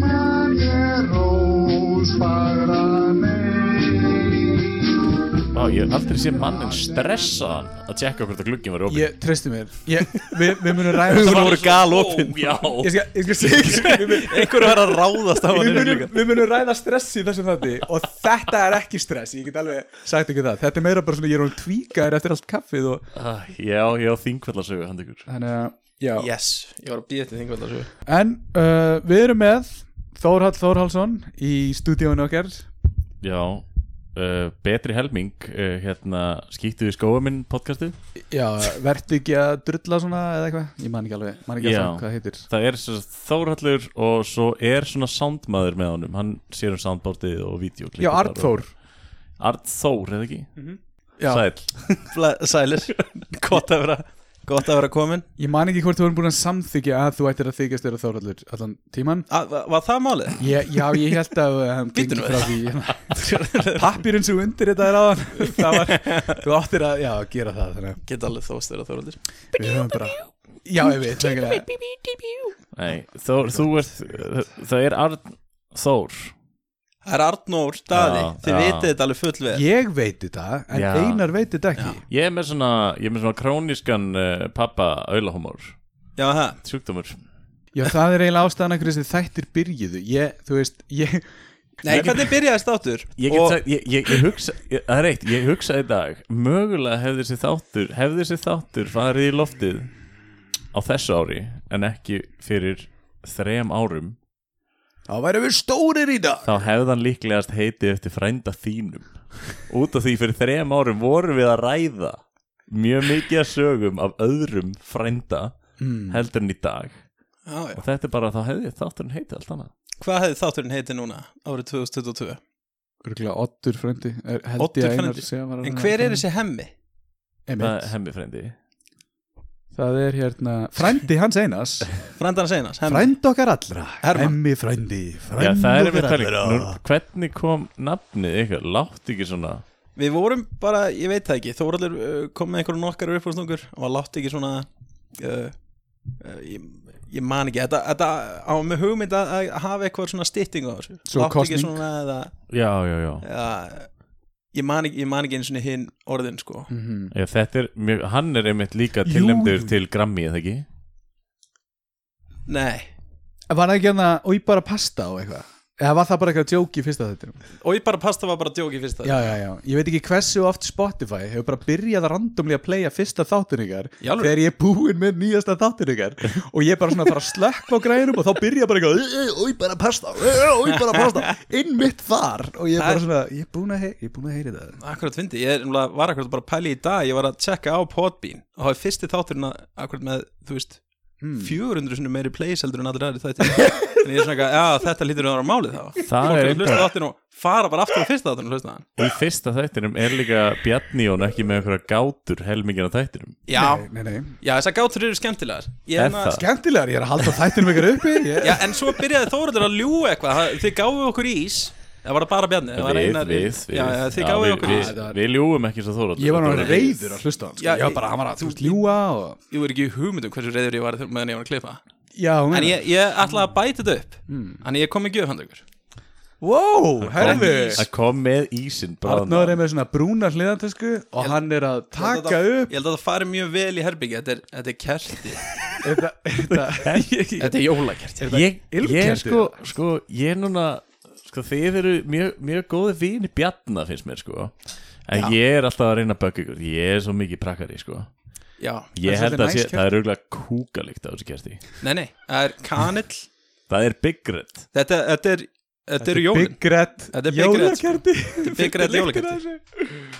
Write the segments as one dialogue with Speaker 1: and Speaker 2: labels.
Speaker 1: margir rósfagra mei
Speaker 2: Vá, ég hef aldrei sé mannin stressaðan að tjekka hvort að glugginn var opinn
Speaker 3: Ég treysti mér ég, við, við munum ræða
Speaker 4: Augun
Speaker 3: þetta
Speaker 4: voru galopin
Speaker 2: Já
Speaker 3: Ég skal, ég skal segja við, mun-
Speaker 4: Einhverju var að ráðast á hann
Speaker 3: við,
Speaker 4: inn í
Speaker 3: munum,
Speaker 4: gluggann.
Speaker 3: við munum ræða stress í þessum þætti Og þetta er ekki stress Ég get alveg sagt ekki það Þetta er meira bara svona Ég er hún tvíkaður eftir allt kaffið og,
Speaker 2: Ah, Já, já, þingvallarsögu hann ykkur
Speaker 3: Þannig að Já
Speaker 4: Yes, ég var að býða til þingvöld þessu
Speaker 3: En uh, við erum með Þórhall Þórhallsson í stúdíónu okkar
Speaker 2: Já, uh, betri helming uh, hérna, skýttu við skóa minn podcastið
Speaker 3: Já, vertu ekki að drulla svona eða eitthvað? Ég man ekki alveg, man ekki
Speaker 2: Já.
Speaker 3: alveg hvað það heitir
Speaker 2: Það er sem sagt Þórhallur og svo er svona soundmaður með honum Hann sér um soundboardið og videoklip
Speaker 3: Já, Arnþór
Speaker 2: Arnþór, eða ekki?
Speaker 3: Já,
Speaker 2: Sæll
Speaker 4: Sælir, gott að vera Gott að vera komin
Speaker 3: ég man ekki hvort þú erum búin að samþykja að þú ættir að þykjast þeirra Þórhallur allan tíman
Speaker 4: A, va- Var það málið?
Speaker 3: ég, Já, ég held að við hefum
Speaker 4: Bíddu
Speaker 3: gengið
Speaker 4: nú.
Speaker 3: frá því Pappirinn sem undir þetta er áðan Það var, þú áttir að, já, gera það þannig.
Speaker 4: Get alveg þóst þeirra Þóraldur
Speaker 3: að Við höfum bara Já, ég veit, þengilega
Speaker 2: Nei, Þór, þú ert Það er Arnþór
Speaker 4: Það er Arnór Daði,
Speaker 2: Já,
Speaker 4: þið
Speaker 2: já.
Speaker 4: vitið þetta alveg full vel
Speaker 3: Ég veit þetta, en
Speaker 2: Já.
Speaker 3: Einar veit þetta ekki
Speaker 2: Ég er með svona, ég er með svona krónískan uh, pappa aulahumor
Speaker 4: Já, það
Speaker 2: Sjúkdómur
Speaker 3: Já, það er eiginlega ástæðan að hverju þessi þættir byrjuðu Ég, þú veist, ég
Speaker 4: Nei, hvernig byrjaði státtur?
Speaker 2: Ég get sagt, ég, ég, ég hugsa, ég, það er eitt, ég hugsa í dag Mögulega hefði þessi þáttur, hefði þessi þáttur farið í loftið á þessu ári En ekki fyrir þrem árum
Speaker 3: Þá værum við stórir í dag
Speaker 2: Þá hefði hann líklegast heitið eftir frænda þínum Út af því fyrir þrem árum vorum við að ræða Mjög mikið að sögum af öðrum frænda heldur en í dag
Speaker 4: Já, já.
Speaker 2: Og þetta er bara, þá hefði þátturinn heitið allt annað
Speaker 4: Hvað hefði þátturinn heitið núna árið 2022?
Speaker 3: Örgulega Oddur frendi er, held
Speaker 4: Oddur
Speaker 3: ég að Einar
Speaker 4: frændi.
Speaker 3: sé að var að-
Speaker 4: En hver er þessi hemmi?
Speaker 2: Það
Speaker 3: Einmitt.
Speaker 2: er hemmi frændi
Speaker 3: Það er hérna Frendi hans Einars
Speaker 4: Frændan seinas, hemmi
Speaker 3: Frendi okkar allra
Speaker 4: Hermann.
Speaker 3: Hemmi frendi
Speaker 2: Já,
Speaker 3: Frendi
Speaker 2: það er
Speaker 3: okkar
Speaker 2: einmitt pæling
Speaker 3: allra
Speaker 2: Nú, Hvernig kom nafnið ykkur? Látt ekki svona
Speaker 4: Við vorum bara, ég veit það ekki Þóraldur uh, kom með einhverjum nokkar uppfórstungur og hann látti ekki svona uh, uh, ég, ég man ekki Þetta, þetta á með hugmynd að, að hafa eitthvað svona stytting á þessu
Speaker 3: Svo
Speaker 4: Látti
Speaker 3: kosning.
Speaker 4: ekki svona eða,
Speaker 2: Já, já, já
Speaker 4: eða ég, man ekki, ég man ekki einu svona hinn orðin sko
Speaker 3: Mm.
Speaker 2: Ég, þetta er mjög, hann er einmitt líka
Speaker 3: Jú,
Speaker 2: tilnæmdur
Speaker 3: jú.
Speaker 2: til Grammy, eða ekki?
Speaker 4: Nei,
Speaker 3: Var það ekki hérna Og ég bara pasta á eitthvað Eða var það bara eitthvað djóki í fyrsta þettinum
Speaker 4: og ég bara pasta var bara djóki fyrst það
Speaker 3: Já, já, já Ég veit ekki hversu oft Spotify Hefur bara byrjað að randomlega playa fyrsta þáttin ykkar
Speaker 4: Í alvöru?
Speaker 3: Þegar ég er búinn með nýjasta þáttin ykkar Og ég er bara svona að fara að slökka á grænum Og þá byrja bara eitthvað Új, bara pasta Új, bara pasta Innmitt þar Og ég er bara svona Ég er búinn að, hey, ég er búinn að heyri það
Speaker 4: Akkurat fyndi, ég er, nefnilega- var akkurat bara að pæli í dag Ég var að tjekka á Podbean og það er fyrsti þátturinn að- akkurat með, þú veist
Speaker 2: Hmm.
Speaker 4: 400 sinni meiri plays heldur en allir aðri þætti en ég er svona ekki að, já, þetta lítur að vera málið þá
Speaker 2: Það
Speaker 4: Fólk
Speaker 2: er
Speaker 4: er að hlusta
Speaker 2: einhver,
Speaker 4: þáttin og fara bara aftur á fyrsta þáttin og hlusta hann
Speaker 2: í fyrsta þættinum er líka Bjarni og ekki með einhverja gátur helmingin á þættinum
Speaker 4: Já,
Speaker 3: Nei, nei
Speaker 4: já, þessar gátur eru skemmtilegar Ég
Speaker 2: Er
Speaker 4: hérna-
Speaker 2: það?
Speaker 3: Skemmtilegar, ég er að halda þættinum ykkar uppi ég...
Speaker 4: Já, en svo byrjaði Þóraldur að ljú eitthvað Það- Þið gáfu okkur ís Það var bara bjarni það var
Speaker 2: Við,
Speaker 4: Einar-
Speaker 2: við, við
Speaker 4: Já, já, þið gáfu
Speaker 2: við,
Speaker 4: okkur ís
Speaker 2: við, við ljúum ekki svo þóra
Speaker 3: ég var náttúrulega reyður að hlusta á hann sko.
Speaker 4: Já,
Speaker 3: Ég var bara, hann var að, þú veist, ljúa og...
Speaker 4: Ég er ekki í hugmyndum hversu reyður ég var þegar- meðan ég var að klippa
Speaker 3: Já, hún
Speaker 4: En ég, ég ætlaði að bæta þetta upp
Speaker 2: Hmm.
Speaker 4: Þannig ég kom í gjöf handa ykkur
Speaker 3: Wow, herðu
Speaker 2: að kom með ísinn
Speaker 3: Arnóður
Speaker 2: bráðum.
Speaker 3: er með svona brúna hliðantösku Og hann er að taka upp
Speaker 4: Ég held að það fari mjög vel í herbyggja Þetta er, þetta er kerti
Speaker 3: Þetta, þetta,
Speaker 4: Þetta er jólakerti
Speaker 2: ég, ég
Speaker 3: Ilmkenndi.
Speaker 2: er sko, sko ég er núna sko þið eru mjög, mjög góði vini Bjarna finnst mér sko en ég er alltaf að reyna að bögga ykkur ég er svo mikið prakkari sko
Speaker 4: Já,
Speaker 2: ég
Speaker 3: er
Speaker 2: held
Speaker 3: svolítið
Speaker 2: að sé,
Speaker 3: næs kerti.
Speaker 2: það er auðvitað kúkalikt á þessu kerti
Speaker 4: nei, nei, það er kanill
Speaker 2: það er byggrætt
Speaker 4: Þetta, þetta er, þetta eru jólin
Speaker 3: Big Red
Speaker 4: Þetta er Big Red, sko.
Speaker 3: jólakerti
Speaker 4: Þetta er Big Red jólakerti.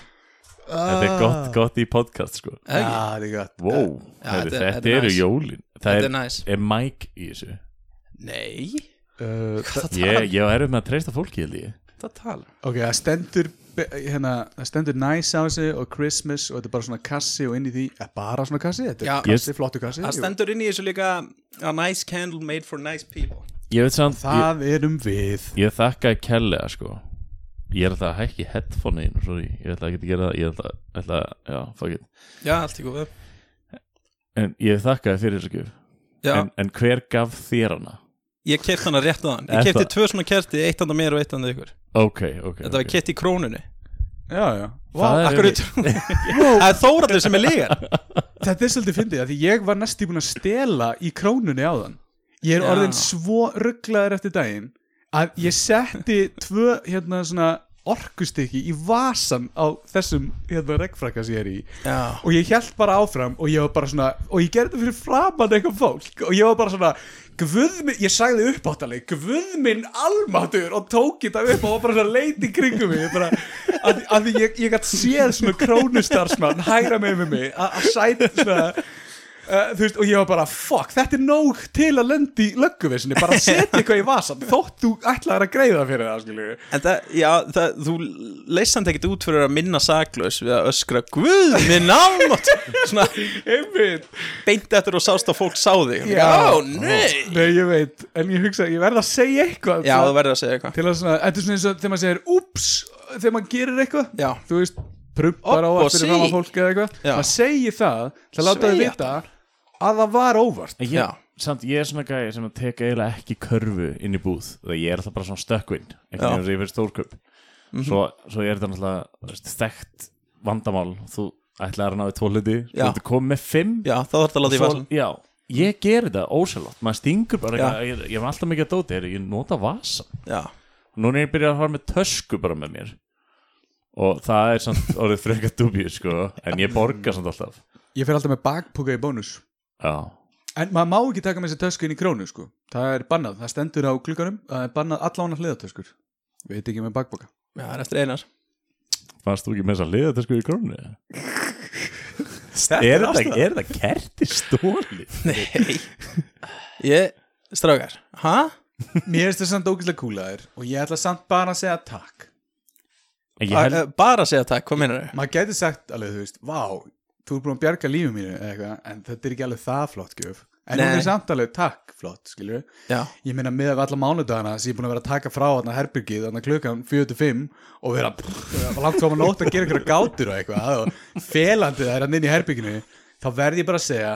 Speaker 2: þetta er gott, gott í podcast sko
Speaker 4: Það er ekki?
Speaker 3: Já, það er gott
Speaker 2: wow,
Speaker 4: Já,
Speaker 2: Heyrðu,
Speaker 4: þetta-
Speaker 2: þetta,
Speaker 4: þetta er
Speaker 2: eru
Speaker 4: næs.
Speaker 2: jólin það
Speaker 4: Þetta
Speaker 2: er,
Speaker 4: er næs
Speaker 2: er Mike í þessu
Speaker 4: Nei,
Speaker 3: Uh, þa-
Speaker 2: ég, ég er um að treysta fólki held ég
Speaker 4: það tala
Speaker 3: Ok, það stendur be- hérna, það stendur Nice á þessu og Christmas og þetta er bara svona kassi og inn í því eh, bara svona kassi, þetta er
Speaker 4: Já.
Speaker 3: kassi, flottu kassi
Speaker 4: Það
Speaker 3: jú.
Speaker 4: stendur inn í þessu líka A nice candle made for nice people
Speaker 2: Ég veit samt ég,
Speaker 3: Það erum við
Speaker 2: ég þakkaði kellega sko Ég er alltaf að hækki headphone inn Sorry, ég ætla ekki að gera það Ég ætla, ætla já, fuck it
Speaker 4: já, allt í góðu
Speaker 2: En ég þakkaði fyrir þessu gjöf
Speaker 4: já,
Speaker 2: en, en hver gaf þér hana?
Speaker 4: ég kefti hana rétt að hann ég
Speaker 2: Er
Speaker 4: kefti
Speaker 2: það-
Speaker 4: tvö svona kerti, eitt handa mér og eitt handa ykkur
Speaker 2: Ok, ok
Speaker 4: þetta var
Speaker 2: ok.
Speaker 4: kett í krónunni
Speaker 3: Já, já
Speaker 2: Það er
Speaker 4: akkur
Speaker 2: einmitt-
Speaker 4: það er Þóraldur sem er lígan
Speaker 3: Þetta er svolítið fyndið af Því ég var næstu búin að stela í krónunni á þann Ég er
Speaker 4: Já.
Speaker 3: orðin svo rugglaður eftir daginn Að ég setti tvö hérna svona orkustykki í vasan á þessum hérna regnfrakka sem ég er í
Speaker 4: já,
Speaker 3: og ég held bara áfram og ég var bara svona og ég gerði þetta fyrir framann eitthvað fólk og ég var bara svona guðminn, ég sagði uppáttaleg guðminn almatur og tók þetta upp og var bara svona leiti kringum mig Ég bara, að, að því ég, ég gætt séð svona krónustarsmann hægra með með mig að að sæta svona Uh, þú veist, og ég var bara, fuck, þetta er nóg til að lendi í lögguvissinni, bara setja eitthvað í vasan, þótt þú ætlaðir að greiða fyrir það, skilju
Speaker 4: en það, já, það, þú leysst hann ekkert út fyrir að minna saklaus við að öskra, guð, minn ámátt svona,
Speaker 3: einmitt,
Speaker 4: beint eftir og sást að fólk sá þig
Speaker 3: Já.
Speaker 4: já, nei
Speaker 3: nei, ég veit en ég hugsa, ég verð að segja eitthvað
Speaker 4: já,
Speaker 3: til að-
Speaker 4: þú verður að segja eitthvað
Speaker 3: til að svona, þetta er svona eins og þegar maður segir ups, þegar maður gerir eitthvað
Speaker 4: já,
Speaker 3: þú veist, prumpar á
Speaker 4: Opp og
Speaker 3: allt fyrir fram
Speaker 4: sí.
Speaker 3: að fólk eða eitthvað,
Speaker 4: Já.
Speaker 3: maður segir það til að láta þau
Speaker 4: Sveigja
Speaker 3: vita að það var óvart
Speaker 2: En
Speaker 4: Já.
Speaker 2: ég, samt ég er svona gæði sem að teka eiginlega ekki körfu inn í búð þegar ég er alltaf bara svona stökkvinn
Speaker 4: Já. Mhm.
Speaker 2: einhvern veginn sem ég fyrir stórköp svo, svo er þetta náttúrulega þú veist, þekkt vandamál þú ætlaði að náði tvo hluti
Speaker 4: Já.
Speaker 2: þú ætlaði komið með fimm
Speaker 4: já, þá þarf það að láta í
Speaker 2: svo,
Speaker 4: vasan
Speaker 2: já, ég gerir þetta ósælótt maður stingur bara,
Speaker 4: Já.
Speaker 2: ég, ég, ég er alltaf mikið að dóti er, ég nota vasan
Speaker 4: já,
Speaker 2: núna er ég byrjað að fara með tösku bara með mér og það er samt orðið frekar dubjur sko, en ég borga samt alltaf
Speaker 3: ég fer alltaf með bakpoka í bónus
Speaker 2: já,
Speaker 3: en maður má ekki taka með sér tösku inn í krónu sko. það er bannað, það stendur á klukkanum það er bannað allána hliðatöskur við veit ekki með bakpoka
Speaker 4: já, það er eftir einar
Speaker 2: fannst þú ekki með þess að liða þetta sko í krónu
Speaker 4: Þetta
Speaker 2: er
Speaker 4: er
Speaker 2: þetta, er þetta kerti stóli?
Speaker 4: nei, ég, strákar hæ?
Speaker 3: mér finnst það samt ógæslega kúlaðir og ég ætla samt bara að segja takk
Speaker 2: Held,
Speaker 4: Eh, bara að segja takk, hvað meinar þau?
Speaker 3: maður getur sagt alveg, þú veist, vá þú er búin að bjarga lífið mínu eða eitthvað, en þetta er ekki alveg það flott gjöf en hún
Speaker 4: Nei.
Speaker 3: er samt alveg takk flott, skilju
Speaker 4: já,
Speaker 3: ég meina með af alla mánudagana sem ég er búin að vera að taka frá þarna herbyggið, þarna klukkan 45 og vera vera langt fram að nótt að gera einhverja gátur og eitthvað og felandi það er hann inn í herbygginu þá verð ég bara að segja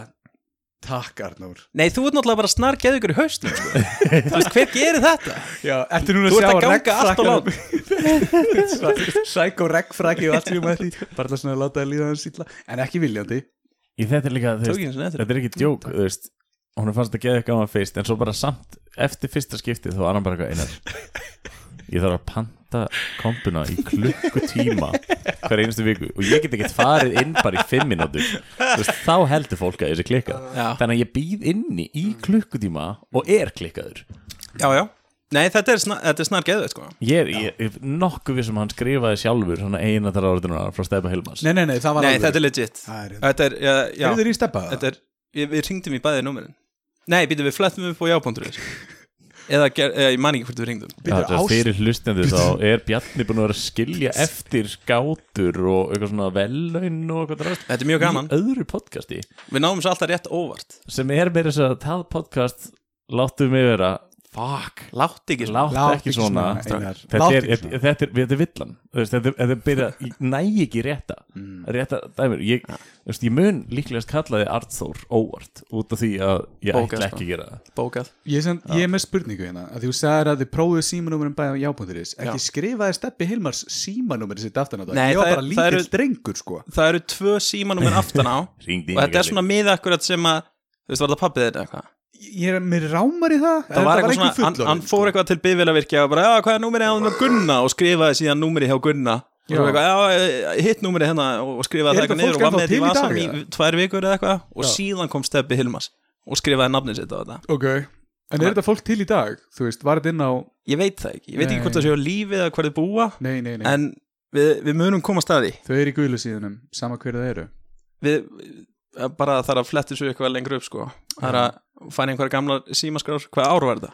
Speaker 3: takk Arnór
Speaker 4: nei, þú ert náttúrulega bara snar geðu ykkur í haustum sko. þú veist, hver gerir þetta?
Speaker 3: Já, ertu núna að
Speaker 4: Þú
Speaker 3: sjá
Speaker 4: ert að ganga allt og
Speaker 3: regnfrakkanum- Psycho regnfrakki og allt sem ég með því bara svona að láta það líða hans illa en ekki viljandi
Speaker 2: í þetta er líka þú
Speaker 4: Tók ég
Speaker 2: veist,
Speaker 4: einu sinni eftir.
Speaker 2: þetta er ekki djók þú veist, hún fannst að geða eitthvað á hann fyrst en svo bara samt, eftir fyrsta skipti þá var hann bara eitthvað einar ég þarf að panta kompuna í klukkutíma hver einustu viku og ég get ekki farið inn bara í fimm minútur Þú veist, þá heldur fólk að þessi klikkað
Speaker 4: Já.
Speaker 2: þannig að ég býð inni í klukkutíma og er klikkaður
Speaker 4: Já, já. Nei, þetta er, snar, þetta er snar geðið, sko.
Speaker 2: ég er, ég, ég, nokkuð við sem hann skrifaði sjálfur svona eina þar áratunar frá Stefa Hilmas
Speaker 3: Nei, nei, nei, það var
Speaker 4: Nei,
Speaker 3: alveg
Speaker 4: þetta er legit.
Speaker 3: Það er-
Speaker 4: Þetta er, já, já.
Speaker 3: Eru þeir í steppa?
Speaker 4: Þetta er, við, við ringdum í bæðið númerin. Nei, býtum við flettum upp á jápóndur. Eða, ger, eða, ég man ekki hvort við ringdum.
Speaker 2: Já,
Speaker 3: Bíddu,
Speaker 2: þetta er
Speaker 3: ást-
Speaker 2: fyrir hlustandi þá er Bjarni búin að vera að skilja eftir skátur og eitthvað svona vellaun og eitthvað drast
Speaker 4: Þetta er mjög gaman.
Speaker 2: í öðru podcasti
Speaker 4: Við náum svo alltaf rétt óvart.
Speaker 2: sem er meira þess að það podcast láttu mig vera fuck,
Speaker 4: Látt ekki,
Speaker 2: látt
Speaker 3: Láttu
Speaker 2: ekki svona,
Speaker 3: Einar.
Speaker 2: þetta
Speaker 3: Láttu
Speaker 2: er,
Speaker 3: ekki svona.
Speaker 2: þetta, er, þetta er villan Þú veist, þetta, er- þetta er byrja, ég næ ekki rétta rétta dæmur ég, þú veist, ég mun líklegast kallaði Arnþór óvart út af því að ég
Speaker 4: Bókað,
Speaker 2: ætla
Speaker 4: sko.
Speaker 2: ekki að gera það
Speaker 4: Bókað.
Speaker 3: Ég, er sem, ég er með spurningu hérna að þú sagðir að þið prófuðu símanúmerin bæða á jábúnduris ekki skrifaði Steppi Hilmars símanúmerin sitt aftan á það,
Speaker 4: Nei,
Speaker 3: ég var
Speaker 4: það er-
Speaker 3: bara
Speaker 4: það
Speaker 3: lítill
Speaker 4: eru-
Speaker 3: drengur sko
Speaker 4: Það eru tvö símanúmer aftan á
Speaker 2: Hringdi í
Speaker 4: og
Speaker 2: mig,
Speaker 4: þetta er
Speaker 2: Kalli.
Speaker 4: svona miðakkurat sem að, þú veist, var það pappið þetta eitthvað?
Speaker 3: Ég er mér rámar í það,
Speaker 4: það var eitthvað
Speaker 3: einhver
Speaker 4: svona, hann, hann
Speaker 3: fullorðinn, sko.
Speaker 4: fór eitthvað til bifélavirkja og bara, já, hvað er númerið á hann Gunna og skrifaði síðan númerið hjá Gunna og svo
Speaker 3: Já.
Speaker 4: eitthvað, já, hitt númerið hérna og skrifaði
Speaker 3: Er
Speaker 4: það
Speaker 3: þetta
Speaker 4: eitthvað niður og var
Speaker 3: fólk
Speaker 4: með
Speaker 3: ennþá til
Speaker 4: þetta í
Speaker 3: í
Speaker 4: vasan í
Speaker 3: dag,
Speaker 4: tvær vikur eða eitthvað og síðan kom Steppi Hilmas og skrifaði nafnið sitt á þetta
Speaker 3: sko. okay. En er þetta fólk til í dag? Þú veist, var þetta inn á
Speaker 4: ég veit það ekki, ég veit ekki
Speaker 3: Nei.
Speaker 4: hvort það séu á lífi eða hvað þið búa
Speaker 3: Nei, nei, nei,
Speaker 4: en við, við munum koma staði
Speaker 3: þau eru í gulu síðunum sama hverju það eru
Speaker 4: við, bara þarf að fletti svo eitthvað lengur upp sko, það er að fæna einhverja gamlar símaskrár, hvað ár var þetta?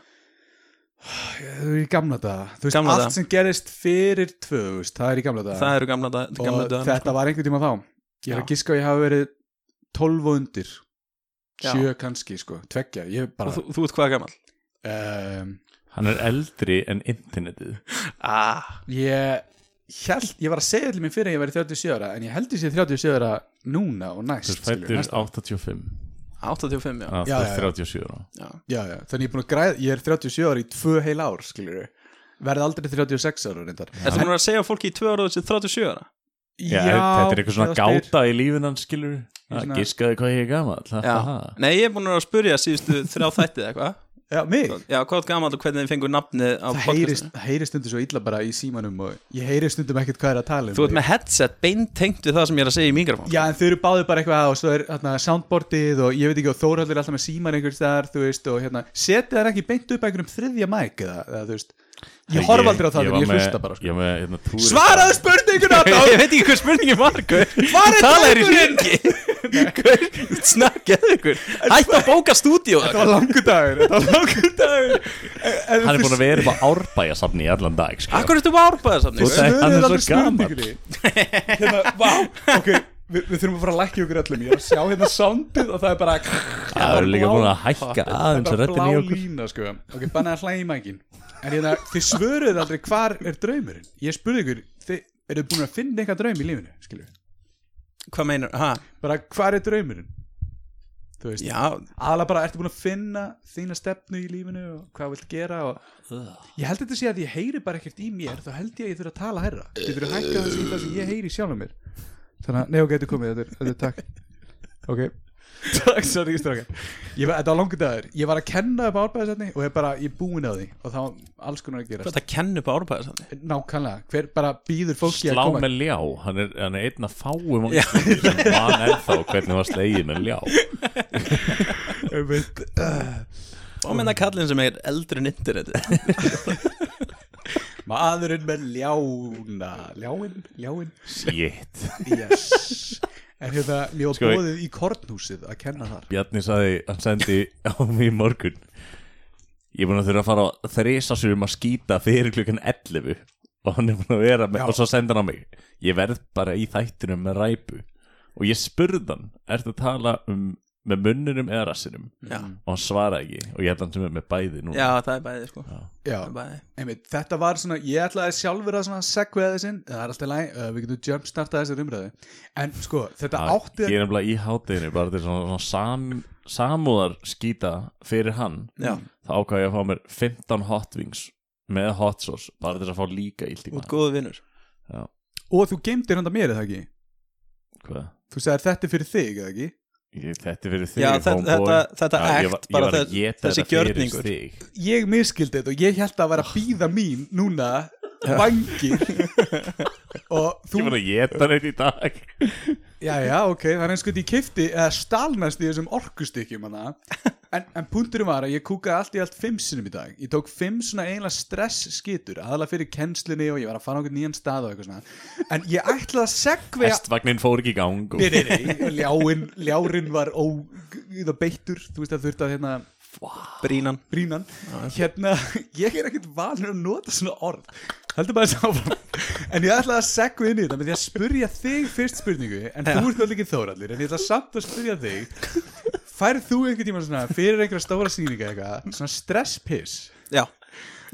Speaker 3: Þau eru í gamla daga, þú veist,
Speaker 4: Gamla
Speaker 3: allt
Speaker 4: daga.
Speaker 3: sem gerist fyrir 2000, það er í gamla daga
Speaker 4: það eru gamla, dag- gamla
Speaker 3: og
Speaker 4: döðan
Speaker 3: þetta var einhvern tíma þá ég er
Speaker 4: Já.
Speaker 3: að giska að ég hafi verið 12 og undir
Speaker 4: Já.
Speaker 3: sjö kannski sko, tveggja ég bara,
Speaker 4: og þú, þú ert hvað gammal?
Speaker 3: um,
Speaker 2: Hann er eldri en internetið
Speaker 4: ah.
Speaker 3: ég held, ég var að segja allir minn fyrir að ég væri 37 ára en ég held ég sé 37 ára núna og
Speaker 2: Þú
Speaker 3: næst
Speaker 2: fættur
Speaker 3: skilurðu, næsta-
Speaker 2: 85
Speaker 4: 85, já,
Speaker 2: að þú
Speaker 3: Já, já,
Speaker 2: er
Speaker 3: já.
Speaker 2: 37 ára
Speaker 4: já.
Speaker 3: já, já, þannig ég er búin að græða, ég er 37 ára í tvö heil ár skilur verði aldrei 36 ára reyndar
Speaker 4: Ertu múin að segja fólki í tvö ára þessi 37 ára?
Speaker 2: Já, þetta er eitthvað svona
Speaker 3: eða spyr-
Speaker 2: gáta í lífin hans skilur
Speaker 3: Svona-
Speaker 2: Giskaði hvað ég er gamall haha.
Speaker 4: Nei, ég er búin að spyrja síðustu þrjá þættið eitthvað
Speaker 3: Já, mig
Speaker 4: Já, hvað er gamall og hvernig þið fengur nafnið
Speaker 3: það
Speaker 4: á podcastinu?
Speaker 3: heyrist, það heyrist stundum svo illa bara í símanum og ég heyrist stundum ekkert hvað er að tala um
Speaker 4: Þú ert með headset beintengt við það sem ég er að segja í mikrofón
Speaker 3: Já, en þau eru báðið bara eitthvað og svo er hérna, soundboardið og ég veit ekki og Þórhaldur er alltaf með síman einhvers þar, þú veist, og hérna setið þær ekki beint upp einhverjum þriðja mæk eða, eða þú veist, ég horf aldrei á það en
Speaker 2: var
Speaker 3: ég
Speaker 2: með-
Speaker 3: hlusta bara, sko
Speaker 2: Ég var með hérna, túrista-
Speaker 3: Svaraðu spurninguna
Speaker 4: Ég
Speaker 3: þá!
Speaker 4: veit ekki hvað spurningin var Gaur.
Speaker 3: Hvar er
Speaker 4: Tala þér í
Speaker 3: drengurinn?
Speaker 4: ringi Snakkaðu ykkur Hætt að bóka stúdíó
Speaker 3: Það var langur dagur, það var langur dagur
Speaker 2: Hann er búin að vera um árbæja safni í allan dag sko. skilur.
Speaker 4: Akkur ertu árbæða samt
Speaker 2: Þú- Hann er
Speaker 3: Svöruðu
Speaker 2: svo
Speaker 3: aldrei
Speaker 2: gamall.
Speaker 3: spurningunni Hérna, vá, ok Við, við þurfum að fara að lækja okkur öllum Ég er að sjá hérna soundið og það er bara
Speaker 2: Það eru líka búin að hækka
Speaker 3: Það er
Speaker 2: aðeins
Speaker 3: bara
Speaker 2: röddin í
Speaker 3: blá
Speaker 2: okkur
Speaker 3: lína sko Ok, banna að hlæja í mækin En hérna, þið svöruðu aldrei hvar er draumurinn Ég spurði ykkur, þið eru búin að finna eitthvað draum í lífinu Skilju,
Speaker 4: Hvað meinar? Ha?
Speaker 3: bara hvar er draumurinn Þú veist,
Speaker 4: Já,
Speaker 3: aðla bara ertu búin að finna þína stefnu í lífinu og hvað vilt gera og Ég held þetta sé að ég heyri bara ekkert í mér þá held ég að ég þurfa að tala herra Þið þurfa að hækka þessi í það sem ég heyri sjálfum mér Þannig að, nei ok, þetta er komið, þetta er, þetta er takk Ok Takk, sorry, stráka Ég var, þetta var langur dagur, ég var að kenna upp árbæðisetni og ég bara, ég er búin að því og þá alls konar að
Speaker 4: hvað
Speaker 3: gera
Speaker 4: er að kenna upp árbæða samt
Speaker 3: Nákvæmlega, hver bara býður fólki
Speaker 2: Slá
Speaker 3: að koma
Speaker 2: með ljá, hann er, hann er einn að fáum á Íslandi sem mann ennþá hvernig var slegið með ljá
Speaker 3: Einmitt.
Speaker 4: Hvað meina kallinn sem er eldri en internet
Speaker 3: Maðurinn með ljána Ljáin, ljáin
Speaker 2: Shit
Speaker 3: Yes En hérna, mér var
Speaker 2: Sko, ég-
Speaker 3: bóðið í kornhúsið að kenna þar
Speaker 2: Bjarni sagði, hann sendi á mig í morgun Ég er búin að þurfa að fara að þresa sig um að skýta fyrir klukkan 11 og hann er búin að vera með, og svo sendir hann á mig Ég verð bara í þættinum með ræpu og ég spurði hann Ertu að tala um með munnunum eða rassinum
Speaker 4: Já.
Speaker 2: og hann svaraði ekki og ég held hann sem er með bæði nú
Speaker 4: Já, það er bæði sko Það
Speaker 3: Já,
Speaker 4: er bæði
Speaker 3: Einmitt, þetta var svona, ég ætlaði sjálfur að svona segveða þessin, það er alltaf læg uh, við getum jumpstartað þessar umræðu en sko, þetta
Speaker 2: Já,
Speaker 3: átti
Speaker 2: Ah, Ég er nefnilega í hátteginu bara til svona, svona sam, samúðar skýta fyrir hann
Speaker 4: Já,
Speaker 2: þá ákvað ég að fá mér 15 hot wings með hot sauce bara til að fá líka illt í
Speaker 4: út
Speaker 2: maður
Speaker 4: góðu vinnur
Speaker 3: og þú geimdir handa mér eða ekki
Speaker 2: Hvað?
Speaker 3: þú sagðir þetta er fyrir þig eða ekki
Speaker 2: Ég- Þetta er fyrir þig
Speaker 4: Já, þetta,
Speaker 2: homeboy.
Speaker 4: þetta, þetta
Speaker 2: Já, ég var-
Speaker 4: ekt
Speaker 2: ég var
Speaker 4: bara
Speaker 2: að
Speaker 4: þess-
Speaker 2: geta
Speaker 4: þessi
Speaker 2: þetta fyrir
Speaker 4: gjörningur
Speaker 2: þig.
Speaker 3: ég miskildi þetta og ég held að vera að býða mín núna vangir og
Speaker 2: Ég
Speaker 3: þú,
Speaker 2: var að geta þetta í dag
Speaker 3: já já ok það er eins og þetta ég kifti eða stalnast í þessum orkustykkjum hana en, en punkturinn var að ég kúkaði allt í allt fimm sinnum í dag ég tók fimm svona eiginlega stress skitur aðalega fyrir kennslinni og ég var að fara á einhvern nýjan stað og eitthvað svona en ég ætlaði að segveja
Speaker 2: Hestvagnin fór ekki í gang og...
Speaker 3: Nei, nei, nei, ljáin, ljárin var ó, það beittur, þú veist að þurft að hérna
Speaker 4: Brínan
Speaker 3: brínan Hérna, ég er ekkert vanur að nota svona orð Heldur maður þess áfram En ég ætlaði að segja inn í þetta með því að spurja þig fyrst spurningu En þú ert allir ekki þórallir En ég ætla samt að spurja þig Færð þú einhvern tíma svona fyrir einhverja stóra sýninga eitthvað Svona stresspiss
Speaker 4: Já,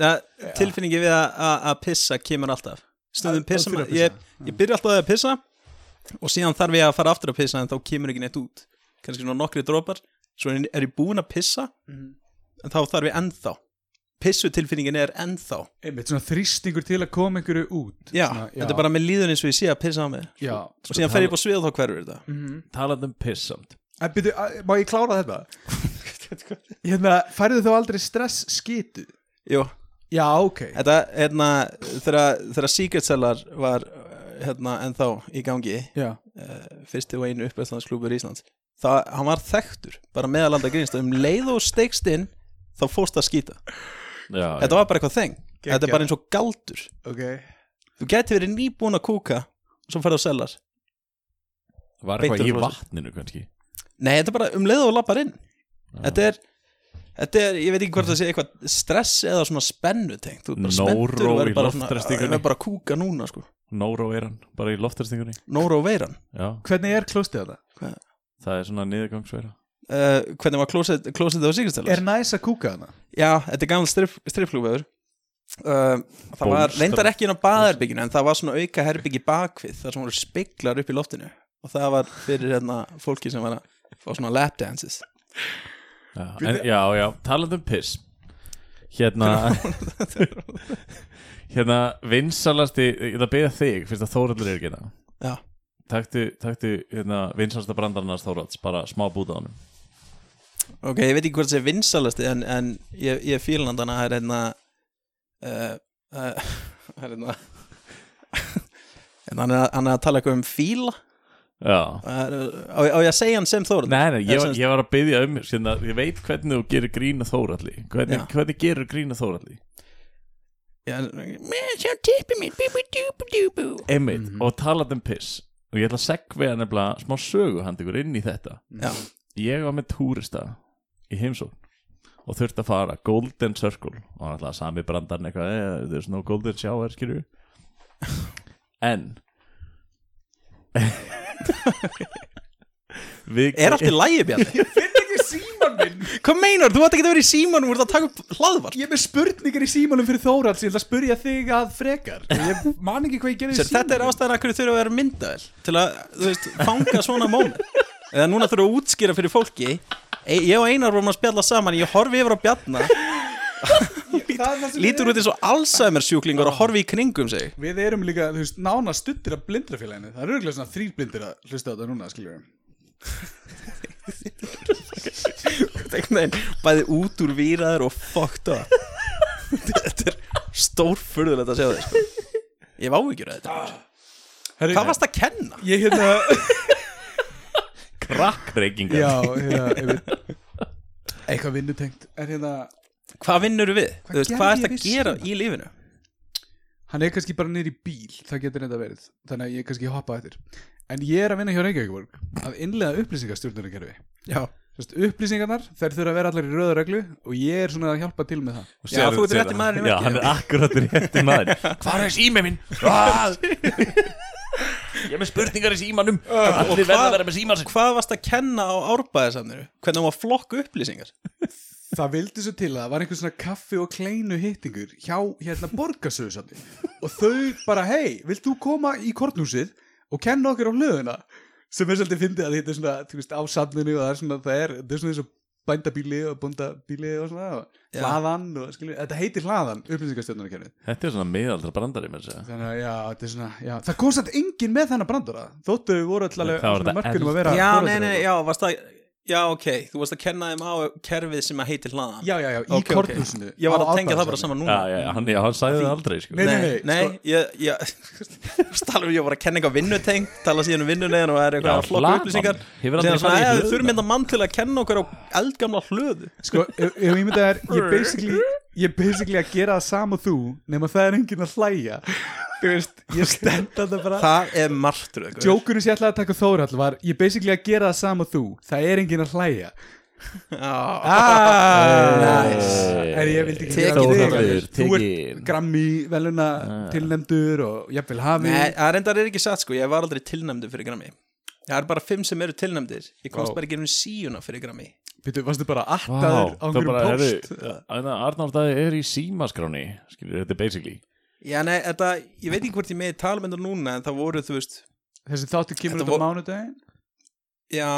Speaker 4: ja, tilfinningi við að- að að pissa kemur alltaf Stundum
Speaker 3: Að-
Speaker 4: pissa,
Speaker 3: að þurfa að
Speaker 4: maður- ég, ég byrja alltaf á því að pissa og síðan þarf ég að fara aftur að pissa en þá kemur ekki neitt út kannski svona nokkri dropar svo er er ég búinn að pissa en þá þarf ég ennþá pissu tilfinningin er ennþá
Speaker 3: Einmitt svona þrýstingur til að koma einhverju út
Speaker 4: já, Sko,
Speaker 3: svona,
Speaker 4: þetta er bara með líðun eins og ég sé að pissa á mig
Speaker 3: Já
Speaker 4: og síðan fer ég upp á svið og þá hverfur þetta
Speaker 2: Talandi um piss samt
Speaker 3: En byrju, að- má ég klára þetta? Hérna, færðu þú aldrei stress skitu?
Speaker 4: Jú,
Speaker 3: Já, ok
Speaker 4: þetta, hérna, þegar, þegar Secret Cellar var hérna, ennþá í gangi
Speaker 3: Já,
Speaker 4: uh, fyrsti og einu uppræðslandsklúpur Íslands það, hann var þekktur, bara meðalanda grínst um leið og steikst inn þá fórst að skýta,
Speaker 2: Já,
Speaker 4: þetta var bara eitthvað þeng þetta
Speaker 3: Geggjað.
Speaker 4: er bara eins og galdur
Speaker 3: ok
Speaker 4: þú gæti verið nýbúin að kúka og svo ferðu á sellar
Speaker 2: var eitthvað
Speaker 4: beittur
Speaker 2: í
Speaker 4: frá sér.
Speaker 2: vatninu kannski
Speaker 4: nei, þetta er bara um leið og lappar inn þetta er Þetta er, ég veit ekki hvort það sé eitthvað stress eða svona spennu tengt Þú er bara
Speaker 2: Nóró
Speaker 4: spenntur og
Speaker 2: í
Speaker 4: verður bara svona
Speaker 2: loftræstingunni.
Speaker 4: verður bara að kúka núna sko
Speaker 2: Nóró er hann, bara í loftarstingunni
Speaker 4: Nóró veiran
Speaker 2: Já,
Speaker 3: Hvernig er klóstið þetta?
Speaker 2: það er svona niðurgangsveira
Speaker 4: uh, hvernig var klósett klósett á Sigurstælas
Speaker 3: Er næs að kúka hana?
Speaker 4: Já, þetta er gammal strippklúfiður uh, Það var
Speaker 2: Bólstrað.
Speaker 4: reyndar ekki inn á baðherbygginu en það var svona auka herbyggi bakvið þar sem voru speglar upp í loftinu og það var fyrir hérna fólki sem var að fá svona lapdances
Speaker 2: Já, en, já, já, talandi um piss Hérna Hérna vinsalasti Ég ætla að beða þig, fyrst að Þóraldur er ekki hérna
Speaker 4: Já,
Speaker 2: Taktu, taktu hérna, vinsalasta brandarnas Þóralds Bara smá búta á honum
Speaker 4: ok, ég veit ekki hvort það er vinsalasti en, en ég, ég fílan hann þannig að það er hérna uh, uh, það er hérna En hann er, hann er að tala eitthvað um fíla
Speaker 2: Já
Speaker 4: Það er- á, á ég að segja hann sem Þórður
Speaker 2: Nei, nei, ég,
Speaker 4: Það
Speaker 2: var-
Speaker 4: sem-
Speaker 2: ég var að byggja um hérna, Ég veit hvernig þú gerir grína Þóraldi
Speaker 4: Já.
Speaker 2: Hvernig, hvernig gerur grína Þóraldi
Speaker 4: Mér sjá tippi mín Bíbu djúbu djúbu
Speaker 2: Einmitt,
Speaker 4: Mhm.
Speaker 2: og talandi um piss Og ég ætla að segvega nefnilega smá sögu hann ykkur inn í þetta
Speaker 4: Já,
Speaker 2: ég var með túrista í heimsókn og þurfti að fara Golden Circle og hann ætlaði sami brandarn eitthvað eh, there's no golden shower skilju en við,
Speaker 4: Er allt í lægi bjarni?
Speaker 3: Finn ekki síman minn
Speaker 4: Hvað meinar, þú ætti ekki að vera í símanum Þú ert að taka upp hlaðvart
Speaker 3: Ég er með spurningar í símanum fyrir Þóralds Ég ætla að spurja þig að frekar Ég man ekki hvað ég gerði í
Speaker 4: Sér, Þetta er
Speaker 3: símanum.
Speaker 4: ástæðan að hverju þurfa að vera myndavel Til að, þú veist, fanga svona móna Eða núna þurfa að útskýra fyrir fólki e, Ég og Einar vorum að spjalla saman Ég horfi yfir á bjarna
Speaker 3: Það er það sem
Speaker 4: Lítur
Speaker 3: við-
Speaker 4: út eins og Alzheimer sjúklingur Að horfi í kringum sig
Speaker 3: Við erum líka, þú veist, nána stuttir af blindrafélaginu Það eru örgulega svona þrýr blindir að hlusta á þetta núna, skiljum
Speaker 4: Nei, Bæði út úr víraður og fucked up Þetta er stórfurðulegt að segja þetta sko. Ég var áhyggjur að þetta
Speaker 3: Herri,
Speaker 4: Hvað varst að kenna?
Speaker 3: Ég hérna,
Speaker 2: krakkreikingar
Speaker 3: já, hérna einmitt. Eitthvað vinnutengt En hérna,
Speaker 4: Hvað vinnur við?
Speaker 3: Hvað
Speaker 4: Þú veist,
Speaker 3: gerði
Speaker 4: hvað
Speaker 3: ég
Speaker 4: ert að
Speaker 3: við
Speaker 4: gera
Speaker 3: síma?
Speaker 4: í lífinu?
Speaker 3: hann er kannski bara niður í bíl Það getur þetta verið, þannig að ég kannski hoppa eftir En ég er að vinna hjá Reykjavíkborg Að innlega upplýsingastjórnunarkerfi
Speaker 4: Já
Speaker 3: Sest, upplýsingarnar, þær þurfa að vera allar í röðu reglu og ég er svona að hjálpa til með það
Speaker 4: Já, þú ert rétti maðurinn í
Speaker 2: já,
Speaker 4: verkið.
Speaker 2: hann er akkurat rétti maður hvað er símið minn Hvað? ég er með spurningar í símanum
Speaker 4: Ah,
Speaker 2: allir verða að vera með síman sinn.
Speaker 4: Hvað varst að kenna á árbæðarsamniru? Hvernig á að flokka upplýsingar?
Speaker 3: Það vildi svo til að það var einhver svona kaffi og kleinu hittingur hjá hérna borgarsöðsandi og þau bara, hei, vilt þú koma í kortnúsið og kenna okkur á hlöðuna sem er svolítið fyndið að þetta er svona þú veist, á safninu og það er svona það er, það er svona eins og bændabíli og bóndabíli og svona og
Speaker 4: Já.
Speaker 3: hlaðan og skilur, þetta heitir hlaðan upplýsingastjórnarkerfið
Speaker 2: þetta er svona miðaldra brandari með þess að segja.
Speaker 3: þannig að já, þetta er svona, já, það kom satt engin með þennan brandara þóttu við voru alltaf alveg á
Speaker 2: Það var þetta
Speaker 3: svona mörkunum að
Speaker 2: eld-
Speaker 3: vera
Speaker 4: Já, nei,
Speaker 3: foreldrarnir.
Speaker 4: nei, já, varst að Já, ok, þú varst að kenna þeim á kerfið sem að heitir hlaðan
Speaker 3: Já, já, já, í
Speaker 4: Ok, ok.
Speaker 3: okay, korthúsinu
Speaker 4: Ég var
Speaker 3: á
Speaker 4: að tengja það bara
Speaker 3: Árbæjarsafni.
Speaker 2: já,
Speaker 4: saman núna
Speaker 2: já, hann, já, hann sagði það aldrei sko.
Speaker 3: Nei, nei,
Speaker 4: Nei,
Speaker 3: nei,
Speaker 4: nei,
Speaker 3: sko-
Speaker 4: ég, ég, þú veist, tala um ég var að kenna eitthvað vinnuteng tala síðan um vinnunegin og það er
Speaker 2: Já,
Speaker 4: eitthvað að flokka
Speaker 2: hlaðan.
Speaker 4: upplýsingar
Speaker 2: Hefur aldrei
Speaker 4: Síðan svona,
Speaker 2: farið í
Speaker 4: "Æ,
Speaker 2: hlöðuna."
Speaker 4: Þú þurfum mynda mann til að kenna okkur á eldgamla hlöðu
Speaker 3: Sko, ef, ef ég myndi að það er ég er basically, ég er basically að gera það sama og þú nema það er enginn að hlæja Þú veist, ég stend að það bara
Speaker 4: Það er martröð Guður.
Speaker 3: Jókurinn sem ég ætlaði að taka Þórhall var ég er basically að gera það sama og þú það er enginn að hlæja
Speaker 4: Já,
Speaker 3: ah,
Speaker 2: Nice.
Speaker 3: En ég vildi ekki
Speaker 4: Tekið
Speaker 3: gera þig.
Speaker 2: Þórhallur,
Speaker 3: Þú
Speaker 2: tekið.
Speaker 3: ert grammi veluna tilnefndur og jafnvel hafi
Speaker 4: Nei, það reyndar er ekki satt sko, ég var aldrei tilnæmdur fyrir Grammy Það er bara fimm sem eru tilnæmdir Ég komst
Speaker 3: Vá.
Speaker 4: bara ekki um síuna fyrir Grammy
Speaker 3: Býttu, varstu bara
Speaker 2: Vá,
Speaker 3: attaður
Speaker 2: það
Speaker 3: á
Speaker 2: er
Speaker 3: einhverjum
Speaker 2: bara,
Speaker 3: post
Speaker 2: herru, Arnárdæði er í símaskráni skilur, þetta er basically
Speaker 4: Já, nei, þetta, ég veit ekki hvort ég meði talmyndur núna En það voru, þú veist,
Speaker 3: Þessi þáttu kemur út
Speaker 4: Þetta
Speaker 3: á
Speaker 4: vo-
Speaker 3: mánudaginn
Speaker 4: já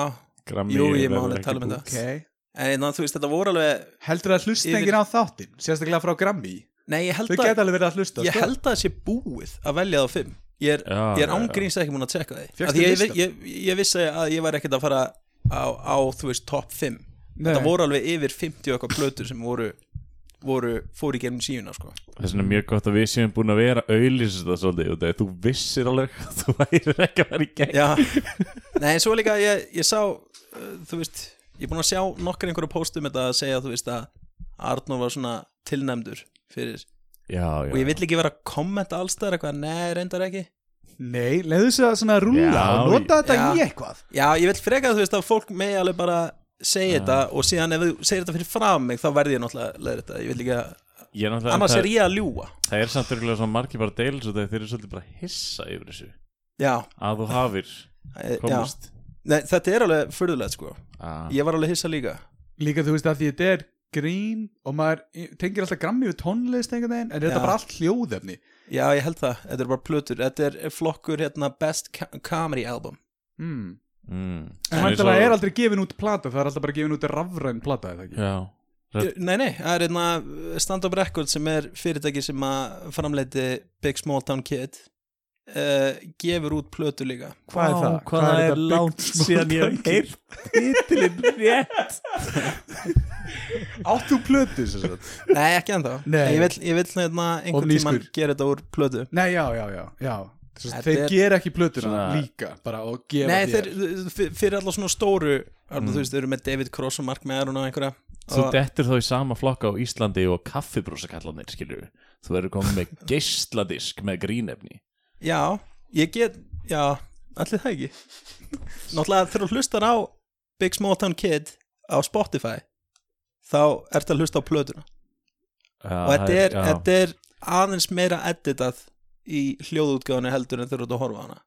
Speaker 2: Grammy
Speaker 4: Jú, ég
Speaker 2: verður
Speaker 4: máli
Speaker 2: ekki
Speaker 4: tala um
Speaker 2: búið.
Speaker 4: þetta
Speaker 3: okay.
Speaker 4: En ná, þú veist, þetta voru alveg
Speaker 3: Heldur það hlusta
Speaker 4: Yfir-
Speaker 3: enginn á þáttinn, sérstaklega frá Grammy?
Speaker 4: Nei, ég held
Speaker 3: Þau
Speaker 4: að,
Speaker 3: geta alveg verið að hlusta
Speaker 4: ég
Speaker 3: sko.
Speaker 4: held að það sé búið að velja það á fimm Ég er,
Speaker 2: Já,
Speaker 4: ég er
Speaker 2: já, já.
Speaker 4: ángríns ekki múin að tjekka því
Speaker 3: Fékkstu
Speaker 4: Af Því ég,
Speaker 3: listan?
Speaker 4: ég, ég, ég vissi að ég var ekkert að fara á, á þú veist, topp fimm
Speaker 3: Nei.
Speaker 4: Þetta voru alveg yfir 50 okkar plötur sem voru, voru fóru í gerum síuna, sko
Speaker 2: Þess vegna er mjög gott að við séum búin að vera auðlýsist það svolítið út af því að þú vissir alveg að þú værir ekki að vera í gegn
Speaker 4: Já, nei, en svo líka ég, ég sá, uh, þú veist ég er búin að sjá nokkar einhverju póstum um þetta að segja, þú veist, að Arnór var svona tilnæmdur fyrir
Speaker 2: já,
Speaker 4: og ég vill ekki vera að kommenta allstæðar eitthvað, nei, reyndar ekki
Speaker 3: Nei, leiðu þess að svona rúla
Speaker 2: Já,
Speaker 3: og nota þetta
Speaker 4: já.
Speaker 3: í eitthvað
Speaker 4: Já, ég vil freka, þú veist, að fólk megi alveg bara segja þetta og síðan ef þú segir þetta fyrir fram mig, þá verði ég náttúrulega leður þetta, ég vil ekki að
Speaker 2: ég er náttúrulega-
Speaker 4: annars
Speaker 2: það,
Speaker 4: er ég að ljúga
Speaker 2: það er samt örgulega svona margir bara deilis og þeir eru svolítið bara hissa yfir þessu
Speaker 4: Já,
Speaker 2: að þú hafir
Speaker 4: eh, já,
Speaker 2: komist
Speaker 4: Nei, þetta er alveg furðulegt sko
Speaker 2: Ah.
Speaker 4: Ég var alveg hissa líka
Speaker 3: líka þú veist að því þetta er grín og maður tengir alltaf grammi við tónlist einhvern veginn en þetta
Speaker 4: Já.
Speaker 3: er bara allt hljóðefni
Speaker 4: Já, ég held það, þetta er bara plötur Þetta er flokkur hérna Best Co- Comedy Album
Speaker 3: mm.
Speaker 2: Mm.
Speaker 3: en
Speaker 2: eins og-
Speaker 3: mæntalega er aldrei gefin út plata það er alltaf bara gefin út rafræn plata eða ekki
Speaker 2: Já,
Speaker 4: Eh, Nei, nei, það er hérna eh, Stand Up Record sem er fyrirtæki sem að framleiti Big Small Town Kid uh, gefur út plötur líka
Speaker 3: hvað er það?
Speaker 2: Hvað
Speaker 3: Hvað er
Speaker 2: er,
Speaker 3: þetta
Speaker 2: langt
Speaker 3: big small
Speaker 2: síðan ég hef
Speaker 3: tanki?
Speaker 2: heyrt titilinn rétt
Speaker 3: áttu plötu sem sagt
Speaker 4: Nei, ekki ennþá
Speaker 3: Nei.
Speaker 4: Ég vill, ég vill hérna
Speaker 3: Og
Speaker 4: einhvern
Speaker 3: nýskur.
Speaker 4: tímann gera þetta úr plötu
Speaker 3: nei já já já, já. Sem sagt,
Speaker 4: Þetta
Speaker 3: þeir
Speaker 4: er-
Speaker 3: gera ekki plötuna
Speaker 2: Svona-
Speaker 3: líka bara og gefa
Speaker 4: Nei, þeir,
Speaker 3: þér
Speaker 4: fyr- fyrir allar svona stóru
Speaker 3: Mm.
Speaker 4: alveg, Þú veist, þeir eru með David Cross og Mark Maron og einhverja
Speaker 2: Þú
Speaker 4: Og-
Speaker 2: dettur þá í sama flokka á Íslandi og kaffibrósakallanir, skilur Þú verður komið með geisladisk með grínefni
Speaker 4: Já, ég get, já, allir það ekki Náttúrulega þegar þú hlustar á Big Small Town Kid á Spotify þá ertu að hlusta á plötuna og þetta er, þetta er aðeins meira editað í hljóðútgáðinu heldur en þegar þú ert að horfa á hana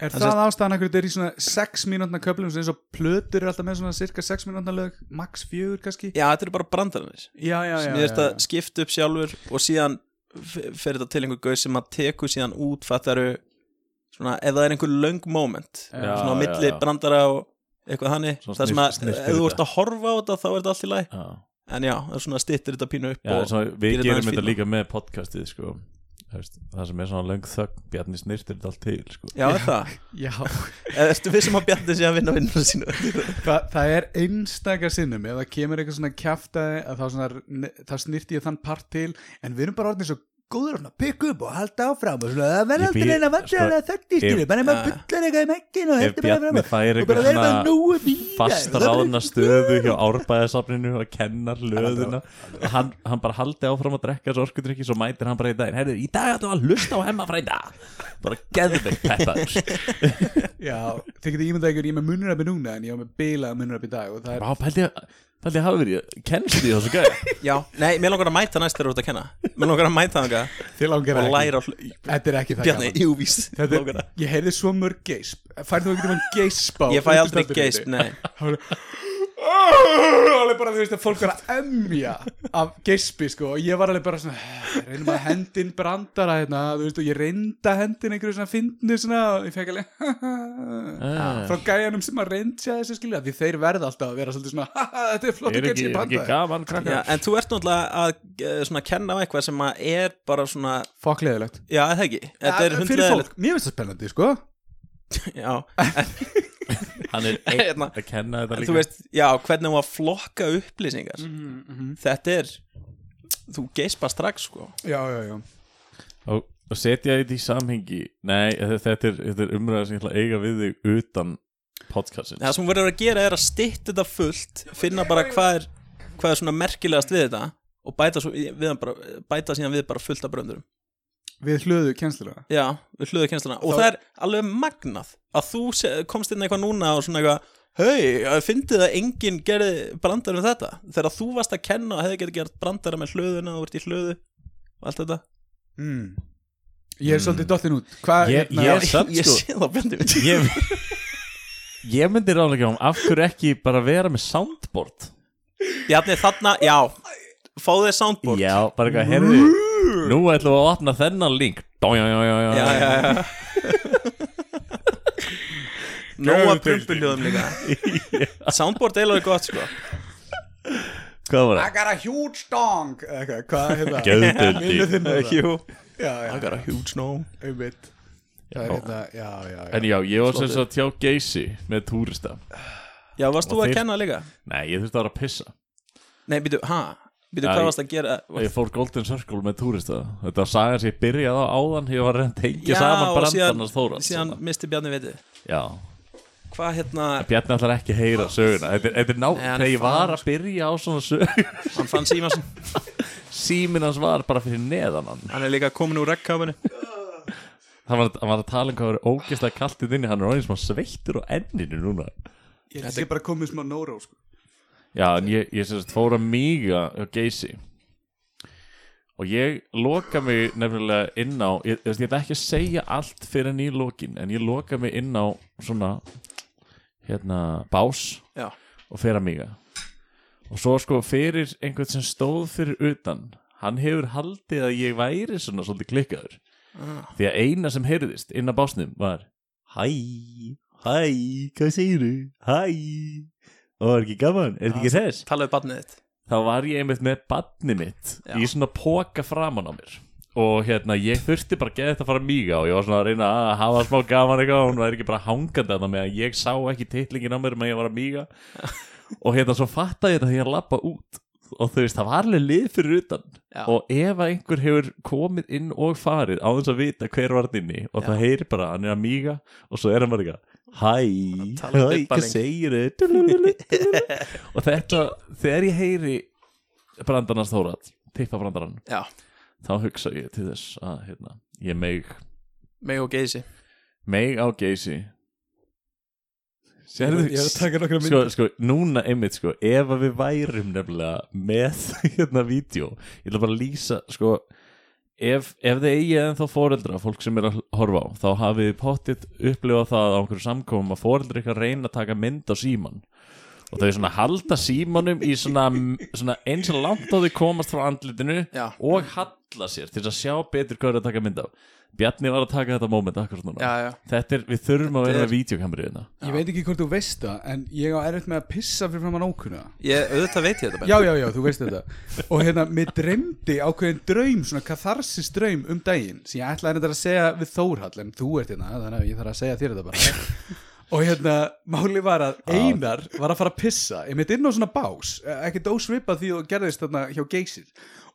Speaker 3: er
Speaker 4: Það
Speaker 3: það, ástæðan akkur þetta er í svona 6 mínútna köflum eins og plötur er alltaf með svona cirka 6 mínútna lög max 4 kannski
Speaker 4: Já, þetta eru bara brandarinnis
Speaker 3: já já já,
Speaker 4: sem ég
Speaker 3: já,
Speaker 4: veist
Speaker 3: já.
Speaker 4: að skipta upp sjálfur og síðan f- fer þetta til einhver gauð sem að teku síðan út fattaru svona, ef það er einhver löng moment
Speaker 2: Já,
Speaker 4: svona á
Speaker 2: já,
Speaker 4: milli
Speaker 2: já.
Speaker 4: brandara og eitthvað hannig
Speaker 2: Svona
Speaker 4: það sem að
Speaker 2: snyrti-
Speaker 4: ef þú
Speaker 2: snyrti
Speaker 4: ert að horfa á þetta þá er þetta allt í læ
Speaker 2: Já,
Speaker 4: en já, það er svona stittir þetta pínu upp
Speaker 2: já
Speaker 4: og
Speaker 2: svo, við
Speaker 4: gerir
Speaker 2: gerum
Speaker 4: aðeins
Speaker 2: þetta
Speaker 4: fínna.
Speaker 2: líka með podcastið, sko Þú veist, Það sem er svona löng þögn, Bjarni snirtir þetta allt til, sko
Speaker 4: já, er það, Eh,
Speaker 3: já.
Speaker 4: ertu við sem að bjarni sig að vinna vinnur sínu
Speaker 3: Þa, það er einstaka sinnum ef það kemur eitthvað svona kjaftaði að þá, svona, þá snýrt ég þann part til en við erum bara orðin svo góður að pikka upp og halda áfram og svona það verður
Speaker 2: Ég
Speaker 3: aldrei
Speaker 2: bý-
Speaker 3: neina vandrarlega þögn í
Speaker 2: ef-
Speaker 3: skilu bara ef maður
Speaker 4: Ja.
Speaker 3: bullar eitthvað í mekkin og
Speaker 2: Ef
Speaker 3: heldur bara
Speaker 2: Bjarni fær
Speaker 3: áfram og bara
Speaker 2: eitthvað
Speaker 3: verður bara
Speaker 2: svona
Speaker 3: nógu býða
Speaker 2: fastraðna stöðu hjá árbæðasafninu og kennar löðuna og hann, hann bara haldi áfram að drekka þessu orkudrykki svo mætir hann bara í daginn, herðu, í dag ætlum við að hlusta á hemma frænda bara geðveik peppaður
Speaker 3: Já, þeir getið ímyndað ykkur, ég er með munurabbi núna en ég var með bilað munurabbi í dag og það er
Speaker 2: bara pældi ég pældi ég hafi verið kennslu í þessu gæði
Speaker 4: já, nei, mér langar að mæta næst þegar þú ert að kenna mér langar að mæta þangað
Speaker 3: þið langar
Speaker 4: og
Speaker 3: ekki
Speaker 4: læra á hl-
Speaker 3: Þetta er ekki það
Speaker 4: bjarni,
Speaker 3: gaman.
Speaker 4: jú, víst
Speaker 3: Þetta
Speaker 4: Langar
Speaker 3: er,
Speaker 4: að-
Speaker 3: ég heyrði svo mörg geisp Færðu þú ekki um geisp á
Speaker 4: ég fæ aldrei
Speaker 3: uppistöldinni?
Speaker 4: geist, nei
Speaker 3: Það var alveg bara þú veist að fólk var að emja af geispi sko og ég var alveg bara svona reynum að hendin brandara hérna þú veist og ég reynda hendin einhverju svona fyndinu svona og ég fekk alveg
Speaker 2: Ah.
Speaker 3: frá gæjanum sem að reyndja þessu skilja því þeir verða alltaf að vera svolítið svona "Ha, ha, þetta er flott
Speaker 2: er ekki,
Speaker 3: geispi
Speaker 2: er ekki
Speaker 3: brandara
Speaker 2: gaman
Speaker 4: Já,
Speaker 2: krakkar
Speaker 4: en þú ert náttúrulega að eh, svona, kenna á eitthvað sem að er bara svona
Speaker 3: fokk leðilegt
Speaker 4: Já, er það ekki, þetta er
Speaker 3: fyrir
Speaker 4: hundlega
Speaker 3: fólk, mér finnst það spennandi sko
Speaker 4: Já,
Speaker 2: hann er einn
Speaker 4: Hérna.
Speaker 2: að kenna þetta
Speaker 4: en
Speaker 2: líka
Speaker 4: þú veist, já, hvernig hún að flokka upplýsingar Þetta er, þú geispa strax sko
Speaker 3: já já já
Speaker 2: og, og setja þetta í samhengi nei, þetta er, þetta er umræða sem ég ætla að eiga við þig utan podcastin
Speaker 4: Það sem hún verður að gera er að stytta þetta fullt Finna bara hvað er, hvað er svona merkilegast við þetta Og bæta, svo, við hann bara, bæta síðan við bara fullt af bröndurum
Speaker 3: við hlöðu kjensluna
Speaker 4: Já, við hlöðu kennsluna Og
Speaker 3: Þá-
Speaker 4: það er alveg magnað Að þú se, komst inn eitthvað núna og svona eitthvað Hei, að fyndið að enginn gerði brandar um þetta Þegar þú varst að kenna og hefði getið gert brandara með hlöðuna og vart í hlöðu og allt þetta
Speaker 3: mm. ég er svolítið dottinn út hvað
Speaker 2: Mm. Ég-
Speaker 3: hérna-
Speaker 2: ég- Samt,
Speaker 4: Ég
Speaker 2: sko.
Speaker 4: sé það bjöndið mitt
Speaker 2: ég, ég myndi ráðlega um af hverju ekki bara vera með soundboard
Speaker 4: Bjarni, þarna, já Fáðu þér soundboard
Speaker 2: Já, bara eitthvað, heyrðu Nú ætlum við að opna þennan link Dó, já, já, já, já,
Speaker 4: já, já, já. Nóa
Speaker 2: Gerðu
Speaker 4: prumpuljóðum líka Soundboard er alveg gott sko
Speaker 2: Hvað var
Speaker 3: I
Speaker 2: það?
Speaker 3: got a huge dong Eitthvað, hvað er það?
Speaker 2: Geðdeildi.
Speaker 3: Vinur þinn var það?
Speaker 4: Jú,
Speaker 3: Já, já,
Speaker 4: I got a huge no
Speaker 3: einmitt Það er hérna, já, já, já
Speaker 2: En já, ég var sem sagt hjá Geysi með túrista
Speaker 4: Já, varst þú
Speaker 2: Og
Speaker 4: að
Speaker 2: þeir-
Speaker 4: kenna líka?
Speaker 2: Nei, ég þurfti að vera að pissa
Speaker 4: Nei, býtu, ha? Býtu,
Speaker 2: Já,
Speaker 4: hvað
Speaker 2: ég-
Speaker 4: varst að gera?
Speaker 2: Ég fór Golden Circle með túrista Þetta var sagan sem ég byrjaði á áðan Ég var að reyna að tengja
Speaker 4: Já,
Speaker 2: saman
Speaker 4: og síðan,
Speaker 2: brandarnas þóra
Speaker 4: síðan misti Bjarni vitið
Speaker 2: Já,
Speaker 4: Hvað hérna,
Speaker 2: Bjarni ætlar ekki að heyra söguna Þetta er, þetta er ná,
Speaker 4: Nei, hann sko.
Speaker 2: þegar ég
Speaker 4: fann-
Speaker 2: var að byrja á svona sög
Speaker 4: hann fann Símansson
Speaker 2: Síminn hans var bara fyrir neðan hann
Speaker 4: Hann er líka komin úr rekkafinu
Speaker 2: Hann var, hann var að tala um hvað verið ógeðslega kalt í þinni Hann er orðin smá sveittur á enninu núna
Speaker 3: Ég held að ég bara komið smá nóró sko.
Speaker 2: Já, en ég, ég sem sagt fór að míga á geysi og ég loka mig nefnilega inn á ég, ég, ég ætla ekki að segja allt fyrir en í lokin en ég loka mig inn á svona hérna, bás
Speaker 4: Já.
Speaker 2: og fer að míga og svo sko fyrir einhvern sem stóð fyrir utan hann hefur haldið að ég væri svona svolítið klikkaður því að eina sem heyrðist inn að básnum var hæ, hæ, hvað segiru hæ, og er ekki gaman er þetta ekki þess
Speaker 4: Talaðu barnið þitt
Speaker 2: þá var ég einmitt með badni mitt
Speaker 4: Já.
Speaker 2: í svona póka framan á mér og hérna ég þurfti bara að geða þetta að fara mýga og ég var svona að reyna að hafa smá gaman eitthvað og hún var ekki bara hangandi að það með að ég sá ekki titlingin á mér með að ég var að mýga og hérna svo fattaði ég þetta því að lappa út og þú veist það var alveg lið fyrir utan
Speaker 4: Já.
Speaker 2: og ef að einhver hefur komið inn og farið á þess að vita hver var þarna inni og það heyri bara að hann er að mýga og svo er hann bara eitthvað hæ,
Speaker 4: Talar
Speaker 2: hæ, hvað
Speaker 4: dibbaling.
Speaker 2: segir þau og þetta, þegar ég heyri brandarnas þórat, tippa brandarann
Speaker 4: Já,
Speaker 2: þá hugsa ég til þess að hérna, ég meig
Speaker 4: mig og geysi
Speaker 2: meig á geysi sérðu
Speaker 3: Ég er að taka nokkra mynd
Speaker 2: sko, sko, núna einmitt sko, ef að við værum nefnilega með hérna vídeo, ég ætla bara að lýsa sko, ef, ef þið eigið en þá foreldra, fólk sem er að horfa á þá hafið þið pottitt upplifað það á einhverju samkomum að foreldra ykkar reyna að taka mynd á síman og þau svona halda símanum í svona, svona eins og langt á þau komast frá andlitinu
Speaker 4: Já.
Speaker 2: og halla sér til þess að sjá betur hvað er að taka mynd af Bjarni var að taka þetta moment akkur svona
Speaker 4: Já, já.
Speaker 2: Þetta er, við þurfum að vera
Speaker 4: er-
Speaker 2: með videokamrið hérna
Speaker 3: Ég veit ekki hvort þú veist það En ég á erfitt með að pissa fyrir framann ókunna
Speaker 4: Ég, auðvitað veit ég þetta bara
Speaker 3: Já, já, já, þú veist þetta Og hérna, mér dreymdi ákveðin draum Svona katharsis draum um daginn Sem ég ætlaði þetta að segja við Þórhall En þú ert hérna, þannig að ég þarf að segja þér þetta bara Og hérna, máli var að Einar var að fara að pissa Ég mitt inn á svona bás, eh, ekkert ósvipað því og gerðist þarna hjá geysir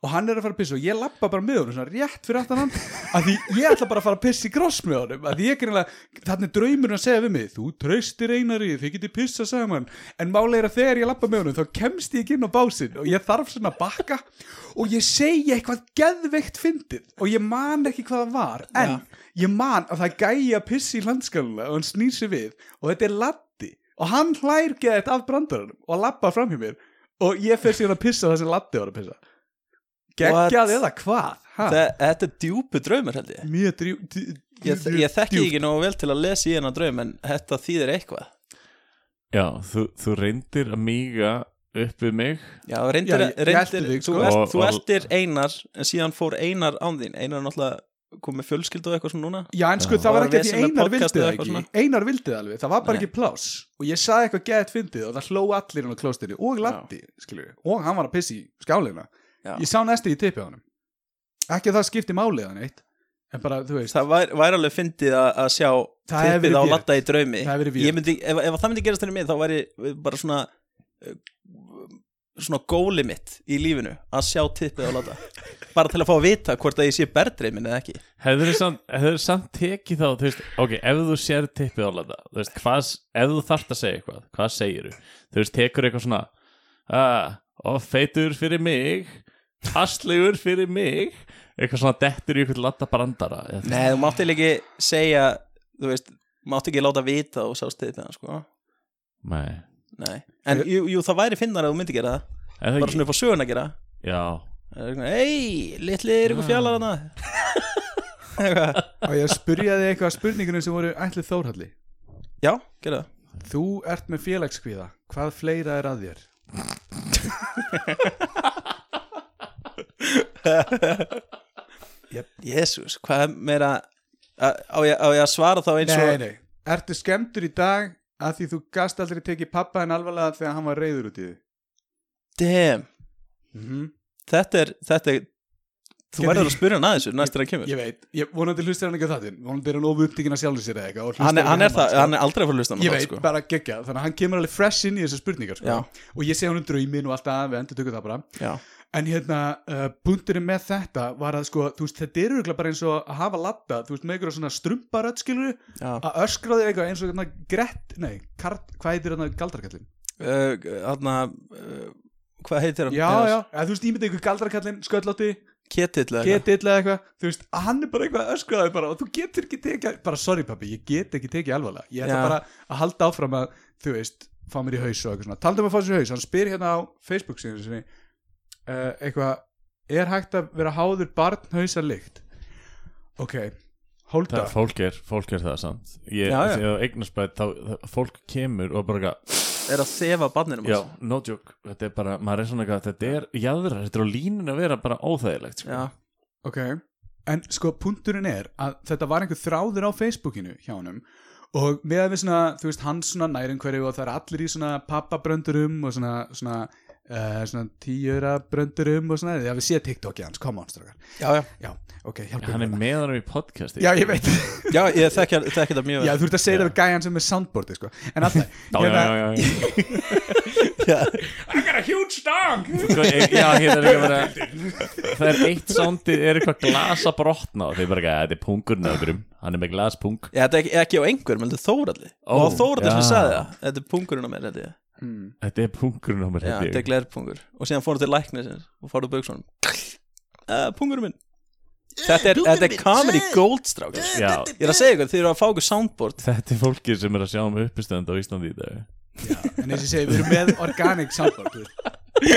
Speaker 3: Og hann er að fara að pissa og ég lappa bara með honum Svona rétt fyrir aftan hann Af því ég ætla bara að fara að pissa í gross með honum Af því ég greinlega, þarna er draumurinn að segja við mig Þú treystir Einari, þið getið pissa saman En máli er að þegar ég lappa með honum Þá kemst ég ekki inn á básinn Og ég þarf svona að bakka Og ég segi eitthvað geðveikt fyndið Og ég man ekki hvað það var En ég man að það gæi að pissa í landskaluna Og hann snýr sér við Og þetta er Latti Og hann hlær geðið af brandarunum Og lappa fram hjá mér Og ég fer síðan að pissa það sem Latti var að pissa
Speaker 4: What?
Speaker 3: Geggjað eða hvað? Ha?
Speaker 4: Þe- Þetta er djúpu draumur held ég
Speaker 3: Mjög drjú... djú-
Speaker 4: Ég,
Speaker 3: djú-
Speaker 4: ég þekki
Speaker 3: djúpt.
Speaker 4: ekki nógu vel til að lesa í hennar draum En þetta þýðir eitthvað
Speaker 2: Já, þú, þú reyndir að míga upp við mig
Speaker 4: Já, reyndir,
Speaker 3: Já, ég- ég elti
Speaker 4: reyndir
Speaker 3: þig,
Speaker 4: þú,
Speaker 3: sko.
Speaker 4: elt,
Speaker 2: Og-
Speaker 4: þú
Speaker 2: og-
Speaker 4: eltir Einar En síðan fór Einar án þín Einar er náttúrulega komið fjölskyldu og eitthvað svona núna
Speaker 3: Já, en sko,
Speaker 2: Já.
Speaker 3: það var ekki
Speaker 4: Var
Speaker 3: að því
Speaker 4: vesen með
Speaker 3: Einar
Speaker 4: podcast
Speaker 3: vildi
Speaker 4: eða
Speaker 3: það
Speaker 4: eitthvað
Speaker 3: ekki
Speaker 4: svona?
Speaker 3: Einar vildi það alveg, það var bara
Speaker 4: Nei.
Speaker 3: ekki pláss Og ég saði eitthvað geðið fyndið og það hló allir hann á klóstinni Og Latti, skilju, og hann var að pissi í skálina
Speaker 4: Já.
Speaker 3: Ég sá næstu í tippi á hann Ekki að það skipti málið hann eitt En bara, þú veist,
Speaker 4: Það væri væri alveg fyndið að að sjá
Speaker 3: Það hefur
Speaker 4: Tippið á
Speaker 3: verið weird.
Speaker 4: latta í draumi
Speaker 3: Það hefur verið
Speaker 4: Ég myndi, ef, ef það myndi gerast fyrir mig Þá væri bara svona eh, Svona góli mitt í lífinu Að sjá tippið á latta Bara til að fá að vita hvort að ég sé berðdreimin eða ekki
Speaker 2: Hefur þið samt, hefðirðu samt tekið þá þú veist, Ok, ef þú sér tippið á landa þú veist, hvað, s- Ef þú þarft að segja eitthvað Hvað segir þú? Þú veist, tekur eitthvað svona ah, Og feitur fyrir mig Hastlegur fyrir mig Eitthvað svona dettur í eitthvað landa brandara eða-
Speaker 4: Nei, þú mátti ekki segja Þú veist, mátti ekki láta vita og sá stiðið sko.
Speaker 2: Nei.
Speaker 4: Nei, en jú, jú, það væri finnar að þú myndi gera það
Speaker 2: Er það
Speaker 4: Bara
Speaker 2: ekki?
Speaker 4: svona upp á söguna gera
Speaker 2: Já,
Speaker 4: Ei, litli er
Speaker 3: Ah.
Speaker 4: ykkur fjallar hana
Speaker 3: á ég að spyrja þig eitthvað að spurningunum sem voru ætlið Þórhalli
Speaker 4: Já, gera það
Speaker 3: Þú ert með félagskvíða, hvað fleira er að þér?
Speaker 4: Jésús, hvað er meira Á á ég, á ég að svara þá eins og
Speaker 3: Nei, nei, ertu skemmtur í dag að því þú gast aldrei tekið pappa en alvarlega þegar hann var reyður út í þig?
Speaker 4: Damn,
Speaker 3: Mm
Speaker 4: þetta er, þetta er Þú
Speaker 3: Gerði-
Speaker 4: verður að spurja hann að þessu næstur að kemur
Speaker 3: Ég veit, ég vonandi hlustir hann ekki á þáttinn Vonandi er hann of upptíkin að sjálfur sér eða eitthvað og hlustar
Speaker 4: Hann er,
Speaker 3: ekki á
Speaker 4: hann er það,
Speaker 3: sko.
Speaker 4: hann er aldrei að fara að hlusta á
Speaker 3: Ég
Speaker 4: það,
Speaker 3: veit,
Speaker 4: sko.
Speaker 3: bara geggja, þannig að hann kemur alveg fresh inn í þessar spurningar sko.
Speaker 4: Já.
Speaker 3: Og ég segi hann um draumin og allt að við endur tökum það bara
Speaker 4: Já,
Speaker 3: En hérna, uh, punkturinn með þetta var að sko, þú veist, þetta er auðvitað bara eins og að hafa latta Þú veist, með einhverja svona strumparödd skilur
Speaker 4: já
Speaker 3: Að öskra þig eitthvað eins og hérna grett, nei, kart, hvað heitir hérna galdrarkallin?
Speaker 4: Uh, Þarna, uh, hvað heitir hann?
Speaker 3: Já, já, eða, þú veist, ímyndið ykkur galdrarkallin, sköllótti,
Speaker 4: Ketill eða
Speaker 3: getill eða eitthvað Þú veist, að hann er bara eitthvað að öskra þig bara Og þú getur ekki tekið, bara sorry pappi, ég get ekki tekið alvarlega Ég ætla
Speaker 4: Já.
Speaker 3: bara að halda áfram að, þú veist, fá mér í haus og eitthvað svona Taldum að fá sér í haus, hann spyr hérna á Facebook síðan sinni uh, Eitthvað, er hægt að vera háður barnhausa lykt? Ok, Hold
Speaker 2: það,
Speaker 3: up
Speaker 2: fólk, er, fólk er það samt ég,
Speaker 4: Já, já.
Speaker 2: Þegar eignarspætt þá, þá- fólk kemur og bara eitthvað,
Speaker 4: er að sefa barninum
Speaker 2: Já, no joke, þetta er bara, maður er svona eitthvað Þetta er jæðra, þetta er á línun að vera bara óþægilegt sko.
Speaker 4: Já.
Speaker 3: Ok, en sko punkturinn er að þetta var einhver þráður á Facebookinu hjá honum og með að við svona, þú veist, hans svona næringverju og það er allir í svona pappabröndurum og svona, svona, uh, svona tíura bröndurum og svona, þegar við séð TikTokið hans, come on, strákar.
Speaker 4: já, já,
Speaker 3: Já, ok, hjálpum
Speaker 2: Hann er meðanum í podcasti
Speaker 3: Já, ég veit,
Speaker 4: já ég þekki þekki þetta mjög
Speaker 3: já,
Speaker 4: vel.
Speaker 3: þú ert að segja það við gæjan sem er soundboardið, sko, en alltaf, hérna-
Speaker 2: Já, já, já, já, já.
Speaker 3: I got a huge dog!
Speaker 2: Sko, ég- já hérna er ekki bara Það er eitt sándið, er eitthvað glasa brotna og þeir bara, eitthvað, þetta er pungurinn af okkurum Hann er með glaspung
Speaker 4: Já, þetta er ekki, ekki á einhver, menn þetta er Þóralli
Speaker 2: Ó,
Speaker 4: Og Þóralli sem
Speaker 2: já.
Speaker 4: sagði það, þetta er pungurinn á mér þetta er
Speaker 2: Þetta er pungurinn á mér
Speaker 4: Já,
Speaker 2: held
Speaker 4: þetta
Speaker 2: ég.
Speaker 4: er glerpungur Og síðan fór hann til læknisins og fór á buksunum uh, Pungurinn minn Þetta er, þetta er comedy gold strákar Ég
Speaker 2: Já,
Speaker 4: er að segja ykkur, þið eru að fá ykkur soundboard
Speaker 2: þetta er fólkið sem er að sjá um uppistönd á Íslandi í dag
Speaker 3: En eins og ég segi, við erum með organic soundboard, þú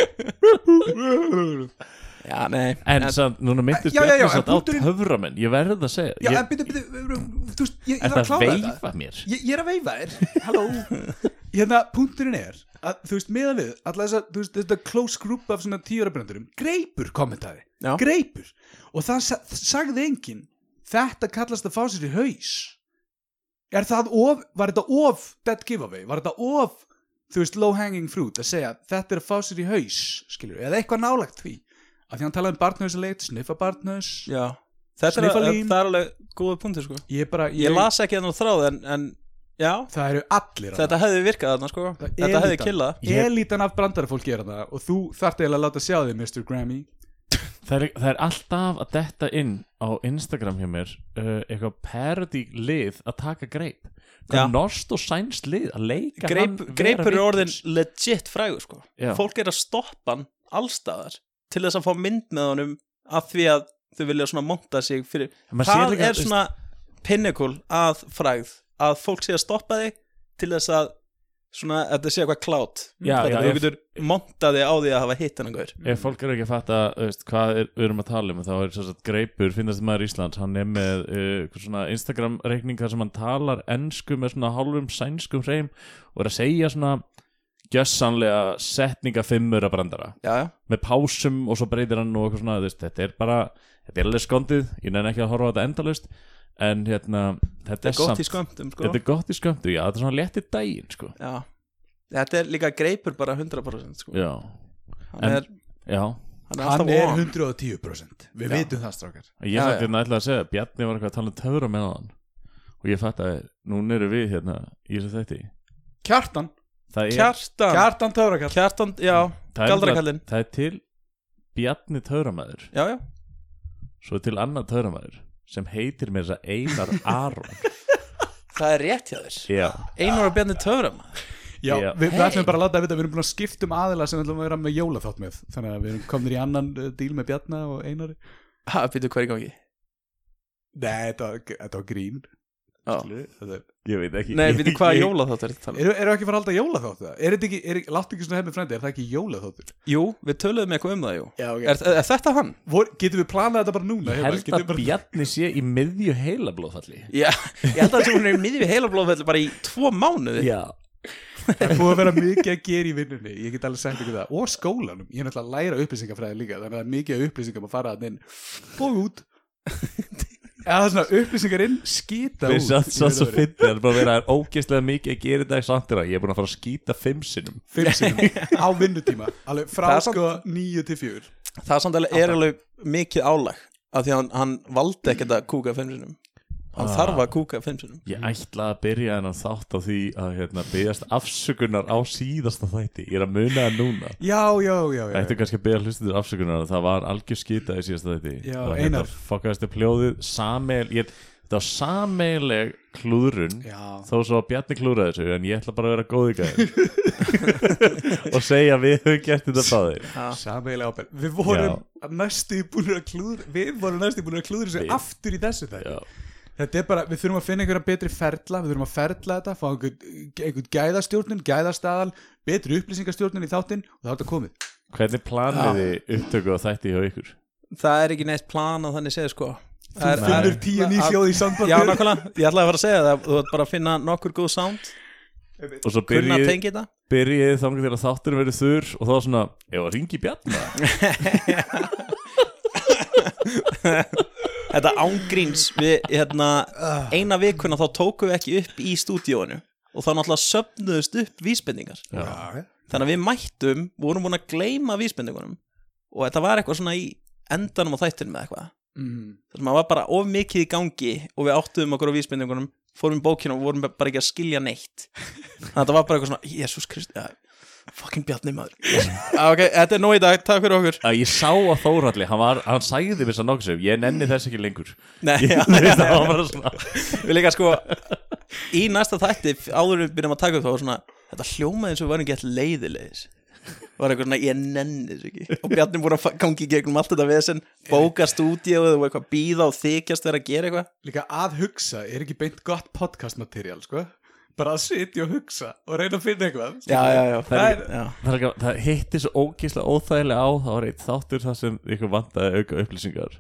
Speaker 3: veist.
Speaker 4: Já, nei
Speaker 2: En samt, núna myndist
Speaker 3: Já, já,
Speaker 2: Bjarni
Speaker 3: já, en
Speaker 2: samt á
Speaker 3: punkturinn-
Speaker 2: töframenn Ég verð að segja
Speaker 3: Já,
Speaker 2: ég,
Speaker 3: en byrju, byrju, byrju, þú veist, ég, ég
Speaker 2: Er
Speaker 3: þarf að
Speaker 2: það
Speaker 3: klára þetta.
Speaker 2: veifa mér?
Speaker 3: ég, ég er að veifa þér Halló Hérna, punkturinn er að, Þú veist, meðan við Alla þess að, þú veist, þetta close group af svona tíu ára brendurum Greipur kommentaði
Speaker 4: Já.
Speaker 3: Greipur Og það sa sagði enginn Þetta kallast að fá sér í haus Er það of, var þetta of dead giveaway? Var þetta of, þú veist, low hanging fruit Að segja, þetta er að fá sér í haus Skilur, eða eitthvað nálægt því Af því hann talaði um barnhausaleit, sniffa barnhaus
Speaker 4: Já, þetta er, að,
Speaker 3: Sniffalín.
Speaker 4: það er alveg góða punktur sko
Speaker 3: Ég bara,
Speaker 4: Ég las ekki þannig þráð en, en já,
Speaker 3: Það eru allir á
Speaker 4: þetta hefði virkað þarna sko
Speaker 3: Það er
Speaker 4: Þetta hefði
Speaker 3: lítan.
Speaker 4: killað
Speaker 2: Ég-
Speaker 3: Elitan af brandarafólki er það og þú þarft eiginlega að láta sjá þig Mr. Grammy
Speaker 2: Það er, það er alltaf að detta inn á Instagram hjá mér uh, eitthvað parody lið að taka greip Það
Speaker 4: Já.
Speaker 2: er norskt og sænst lið að leika
Speaker 4: Greip,
Speaker 2: hann vera
Speaker 4: Greipur er
Speaker 2: vitlaus.
Speaker 4: orðin legit frægur sko
Speaker 2: Já.
Speaker 4: Fólk er að stoppa hann allstaðar til þess að fá mynd með honum af því að þau vilja svona monta sig fyrir
Speaker 2: Maður sér
Speaker 4: Það
Speaker 2: líka,
Speaker 4: er
Speaker 2: veist-
Speaker 4: svona pinnekul að frægð að fólk sé að stoppa þig til þess að svona, að þetta sé eitthvað klátt
Speaker 2: Já,
Speaker 4: Þetta
Speaker 2: já,
Speaker 4: þú
Speaker 2: ef-
Speaker 4: getur montað þig á því að hafa hitt hennan gaur
Speaker 2: Ef fólk er ekki að fatta þú veist, hvað er, við erum að tala um þá er svo að Greipur, finnast maður Íslands hann er með uh, einhver svona Instagram reikning þar sem hann talar ennsku með svona hálfum sænskum hreim og er að segja svona gjössanlega setninga fimmur að brandara
Speaker 4: Já, já,
Speaker 2: með pásum og svo breytir hann og eitthvað svona þú veist, þetta er bara, þetta er alveg skondið ég nefn ekki að horfa á þetta endalaust en hérna, þetta,
Speaker 4: þetta er
Speaker 2: er
Speaker 4: gott í
Speaker 2: samt
Speaker 4: skömmtum sko
Speaker 2: þetta er gott í skömmtu, já, þetta er svona létti daginn sko.
Speaker 4: Já, þetta er líka Greipur bara 100% sko
Speaker 2: já,
Speaker 4: Hann
Speaker 2: En-
Speaker 4: er,
Speaker 2: já
Speaker 4: hann er
Speaker 3: Hann
Speaker 4: alltaf
Speaker 3: er
Speaker 4: on
Speaker 3: 110% Við vitum það strákar
Speaker 2: ég
Speaker 4: Já,
Speaker 2: samt
Speaker 4: já.
Speaker 2: hérna ætlaði að segja, Bjarni var eitthvað að tala um töfra með hann og ég fatt að núna eru við hérna í þessu þætti
Speaker 3: Kjartan,
Speaker 2: það er,
Speaker 4: Kjartan,
Speaker 3: Kjartan Töfrakall
Speaker 4: Kjartan, já,
Speaker 2: það er,
Speaker 4: Galdrakallinn.
Speaker 2: það er til Bjarni töframæður
Speaker 4: já, já
Speaker 2: svo er til annað töframæður sem heitir með þess að Einar Aron
Speaker 4: Það er rétt hjá þér
Speaker 2: já,
Speaker 4: Einar og Bjarni Töfram
Speaker 3: Já,
Speaker 2: Já.
Speaker 3: við, við ætlum bara að láta að vita Við erum búin að skipta um aðila sem við ætlum að vera með jólaþátt með Þannig að við erum komin í annan uh, díl með Bjarna og Einari
Speaker 4: Ha, býtu hver í gangi
Speaker 3: Nei, þetta var, þetta var grín
Speaker 4: Já.
Speaker 3: skilurðu, þetta er-
Speaker 2: ég veit ekki
Speaker 4: Nei,
Speaker 2: Ég-
Speaker 4: býtu hvaða
Speaker 2: ég-
Speaker 4: jóla þátt er þetta um?
Speaker 3: Eru eru ekki að fara alltaf jólaþátt það? Er þetta ekki, er, láttu ekki svona hefði frændi, er það ekki jólaþáttur?
Speaker 4: Jú, við töluðum eitthvað um það, jú
Speaker 3: Já, ok
Speaker 4: Er, er þetta hann?
Speaker 3: Vor, Getum við planað þetta bara núna?
Speaker 2: Ég
Speaker 3: hérna?
Speaker 2: held
Speaker 3: Getum
Speaker 2: að
Speaker 3: við bara-
Speaker 2: Bjarni sé í miðju heila blóðfalli
Speaker 4: Já, ég held að þessi hún er í miðjum heila blóðfellu bara í tvo mánuði
Speaker 2: Já
Speaker 3: Það er búið að vera mikið að gera í vinnunni Ég get alveg sagt ykkur það Og skólanum, ég er náttúrulega að læra upplýsingafræði líka Þannig að það er mikið af upplýsingum að fara að inn Og út Eða það er svona upplýsingar inn, skita
Speaker 2: Við
Speaker 3: út
Speaker 2: satt
Speaker 3: í
Speaker 2: svo
Speaker 3: raun
Speaker 2: svo
Speaker 3: og veru.
Speaker 2: fyndið Það er bara að vera það er ógeðslega mikið að gera í dag samt er að ég er búin að fara að skýta fimm sinnum
Speaker 3: Fimm sinnum á vinnutíma Alveg frá
Speaker 4: Það er
Speaker 3: sko 9 til 4
Speaker 4: Það er samt alveg, er alveg mikið álag af því að hann, hann valdi ekkert að kúka fimm sinnum Hann þarf að kúka fimm sinnum
Speaker 2: Ég ætla að byrja en að þátt á því að hérna, byggjast afsökunar á síðasta þætti Ég er að muna það núna
Speaker 3: Já, já, já, já,
Speaker 2: Ættu kannski að byrja hlustendur afsökunar að Það var algjör skýta í síðasta þætti
Speaker 3: Já,
Speaker 2: Og
Speaker 3: Einar.
Speaker 2: hérna, Fokkaðist upp hljóðið Sameil ég, Þetta var sameileg klúðrun
Speaker 3: já.
Speaker 2: Þó svo að Bjarni klúraði þessu En ég ætla bara að vera góð í gæðin Og segja að við höfum gert þetta báðir
Speaker 3: Sameiginlega ábyrg Við vorum næstu búin að klúður Við vorum næstu búin að klúður
Speaker 2: Við-
Speaker 3: þessu aftur í þessu þetta
Speaker 2: Já
Speaker 3: Þetta er bara, við þurfum að finna einhverja betri ferla, við þurfum að ferla þetta, fá einhvern, einhvern gæðastjórnun, gæðastaðal, betri upplýsingastjórnun í þáttinn og þá er þetta komið.
Speaker 2: Hvernig planiði upptöku á þætti hjá ykkur?
Speaker 4: Það er ekki neitt plan að þannig segja sko Það er-
Speaker 3: Þú
Speaker 4: það er-
Speaker 3: finnur tíu ný hljóð í sambandi.
Speaker 4: Já, nákvæmlega, ég ætlaði að fara að segja það Þú ert bara að finna nokkur góð sound
Speaker 2: og svo
Speaker 4: Kunna að
Speaker 2: byrjið
Speaker 4: tengja þetta
Speaker 2: byrjið þangar til að þátturinn verið þurr og þá svona, ég var ringi bjarna
Speaker 4: Þetta ángríns við, hérna, Eina vikuna þá tókum við ekki upp í stúdíóinu Og þá náttúrulega söfnuðust upp vísbendingar
Speaker 3: Já,
Speaker 4: Þannig að við mættum, vorum búin að gleyma vísbendingunum Og þetta var eitthvað svona í endanum á þættinum með eitthvað
Speaker 3: mm.
Speaker 4: þar sem að var bara of mikið í gangi og við áttuðum okkur á vísbendingunum fórum í bókina og vorum bara ekki að skilja neitt þannig að þetta var bara eitthvað svona Jésús Krist ja, fucking bjarni maður ah, ok, þetta er nóg í dag, takk fyrir okkur
Speaker 2: að ég sá að Þóralli, hann, var, hann sagði mér þess að nokkuð sem, ég nenni þess ekki lengur
Speaker 4: Nei,
Speaker 2: ég,
Speaker 4: já,
Speaker 2: það var bara svona
Speaker 4: við líka sko í næsta þætti, áður en við byrjum að taka upp þá var svona, þetta hljómaði eins og við varum gett leiðilegis var eitthvað svona, ég nenni þessu ekki og Bjarni búin að fa- gangi í gegnum allt þetta vesen bóka stúdíu og eitthvað býða og þykjast vera að gera eitthvað
Speaker 3: Líka að hugsa er ekki beint gott podcast material, sko Bara að sitja og hugsa og reyna að finna eitthvað
Speaker 4: já, já, já, það
Speaker 3: Það
Speaker 4: er,
Speaker 3: er-
Speaker 4: já.
Speaker 2: það, er, ekki- það hitti svo ógeðslega óþægilega á það var eitt þáttur þar sem ykkur vantaði auka upplýsingar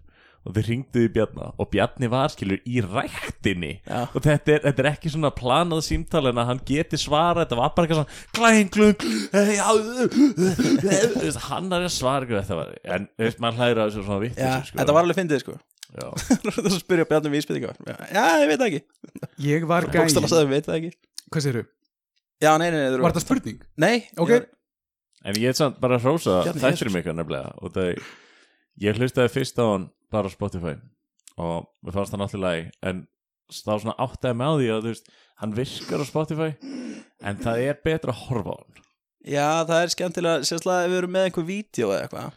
Speaker 2: og þið ringduði Bjarna og Bjarni var skilur í ræktinni
Speaker 4: Já.
Speaker 2: og þetta er, þetta er ekki svona planað símtal en að hann geti svara þetta var bara eitthvað svona glæn glung eh, já, uh, uh, uh, þú veist, hann er að svara eitthvað þetta var en þú veist, maður hlæra þessu svona vitt
Speaker 4: Já, þetta var alveg fyndið sko
Speaker 2: já.
Speaker 4: Það spyrja Bjarni um vísbendingar Já, ég veit það ekki
Speaker 3: Ég var gæi
Speaker 4: Bókstala sagði, ég veit það ekki
Speaker 3: Hvað segirðu?
Speaker 4: Já, nei, nei, nei, þú-
Speaker 3: Var þetta spurning?
Speaker 4: nei
Speaker 3: Ok.
Speaker 4: ég-
Speaker 2: en ég er samt bara að hrósa
Speaker 4: Bjarni,
Speaker 2: þættir mig eitthvað nefnilega og það, ég hlustaði fyrst á hann bara á Spotify og mér fannst hann allir lagi en þá svona áttaði með því að þú veist hann virkar á Spotify en það er betra að horfa á hann
Speaker 4: Já, það er skemmtilega, sérstaklega ef við erum með einhver vídeo eða eitthvað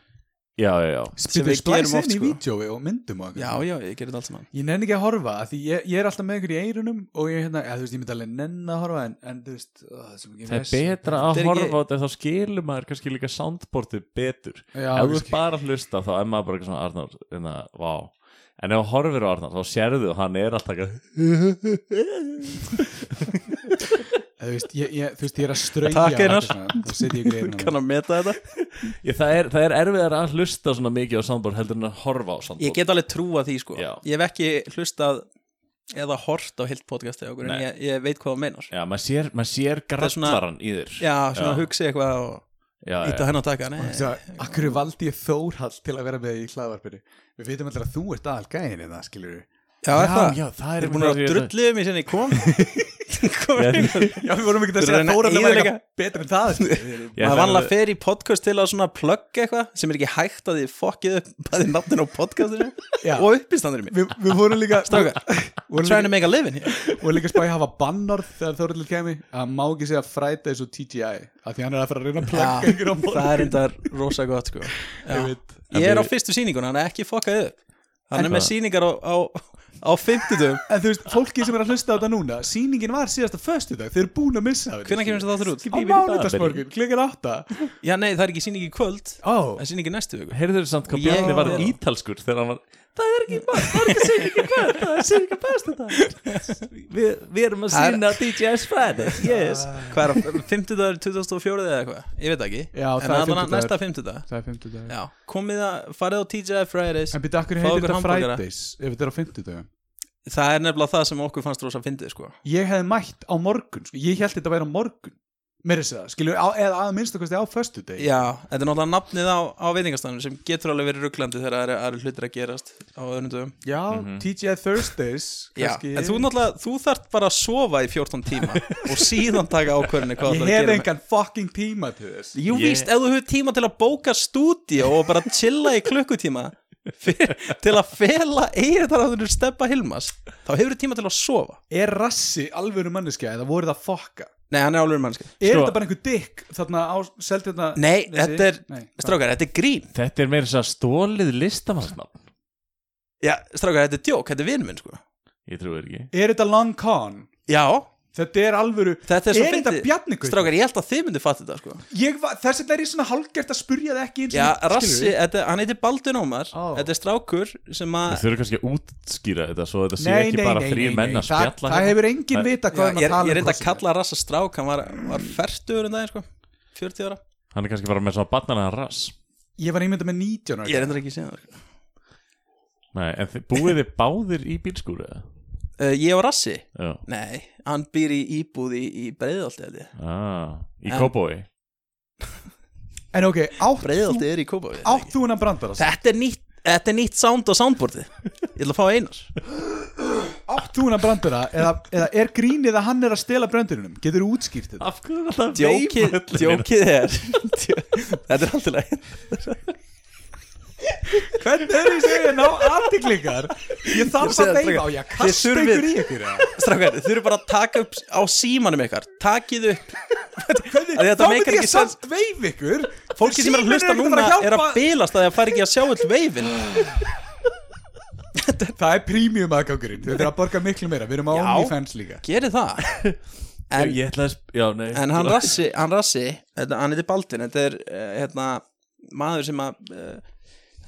Speaker 2: já, já, já
Speaker 4: Sem
Speaker 3: Spyrir
Speaker 4: við gerum
Speaker 3: splæs
Speaker 4: oft,
Speaker 3: inn í
Speaker 4: sko.
Speaker 3: vídjói og myndum og eitthvað.
Speaker 4: Já, já, ég gerir þetta allt saman
Speaker 3: Ég nenni ekki að horfa að því ég, ég er alltaf með ykkur í eirunum og ég, hérna, ja, þú veist, ég myndi alveg nenni að horfa en, en þú veist, ó, það er svo mikið
Speaker 2: það er
Speaker 3: vesen.
Speaker 2: betra
Speaker 4: Þetta
Speaker 2: að
Speaker 4: er ekki-
Speaker 2: horfa á þetta þá skilur maður kannski líka soundboardið betur
Speaker 3: Já,
Speaker 2: ef þú
Speaker 3: kannski.
Speaker 2: ert bara að hlusta þá er maður bara eitthvað svona Arnar en, að, vá. en ef þú horfir á Arnar þá sérðu að hann er alltaf ekki-
Speaker 3: Eða, Þú veist, ég, ég, þú veist, ég er að strauja
Speaker 4: Takk, Einar.
Speaker 3: og setja ykkur í eirunum
Speaker 4: Kann að meta þetta
Speaker 2: ég, það er, það er erfiðar að hlusta svona mikið á soundboard heldur en að horfa á soundboard
Speaker 4: Ég get alveg trúa því sko
Speaker 2: Já.
Speaker 4: Ég hef ekki hlustað eða hort á heilt podcasti okkur En
Speaker 2: Nei.
Speaker 4: ég, ég veit hvað það meinar
Speaker 2: Já, maður sér, maður sér
Speaker 4: er svona-
Speaker 2: grallaran í þér
Speaker 4: Já, svona
Speaker 2: Já.
Speaker 4: hugsi eitthvað og
Speaker 2: já,
Speaker 4: íta henn að taka Nei,
Speaker 3: Akkur valdi ég Þórhall til að vera með í hlaðvarpinu Við veitum alltaf að þú ert aðal gæin en það skilur
Speaker 4: já, er það
Speaker 2: já, það
Speaker 4: Þeir eru búin að drullu um í sinni kom Kom
Speaker 2: Já.
Speaker 3: Já, við vorum ekki
Speaker 4: Þú reyna að eyðileggja-
Speaker 3: betur en það sko. skilurðu.
Speaker 2: Ég
Speaker 4: maður
Speaker 2: ætla
Speaker 4: vanlega
Speaker 2: að-
Speaker 4: fer í podcast til að svona plugga eitthvað sem er ekki hægt að þið fokkið upp bæði nafnin á podcastinu
Speaker 3: Já.
Speaker 4: og uppistandur mér
Speaker 3: Við, við vorum líka
Speaker 4: Strákar,
Speaker 3: vorum
Speaker 4: trying to
Speaker 3: líka,
Speaker 4: make a living here
Speaker 3: vorum líka spæði að hafa bannorð þegar Þórhall kemi að má ekki segja Fridays og TGI af því hann er að fara að reyna að plugga ykkur á morgun
Speaker 4: það er reyndar rosa gott sko
Speaker 3: Ég
Speaker 4: Já.
Speaker 3: veit.
Speaker 4: ég er á fyrstu sýninguna, hann er ekki fokkað upp hann er með sýningar á, á, á 50
Speaker 3: En þú veist, fólki sem er að hlusta á þetta núna Sýningin var síðasta föstudag, þau eru búin að missa af
Speaker 4: hvenær kemur þetta þáttur út?
Speaker 3: Á mánudagsmorgun, klikkan átta
Speaker 4: já nei, það er ekki sýning í kvöld
Speaker 3: Ó,
Speaker 4: það er sýning í næstu viku
Speaker 2: Heyrðu þér samt hvað
Speaker 4: Ég-
Speaker 2: Bjarni var
Speaker 4: Já.
Speaker 2: ítalskur þegar hann var Það er ekki bara, það er ekki sér ekki hvað Það er sér ekki best þetta Við vi erum að
Speaker 4: Það er-
Speaker 2: sína DJS Friday
Speaker 4: yes. hvað er á 50 2004 eða eitthvað, ég veit það ekki
Speaker 3: Já,
Speaker 4: en
Speaker 3: það er
Speaker 4: allavega
Speaker 3: 50
Speaker 4: næsta 50
Speaker 3: það er fymtudag
Speaker 4: Já, komið að farið á TGI Fridays
Speaker 3: En byrja, akkur
Speaker 4: Fá
Speaker 3: heitir
Speaker 4: okkur
Speaker 3: þetta
Speaker 4: hamborgara.
Speaker 3: Fridays ef þetta er á fymtudagum
Speaker 4: Það er nefnilega það sem okkur fannst rosa fyndið sko
Speaker 3: ég hefði mætt á morgun sko. ég held þetta að vera á morgun meira þess að, segja, skilur, á, eða að minnstu kosti á föstu deg
Speaker 4: Já, þetta er náttúrulega nafnið á, á veitingastæðanum sem getur alveg verið rugglandi þegar það eru- eru hlutir að gerast á öðrundum
Speaker 3: já TGI Thursdays
Speaker 4: Mhm. Já,
Speaker 3: kannski.
Speaker 4: en þú náttúrulega, þú þarft bara að sofa í 14 tíma og síðan taka ákvörðinu hvað
Speaker 3: ég
Speaker 4: ætlar að
Speaker 3: hef
Speaker 4: gera með-
Speaker 3: engan fucking tíma til þess
Speaker 4: Jú,
Speaker 2: Ég-
Speaker 4: víst, ef þú hefur tíma til að bóka stúdíu og bara chilla í klukkutíma fyr, til að fela eigið þar að þú steppa Hilmas þá hefur þú tíma til að sofa
Speaker 3: er rassi alvöru manneskja eða voru það fokka
Speaker 4: Nei, hann er álfur mannski
Speaker 3: er
Speaker 2: Sko-
Speaker 3: þetta bara einhver dikk þarna á seltjörna
Speaker 4: Nei, þetta er,
Speaker 3: Nei, hvað?
Speaker 4: strákar, þetta er grín
Speaker 2: Þetta er meira þess að stólið listamannsnafn
Speaker 4: Já, strákar, þetta er djók, þetta er vinur minn sko
Speaker 2: Ég trúi þér ekki
Speaker 3: er þetta long con
Speaker 4: Já,
Speaker 3: þetta er alvöru
Speaker 4: þetta er svo
Speaker 3: þetta
Speaker 4: fyndið.
Speaker 3: bjarnikur
Speaker 4: Strákar, ég held að þið myndu fatta þetta sko
Speaker 3: þess vegna er ég svona hálgert að spurja það ekki eins og-
Speaker 4: Já,
Speaker 3: skilurðu?
Speaker 4: Rassi, þetta, hann heitir Baldur Ómar
Speaker 3: Ó.
Speaker 4: Þetta er strákur sem að
Speaker 2: Þau eru kannski að útskýra þetta svo þetta sé
Speaker 3: Nei,
Speaker 2: ekki
Speaker 3: nei,
Speaker 2: bara
Speaker 3: nei,
Speaker 2: þrýr
Speaker 3: nei,
Speaker 2: menn
Speaker 3: nei.
Speaker 2: að
Speaker 3: Þa-
Speaker 2: spjalla
Speaker 3: það
Speaker 2: hérna.
Speaker 3: hefur enginn vita
Speaker 4: Já,
Speaker 3: hvað
Speaker 4: Ég, ég reynda að
Speaker 3: kosningar.
Speaker 4: kalla Rassa strák, hann var, var færtur en daginn sko 40 ára
Speaker 2: Hann er kannski bara með svo að batna hann rass
Speaker 3: Ég var einmitt með 19 ára
Speaker 4: Ég reyndar ekki að segja það sko.
Speaker 2: Nei, en þið búið þið báðir í bílskúru eða?
Speaker 4: uh, Ég og Rassi
Speaker 2: Já,
Speaker 4: Nei, hann býr í íbúð í, í breiðaldi held ég.
Speaker 2: ah, í
Speaker 4: En-
Speaker 2: kópói
Speaker 3: En ok, átt,
Speaker 4: Breiðaldi er í kópa
Speaker 3: átt þú hennan brandara Sam?
Speaker 4: Þetta er nýtt Þetta er nýtt sound á soundboardið Ég ætla að fá einar
Speaker 3: Átt þú hennan brandara eða, eða er grínið að hann er að stela brandurunum Getur þú útskýrt þetta?
Speaker 2: Af hverju er alltaf
Speaker 4: Djókið, djókið er Þetta er alltaf leið
Speaker 3: Hvernig er ég segja ná aðtiklingar Ég
Speaker 4: Ég
Speaker 3: þarf að
Speaker 4: segi það,
Speaker 3: deyfa
Speaker 4: strákar.
Speaker 3: og ég
Speaker 4: Þið
Speaker 3: kasta
Speaker 4: þurfið-
Speaker 3: ykkur í ykkur eða?
Speaker 4: Strákar, þið eru bara að taka upp á símanum ykkar Takið upp Af því
Speaker 3: Hvernig,
Speaker 4: þetta
Speaker 3: þá
Speaker 4: meikar
Speaker 3: myndi
Speaker 4: ekki
Speaker 3: ég samt veif ykkur
Speaker 4: Fólki sem er að
Speaker 3: Síminn
Speaker 4: hlusta
Speaker 3: ekkert að
Speaker 4: núna
Speaker 3: fara að
Speaker 4: er að
Speaker 3: hjálpa.
Speaker 4: bilast að það fari ekki að sjá öll veifin
Speaker 3: Það er prímjum aðgangurinn, við þurfum að borga miklu meira Við erum á
Speaker 4: Já.
Speaker 3: OnlyFans líka
Speaker 4: Gerið það En,
Speaker 2: Ég ætla að sp- Já, nei
Speaker 4: en hann rassi, hann rassi þetta, Hann heitir Baldin, þetta er uh, hérna, maður sem að uh,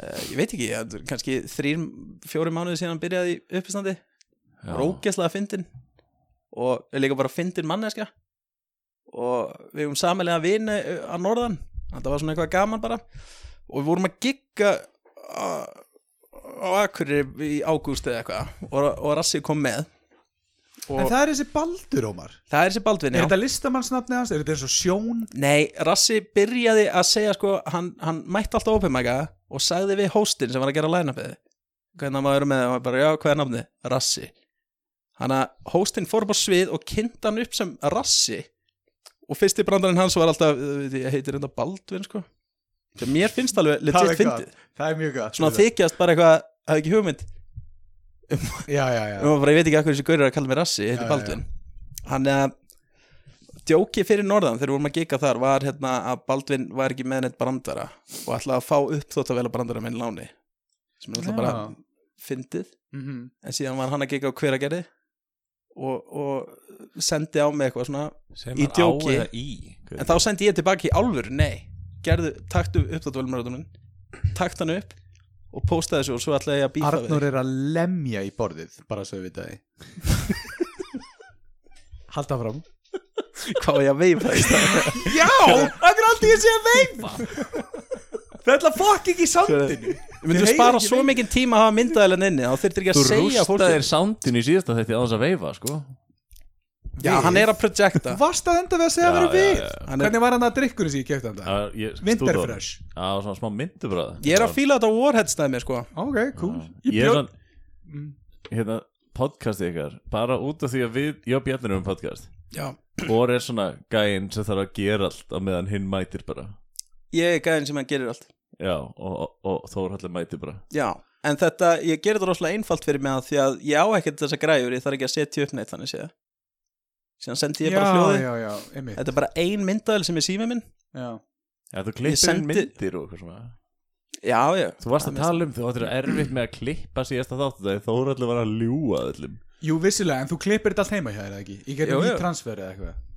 Speaker 4: uh, Ég veit ekki, þetta er kannski þrír, fjóri mánuði síðan hann byrjaði í uppistandi
Speaker 2: Já.
Speaker 4: rókeslega fyndin og er líka bara fyndin manneska og við erum samanlega vini uh, að norðan þetta var svona eitthvað gaman bara og við vorum að gigga á á Akureyri í ágúst eða eitthvað og, og Rassi kom með
Speaker 3: En það er þessi baldur, Ómar
Speaker 4: það er sér Baldvin,
Speaker 3: Er
Speaker 4: já
Speaker 3: þetta listamannsnafnið hans? Er þetta eins og sjón?
Speaker 4: Nei, Rassi byrjaði að segja sko, hann, hann mætti alltaf openmæka og sagði við hóstinn sem var að gera line-upið hvernig maður er með, og hann bara, já, hvað er nafni? Rassi hann að hóstinn fór upp á svið og kynnti hann upp sem Rassi og fyrsti brandarinn hans var alltaf uh, ég heitir enda Baldvin sko sem mér finnst alveg
Speaker 3: Það
Speaker 4: legit
Speaker 3: er gott.
Speaker 4: fyndið
Speaker 3: Það er mjög gott
Speaker 4: svona þykjast bara eitthvað, hafði ekki hugmynd
Speaker 3: Já, já, já
Speaker 4: Nú, bara, ég veit ekki að hverju þessi gaur er að kalla mig rassi, ég heiti
Speaker 3: Já,
Speaker 4: Baldvin Hann er að djóki fyrir norðan þegar við vorum að gika þar var hérna að Baldvin var ekki með neitt brandara og ætlaði að fá upp þótt að vela brandara minn láni sem er alltaf bara
Speaker 3: Já.
Speaker 4: fyndið
Speaker 3: Mhm.
Speaker 4: en síðan var hann að gika á hveragerði og, og sendi á mig eitthvað svona
Speaker 2: Sem
Speaker 4: í
Speaker 2: hann á
Speaker 4: djóki.
Speaker 2: eða í
Speaker 4: en þá sendi ég tilbaki í alvöru, nei gerðu, taktu upp þótt velmarátum minn takt hann upp og postaði þessu og svo ætlaði ég að býta
Speaker 3: Arnur er að lemja í borðið Bara svo við vita því Halda fram
Speaker 4: við hvað var ég að veifa í stað
Speaker 3: Já, það er alltaf ég sé að veifa Það ætla fokk ekki í sandinu
Speaker 4: Myndu
Speaker 3: Ég heyri
Speaker 4: spara
Speaker 3: ekki
Speaker 4: svo
Speaker 3: lengur.
Speaker 4: mikinn tíma að hafa myndaðilegn inni þá þurftir ekki
Speaker 2: Þú
Speaker 4: að segja
Speaker 2: rústaðir sándin í síðasta þetta á þess að veifa, sko
Speaker 4: Já, hann er að projekta
Speaker 3: Þú varst að enda við að segja
Speaker 2: Já,
Speaker 3: að vera
Speaker 2: já,
Speaker 3: við
Speaker 2: já, já.
Speaker 4: Hann er-
Speaker 3: Hvernig var hann að drikkurinn sem ég kefti hann það?
Speaker 2: Já, ég-
Speaker 3: Winterfresh.
Speaker 2: stúdó. Já, svona smá myndubræð
Speaker 4: Ég er að fíla þetta Warhead stæmi sko
Speaker 3: Ok, cool
Speaker 2: Ég er sann Hérna, podcastið ykkar Bara út af því að við, ég og Bjarnir um podcast
Speaker 4: Já
Speaker 2: Hvor er svona gæinn sem þarf að gera allt á meðan hinn mætir bara
Speaker 4: Ég er gæðin sem hann gerir allt
Speaker 2: Já, og, og, og Þórhallir mætir bara
Speaker 4: Já En þetta, ég gerir þetta rosalega einfalt fyrir mig að því að ég á ekkert þessa græjur, ég þarf ekki að setja upp neitt þannig séð Síðan sendi ég bara
Speaker 3: Já,
Speaker 4: hljóði
Speaker 3: já, já, einmitt
Speaker 4: Þetta er bara ein myndaðil sem er sími minn
Speaker 3: Já,
Speaker 2: Já, þú klippir
Speaker 4: sendi-
Speaker 2: inn myndir og eitthvað svona
Speaker 4: Já, já
Speaker 2: Þú varst að
Speaker 4: Það er
Speaker 2: tala um þú áttir að erfitt með að klippa síðasta þáttu þegar Þórhallir var að ljúa öllum
Speaker 3: Jú, vissilega, en þú klippir þetta allt heima hjá þér, eða ekki? Ég getur
Speaker 4: Jú, jú.
Speaker 3: nýtt transfer eða eitthvað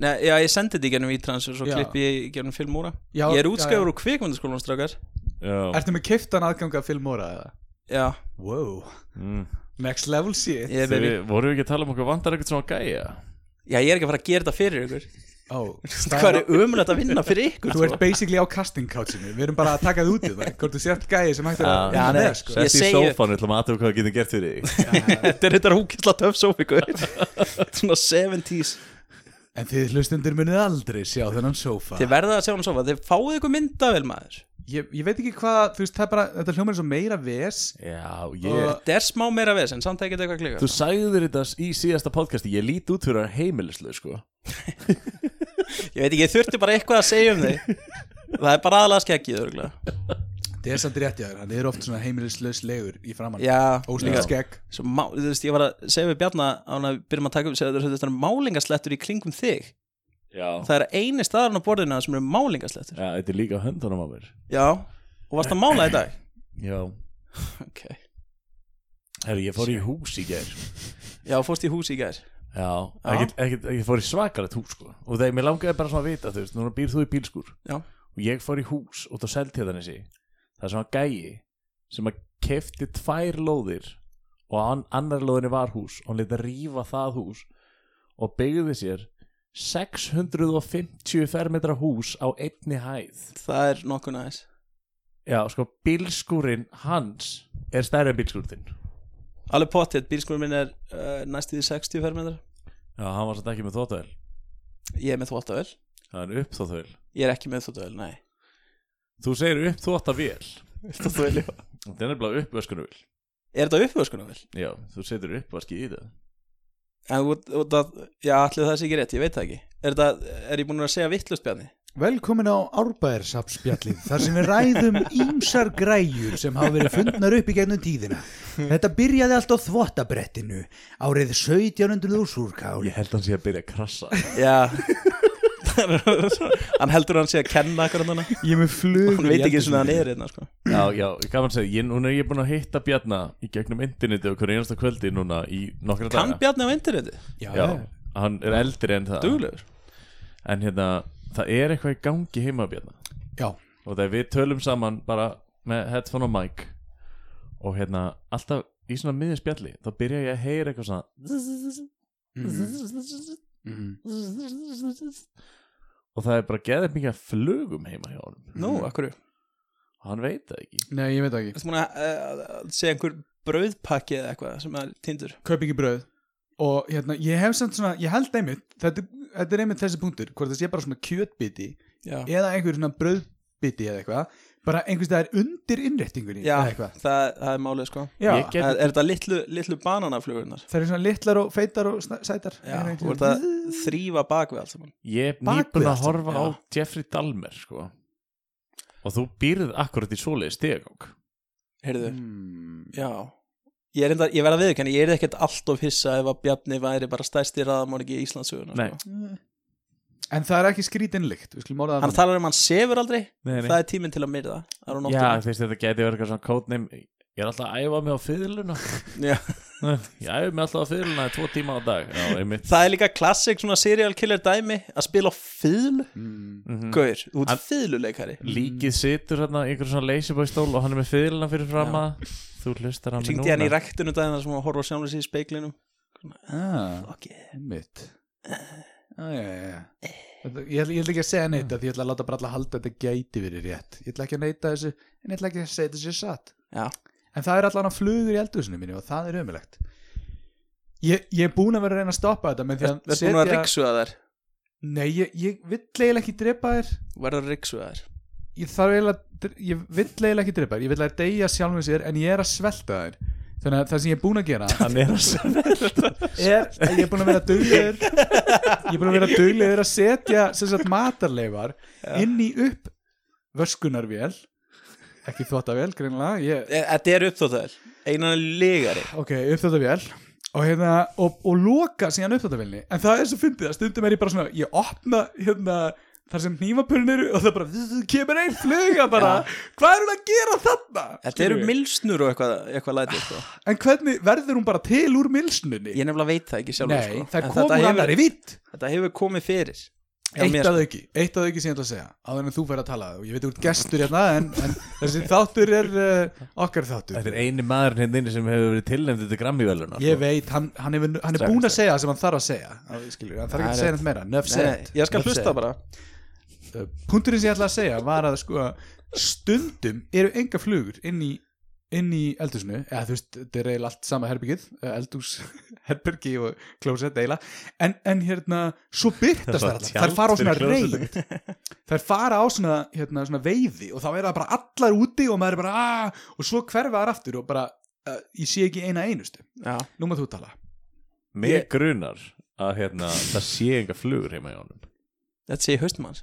Speaker 4: Nei, já, ég sendi þetta í gennum ítrans og svo
Speaker 3: Já.
Speaker 4: klippi ég í gennum filmúra
Speaker 3: Já,
Speaker 4: Ég er
Speaker 3: já, já.
Speaker 4: útskæður úr kvikmyndaskólanum strákar
Speaker 2: Já,
Speaker 3: Ertu með kiftan aðganga að filmóra eða?
Speaker 4: Já,
Speaker 3: Wow,
Speaker 2: mm.
Speaker 3: next level shit
Speaker 4: ég er
Speaker 2: Þegar
Speaker 4: baby
Speaker 2: við vorum við ekki að tala um okkur vandar ekkert svona gæja
Speaker 4: Já, ég er ekki að fara að gera þetta fyrir ykkur
Speaker 3: Ó,
Speaker 4: Hvað er umrætt að vinna fyrir ykkur?
Speaker 3: Þú ert basically á casting couchinu Við erum bara að taka það út í það Hvort þú sért gæði sem hægt er að
Speaker 4: Já, nei.
Speaker 3: með, sko.
Speaker 4: Ég
Speaker 2: Sett í
Speaker 4: segi-
Speaker 2: sófan, við ætlum að aðtöfa hvað við getum gert fyrir þig
Speaker 4: Þetta er þetta húkilla töf sófingur Svona 70s
Speaker 3: En þið hlustundur munið aldrei sjá þennan sófa
Speaker 4: Þið verða að sjá hann sofa, þið fáið ykkur myndavel maður
Speaker 3: ég, ég veit ekki hvað, þú veist, það er bara Þetta hljómar eins og meira ves
Speaker 2: Já, ég
Speaker 4: Þetta er smá meira ves en samt ekkert eitthvað klika
Speaker 2: Þú sagðir þetta í síðasta podcasti Ég lít út fyrir að heimilislu, sko
Speaker 4: Ég veit ekki, ég þurfti bara eitthvað að segja um þig Það er bara aðalega skeggið örgulega
Speaker 3: Það er samt rétt jáður, hann er oft svona heimilislaus legur í framann
Speaker 4: Já,
Speaker 3: Óslíka skegg
Speaker 4: Svo, má, þú veist, ég var að segja við Bjarna án að við byrjum að taka um segja þetta er málingaslettur í kringum þig
Speaker 2: Já,
Speaker 4: Það er eini staðarinn á borðinu sem eru málingaslettur
Speaker 2: Já þetta er líka á höndunum á mér
Speaker 4: Já, og varst að mála í dag
Speaker 2: Já
Speaker 4: okay.
Speaker 2: Herru, ég fór í hús í gær
Speaker 4: Já, fórst í hús í gær
Speaker 2: Já, ekkert, ekkert, ég fór í svakalegt hús, sko Og þegar mér langaði bara svona að vita, þú veist Núna býr þú í bílskur
Speaker 4: Já,
Speaker 2: og ég fór í hús út á Seltjarnanesi það er svona gæi sem að kefti tvær lóðir og an annar lóðinni var hús og hann leti að rífa það hús og byggði sér 650 fermetra hús á einni hæð
Speaker 4: það er nokkuð næs
Speaker 2: Já, sko, bílskúrin hans er stærri en bílskúrin þinn
Speaker 4: Alveg pottet, bílskurinn minn er uh, næstu í 60 fermetrar
Speaker 2: Já, hann var satt ekki með þóttavel
Speaker 4: Ég er með þvóttavel
Speaker 2: Það er upp þóttavel
Speaker 4: Ég er ekki með þvóttavel, nei
Speaker 2: Þú segir upp þóttavel
Speaker 4: Þvóttavel, já
Speaker 2: Þetta er nefnilega uppvöskunavel
Speaker 4: Er þetta uppvöskunarvel?
Speaker 2: Já, þú setur uppvaskið í það
Speaker 4: En út, út að, já, allir það sé ekki rétt, ég veit það ekki Er, þetta, er ég búin að segja vittlust bjarni?
Speaker 5: Velkomin á Árbæðarsapspjallið þar sem við ræðum ímsar græjur sem hafa verið fundnar upp í gegnum tíðina. Þetta byrjaði allt á þvottabrettinu árið 1700 úr súrkáli.
Speaker 2: Ég held hann sé að byrja að krassa
Speaker 4: Já Hann heldur að hann sé að kenna akkur hann
Speaker 5: Ég er með flug.
Speaker 4: Hann veit ekki svona hann er hérna sko.
Speaker 2: Já, já, gaman segja, ég, núna er ég búin að hitta Bjarna í gegnum interneti og hverju einasta kvöldi núna í nokkra
Speaker 4: Kann
Speaker 2: daga
Speaker 4: bjarni á interneti?
Speaker 5: Já,
Speaker 2: Já, hann er eldri en það
Speaker 4: Duglegur
Speaker 2: En hérna, það er eitthvað í gangi heima á Bjarna
Speaker 5: já.
Speaker 2: og þegar við tölum saman bara með headphone og mic og hérna alltaf í svona miðið spjalli þá byrja ég að heyra eitthvað svona
Speaker 3: Mm.
Speaker 4: Mhm.
Speaker 2: og það er bara geðið mikið af flugum heima hjá honum
Speaker 4: Nú, akkur Þú
Speaker 2: hann veit það ekki
Speaker 3: Nei, ég veit það ekki
Speaker 4: ert múin að uh, segja einhver brauðpakki eða eitthvað sem er tindur
Speaker 3: Kaup ekki bröð Og hérna, ég hef samt svona, ég held einmitt Þetta, þetta er einmitt þessi punktur Hvort það sé bara svona kjötbiti
Speaker 4: Já,
Speaker 3: Eða einhver svona bröðbiti eða eitthvað Bara einhvers það er undir innréttingunni eða
Speaker 4: já það,
Speaker 3: eitthvað.
Speaker 4: það er málið sko
Speaker 3: Já,
Speaker 2: ég
Speaker 4: Er,
Speaker 2: get,
Speaker 4: er þetta litlu, litlu bananaflugurnar?
Speaker 3: það eru svona litlar og feitar og sna- sætar
Speaker 4: Já,
Speaker 3: Einhvern
Speaker 4: þú ert
Speaker 3: veginn.
Speaker 4: að þrýfa bak við allt saman
Speaker 2: ég er
Speaker 3: Bak við
Speaker 2: nýbúin
Speaker 3: allt
Speaker 2: að horfa á
Speaker 4: saman,
Speaker 2: Jeffrey Dahmer sko og þú býrð akkurat í svoleiði stegagók
Speaker 4: Heyrðu,
Speaker 3: Mm.
Speaker 4: já Ég, er enda, ég verð að viðurkenna, ég er ekkert allt of hissa ef að Bjarni væri bara stærsti raðamorgi í Íslandsöguna
Speaker 2: Nei.
Speaker 4: sko.
Speaker 3: Hmm. En það er ekki skrítinlikt Við skulum orða
Speaker 4: Hann talar um að hann sefur aldrei
Speaker 2: Nei, nei.
Speaker 4: Það er tíminn til að myrða Það er á
Speaker 2: já
Speaker 4: nóttunni.
Speaker 2: þú veist þetta geti verið eitthvað svona codename ég er alltaf að æfa mig á fyrirluna
Speaker 4: Já.
Speaker 2: ég æfa mig alltaf á fyrirluna í tvo tíma á dag já, einmitt
Speaker 4: Það er líka klassik svona serial killer dæmi Að spila á fíðlu
Speaker 3: Hmm.
Speaker 2: Mhm.
Speaker 4: Gaur, út
Speaker 2: Hann-
Speaker 4: fíðluleikari
Speaker 2: Mm. líkið situr hérna í einhverjum svona leysibóistól og hann er með fyrirna fyrir fram að þú hlustar hann
Speaker 4: Ringdi hann hérna í ræktinu dæmi þar sem hann horfa á sjálfur sér í speiklinum
Speaker 3: ah.
Speaker 4: Ok,
Speaker 3: Einmitt ah, já, já, já. Þetta- Ég, ætla- ég ætla ekki að segja neitt af Því ég ætla að láta bara alla halda að þetta gæti verið rétt Ég ætla ekki að neita þessu En ég ætla ekki að segja þetta sér satt
Speaker 4: Já.
Speaker 3: En það er allan að flugur í eldhúsinu mínu Og það er ömulegt Ég, ég er búin að vera að reyna að stoppa þetta með því að
Speaker 4: verður búin að ríksuða þær
Speaker 3: Nei, ég, ég vill eiginlega ekki drepa þér
Speaker 4: Verður að ríksuða þær
Speaker 3: Ég þarf eiginlega dr- Ég vill eiginlega ekki drepa þér Ég vill að þær deyja sjálfum sér En ég er að svelta þær Þannig að það sem ég er búin að gera
Speaker 2: hann er að segja
Speaker 3: er að ég er búin að vera duglegur ég er búin að vera duglegur að setja sem sagt matarleifar inn í upp vörskunarvél ekki þvottavél greinlega ég,
Speaker 4: E- Þetta er uppþóttaður Einan er ligari
Speaker 3: ok, uppþvottavél og, hérna, og, og loka síðan uppþvottavélni en það er svo fyndið að stundum er ég bara svona ég opna hérna þar sem hnífapurinn eru og það bara vzz, kemur einn fluga bara hvað er hún að gera þarna
Speaker 4: Þetta eru
Speaker 3: Skilurðu? Ah,
Speaker 4: milsnur og eitthvað, eitthvað lætið sko.
Speaker 3: en hvernig verður hún bara til úr milsnunni
Speaker 4: Ég nefnilega veit það ekki sjálfur
Speaker 3: nei,
Speaker 4: sko.
Speaker 3: það
Speaker 4: En
Speaker 3: komur
Speaker 4: þetta,
Speaker 3: annar
Speaker 4: hefur,
Speaker 3: í vitt
Speaker 4: þetta hefur komið fyrir Já,
Speaker 3: Eitt
Speaker 4: mér, sko.
Speaker 3: að auki, eitt að auki sem ég ætla að segja áður en þú fær að tala og ég veit úr gestur hérna en, en þessi þáttur er uh, okkar þáttur
Speaker 2: þetta er eini maðurinn hérna inni sem hefur verið tilnæmd til sko. Grammy-veluna
Speaker 3: Ég veit, hann, hann, hefur, hann er búin að segja það sem hann þarf að segja Það skilur, hann þarf ekki að segja neitt meira Nöf
Speaker 4: Nei, nei,
Speaker 3: sett
Speaker 4: ég skal hlusta bara
Speaker 3: Punturinn sem ég ætla að segja var að sko stundum eru enga flugur inn í, inn í eldhúsinu eða þú veist, þetta er eiginlega allt sama herbyggið eh, eldhús, herbergi og klósett eiginlega, en, en hérna svo
Speaker 2: Það
Speaker 3: byrtast þær
Speaker 2: var
Speaker 3: allar,
Speaker 2: tjald
Speaker 3: þær fara á svona
Speaker 2: fyrir klósettið.
Speaker 3: reynd þær fara á svona, hérna, svona veiði og þá er það bara allar úti og maður er bara aah, og svo hverfa þær aftur og bara uh, ég sé ekki eina einustu,
Speaker 4: Já.
Speaker 3: nú maður þú tala
Speaker 2: mér grunar að hérna, það sé enga flugur heima hjá honum
Speaker 4: Þetta sé í haustum hans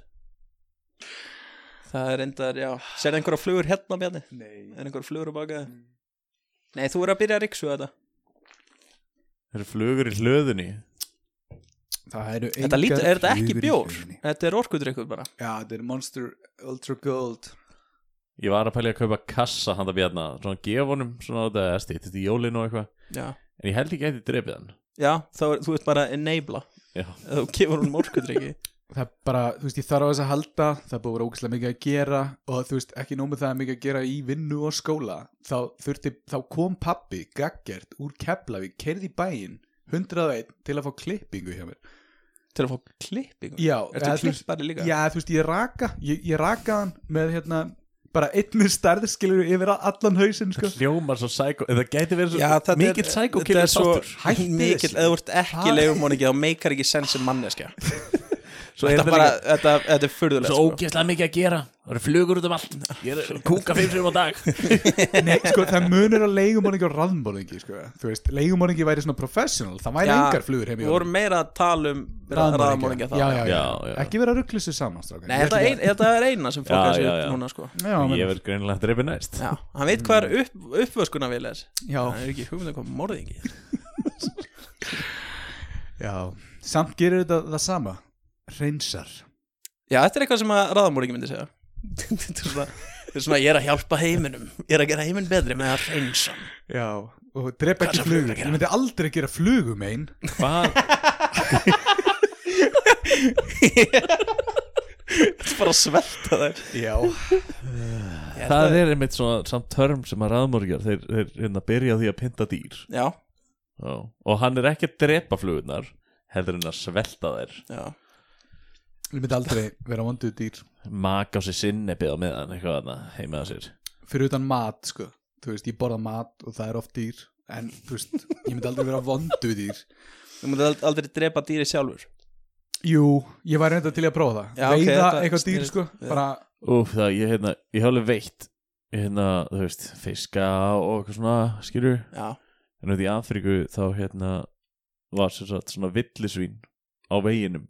Speaker 4: Það er endar, já Serðu einhverja flugur hérna bjarni?
Speaker 3: Nei,
Speaker 4: Er einhverja flugur á baka? Mm. Nei, þú er að byrja að ríksu þetta
Speaker 2: það eru flugur í hlöðunni
Speaker 3: það eru
Speaker 4: Þetta lítur,
Speaker 3: engar
Speaker 4: er þetta ekki
Speaker 3: flugur í
Speaker 4: bjór?
Speaker 3: fluginu.
Speaker 4: Þetta er orkudrykkur bara
Speaker 3: Já, þetta er Monster Ultra Gold
Speaker 2: ég var að pæli að kaupa kassa handa Bjarna svona gefa honum svona þetta eða stýttist í jólinu og eitthvað
Speaker 4: Já,
Speaker 2: en ég held ekki að ég drefið hann
Speaker 4: já þá er, þú ert bara að enabla
Speaker 2: já,
Speaker 4: Ef Þú gefur hún orkudrykki
Speaker 3: það er bara, þú veist, ég þarf á þess að halda það er búið að vera ógæslega mikið að gera og þú veist, ekki nómið það er mikið að gera í vinnu og skóla þá þurfti, þá kom pappi gaggert úr Keflavík, keirði í bæinn 101 til að fá klippingu hjá mér
Speaker 4: Til að fá klippingu
Speaker 3: Já,
Speaker 4: Ertu
Speaker 3: eða þú veist-
Speaker 4: klippari líka?
Speaker 3: Já, þú veist, ég raka ég, ég raka hann með hérna bara einnig stærð skilur yfir allan hausinn sko.
Speaker 2: hljómar svo psycho eða gæti verið svo
Speaker 4: Já, þetta
Speaker 2: mikill
Speaker 4: er-
Speaker 2: psycho
Speaker 4: þetta
Speaker 2: killer
Speaker 4: er svo
Speaker 2: þáttur
Speaker 3: Hættið
Speaker 4: mikill,
Speaker 3: þessu.
Speaker 4: eða þú ert ekki
Speaker 3: Ha?
Speaker 4: leifumóningi þá meikar ekki sens sem manneskja
Speaker 2: svo er
Speaker 4: þetta,
Speaker 2: þetta
Speaker 4: bara,
Speaker 2: líka
Speaker 4: þetta, þetta er furðulegt
Speaker 2: svo
Speaker 4: sko.
Speaker 2: ógeðslega mikið að gera það eru flugur út um allt ég er kúka fimm sem á dag
Speaker 3: Nei, sko, það munur að leigumorningi og raðmorningi sko. þú veist, leigumorningi væri svona professional það væri
Speaker 4: Já,
Speaker 3: engar flugur heim í
Speaker 4: við vorum meira að tala um
Speaker 3: raðmorningi
Speaker 4: raðmóningi þá
Speaker 3: já, já, já.
Speaker 2: Já, já.
Speaker 3: ekki vera að ruggla sér saman strákar.
Speaker 4: Nei,
Speaker 3: Ég
Speaker 4: þetta,
Speaker 3: ætla
Speaker 4: ein, þetta er eina sem
Speaker 2: Já,
Speaker 4: fólk að sér
Speaker 2: já,
Speaker 4: upp
Speaker 2: já.
Speaker 4: núna sko.
Speaker 3: ekki að- já,
Speaker 2: ég
Speaker 3: menn-
Speaker 2: verð greinilega að dreipi næst
Speaker 4: Já, hann veit hvað
Speaker 2: Mm.
Speaker 4: er upp, uppvöskuna vil er
Speaker 3: já,
Speaker 4: hann er ekki hugmynd um hvað morðingi er.
Speaker 3: já. samt gerir þetta það sama reynsar
Speaker 4: Já, þetta er eitthvað sem að raðamóringi myndi segja Þetta er svona, þetta er svona, ég er að hjálpa heiminum Ég er að gera heiminn betri með að reynsa hann.
Speaker 3: já, og drepa
Speaker 4: Hvað
Speaker 3: ekki
Speaker 4: er flugur að
Speaker 3: flugur
Speaker 4: gera?
Speaker 3: ég myndi aldrei gera flugum einn
Speaker 2: hvað
Speaker 4: Þetta er bara að svelta þær
Speaker 3: já,
Speaker 2: það er einmitt svona samt törm sem að raðmörgjar þeir, þeir hérna, byrja á því að pynta dýr
Speaker 4: Já,
Speaker 2: Já. og hann er ekki að drepa flugurnar heldur en að svelta þær
Speaker 4: já
Speaker 3: ég myndi aldrei vera vonduð dýr
Speaker 2: maka á sig sinnebið á meðan eitthvað þarna heima að sér
Speaker 3: fyrir utan mat, sko þú veist, ég borða mat og það er oft dýr en, þú veist, ég myndi aldrei vera vonduð dýr
Speaker 4: Þú mútið ald- aldrei drepa dýri sjálfur
Speaker 3: Jú, ég væri reynda til í að prófa það
Speaker 4: Já, ok,
Speaker 3: Veiða
Speaker 4: þetta
Speaker 3: eitthvað dýr
Speaker 4: snerist-
Speaker 3: sko
Speaker 4: já.
Speaker 3: bara,
Speaker 2: Úf, það, ég, hérna, ég hef alveg veitt hérna, þú veist, fiska og eitthvað svona, skilur
Speaker 4: Já,
Speaker 2: en auðvitað í Afríku þá hérna var sem sagt svona villisvín á veginum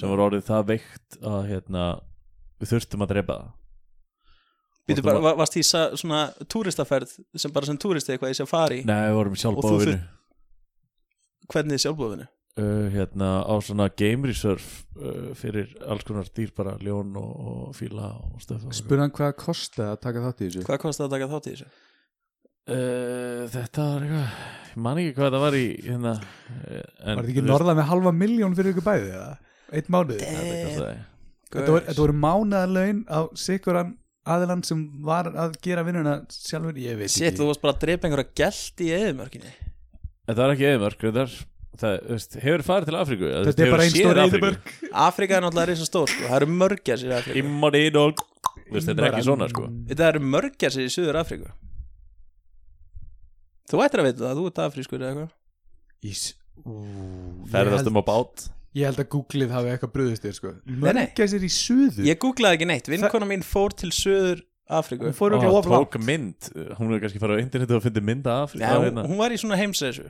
Speaker 2: sem var orðið það veikt að hérna við þurftum að drepa það Vorum
Speaker 4: Býtu bara,
Speaker 2: að-
Speaker 4: var, varst því sa- svona túristaferð sem bara sem túristi eitthvað í safari
Speaker 2: Nei, við vorum
Speaker 4: Og þú
Speaker 2: sjálfbóðinu
Speaker 4: hvernig þið sjálfbóðinu
Speaker 2: uh, hérna á svona game reserve uh, fyrir alls konar dýr bara ljón og, og fíla og stöð
Speaker 3: spurðan hvað kostaði að taka þátt í þessu
Speaker 4: Hvað kostið að taka þátt í þessu?
Speaker 2: Uh, þetta var eitthvað ég man ekki hvað þetta var í hérna, en,
Speaker 3: Var þetta ekki norðað með halva miljón fyrir ykkur bæði eða? Eitt mánuð
Speaker 4: Eh.
Speaker 2: norð
Speaker 3: Þetta voru, þetta voru mánaðarlaun á sikuran aðilann sem var að gera vinnuna sjálfur, ég veit
Speaker 4: Sitt,
Speaker 3: ekki
Speaker 4: þú varst bara að drepa einhverja gælt í eðumörkinni
Speaker 2: þetta var ekki eðimörk þetta er, það, þú veist, hefur farið til Afríku Þú veist,
Speaker 3: Þetta er
Speaker 2: hefurðu
Speaker 3: bara einn
Speaker 2: séð
Speaker 3: stór
Speaker 2: Afríku?
Speaker 3: eðimörk
Speaker 4: Afrika er náttúrulega reysa stór sko. Það eru mörgæsir í Afrika
Speaker 2: Immanid og Þú veist, Þetta er ekki svona sko
Speaker 4: Þetta eru mörgæsir í Suður Afriku Þú ættir að veita það, þú ert afrískur eða eitthvað
Speaker 3: Ís Ú,
Speaker 2: Ferðast um á bát
Speaker 3: Ég held að Googlið hafi eitthvað bröðust þér sko
Speaker 4: nei.
Speaker 3: Mörgæsir í suðu
Speaker 4: Ég googlaði ekki neitt, vinkona mín fór til Ah, Suður Afriku
Speaker 3: Hún fór
Speaker 2: Og
Speaker 3: örugglega
Speaker 2: hann
Speaker 3: of langt.
Speaker 2: tók mynd Hún er kannski farið á internetu og fundið mynd af Afríku
Speaker 4: Já,
Speaker 2: Það er
Speaker 4: hún,
Speaker 2: hérna-
Speaker 4: hún var í svona heimsreisu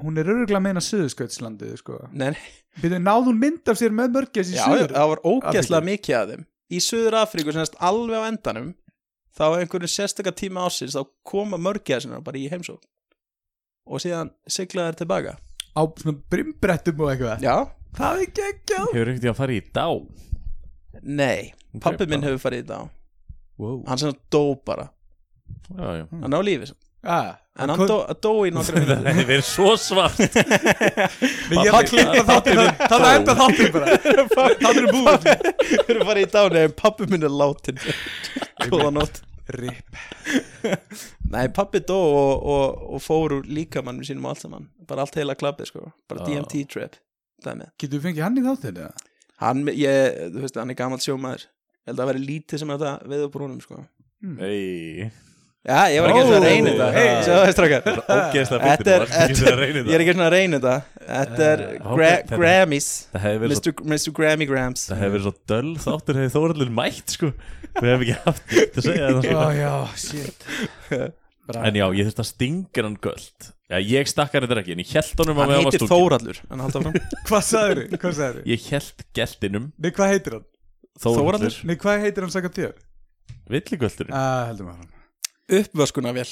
Speaker 3: Hún er örgulega að meina suðuskautslandið sko
Speaker 4: Nei, nei,
Speaker 3: Býtum, náð hún mynd af sér með mörgæs í
Speaker 4: já, já,
Speaker 3: suður
Speaker 4: það var ógeðslega mikið af þeim Í Suður Afriku, semast alveg á endanum Þá er einhverju sérstaka tíma ásins Þá koma mörgæsina bara í heimsók Og síðan siglaði þær tilbaka
Speaker 3: Á svona brimbrettum og eitthvað
Speaker 4: Já,
Speaker 3: Það er geggjað
Speaker 2: Hefur einhvern tíðan farið í dá
Speaker 4: nei, pappi minn hefur farið í þetta á
Speaker 2: wow.
Speaker 4: Hann sem dó bara,
Speaker 2: já, já.
Speaker 4: hann er á lífi samt.
Speaker 3: ah,
Speaker 4: En hann
Speaker 3: kom-
Speaker 4: dó, dó í nokkru
Speaker 2: Það hefði verið svo svart
Speaker 3: Ég ætla að klippa þáttinn Það er enda þáttinn bara
Speaker 4: Það er búið Það er farið í dánu en pappi minn er látin Góða nótt
Speaker 3: Rip
Speaker 4: Nei, pappi dó og, og, og fór úr líkamannum sínum og allt saman Bara allt heila klappið sko Bara
Speaker 2: Já.
Speaker 4: DMT trip Dæmi.
Speaker 3: Getur við fengið hann í þáttinn eða?
Speaker 4: Hann, ég, þú veist, hann er gamall sjómaður Ég held að vera lítið sem er þetta veður brúnum sko
Speaker 2: Nei
Speaker 4: Já, ég var ekki
Speaker 3: Ó,
Speaker 4: svona að reyna þetta
Speaker 2: hey.
Speaker 4: Sjá það, strákar
Speaker 2: Ógeðslega
Speaker 4: Þetta
Speaker 2: fyndið,
Speaker 4: er,
Speaker 2: þú varst ekki
Speaker 4: þetta
Speaker 2: sem að reyna
Speaker 4: ég er
Speaker 2: þetta.
Speaker 4: ekki svona að reyna þetta Þetta er
Speaker 2: Uh,
Speaker 4: gra
Speaker 2: ok, þetta-
Speaker 4: Grammys
Speaker 2: Það hefði verið svo
Speaker 4: Mr. Mr. Grammy Grams
Speaker 2: Það hefði verið svo döll þáttur hefði Þóraldur mætt sko Við hefum ekki haft neitt að segja það
Speaker 3: Ó
Speaker 2: sko.
Speaker 3: Ah, já, shit
Speaker 2: En já, ég þurfti að stinga hann göld Já, ég stakkar þetta ekki En ég held honum að
Speaker 4: Hann
Speaker 2: við
Speaker 4: heitir
Speaker 2: stúlku.
Speaker 4: Þórallur En halda fram
Speaker 3: Hvað sagður þið? Hvað sagður þið?
Speaker 2: Ég held geltinum
Speaker 3: Nei, hvað heitir hann?
Speaker 2: Þóraldur
Speaker 3: Nei, hvað heitir hann saka þér?
Speaker 2: Villigöldurinn
Speaker 3: Ah, heldum að hann
Speaker 4: Uppvöskuna vel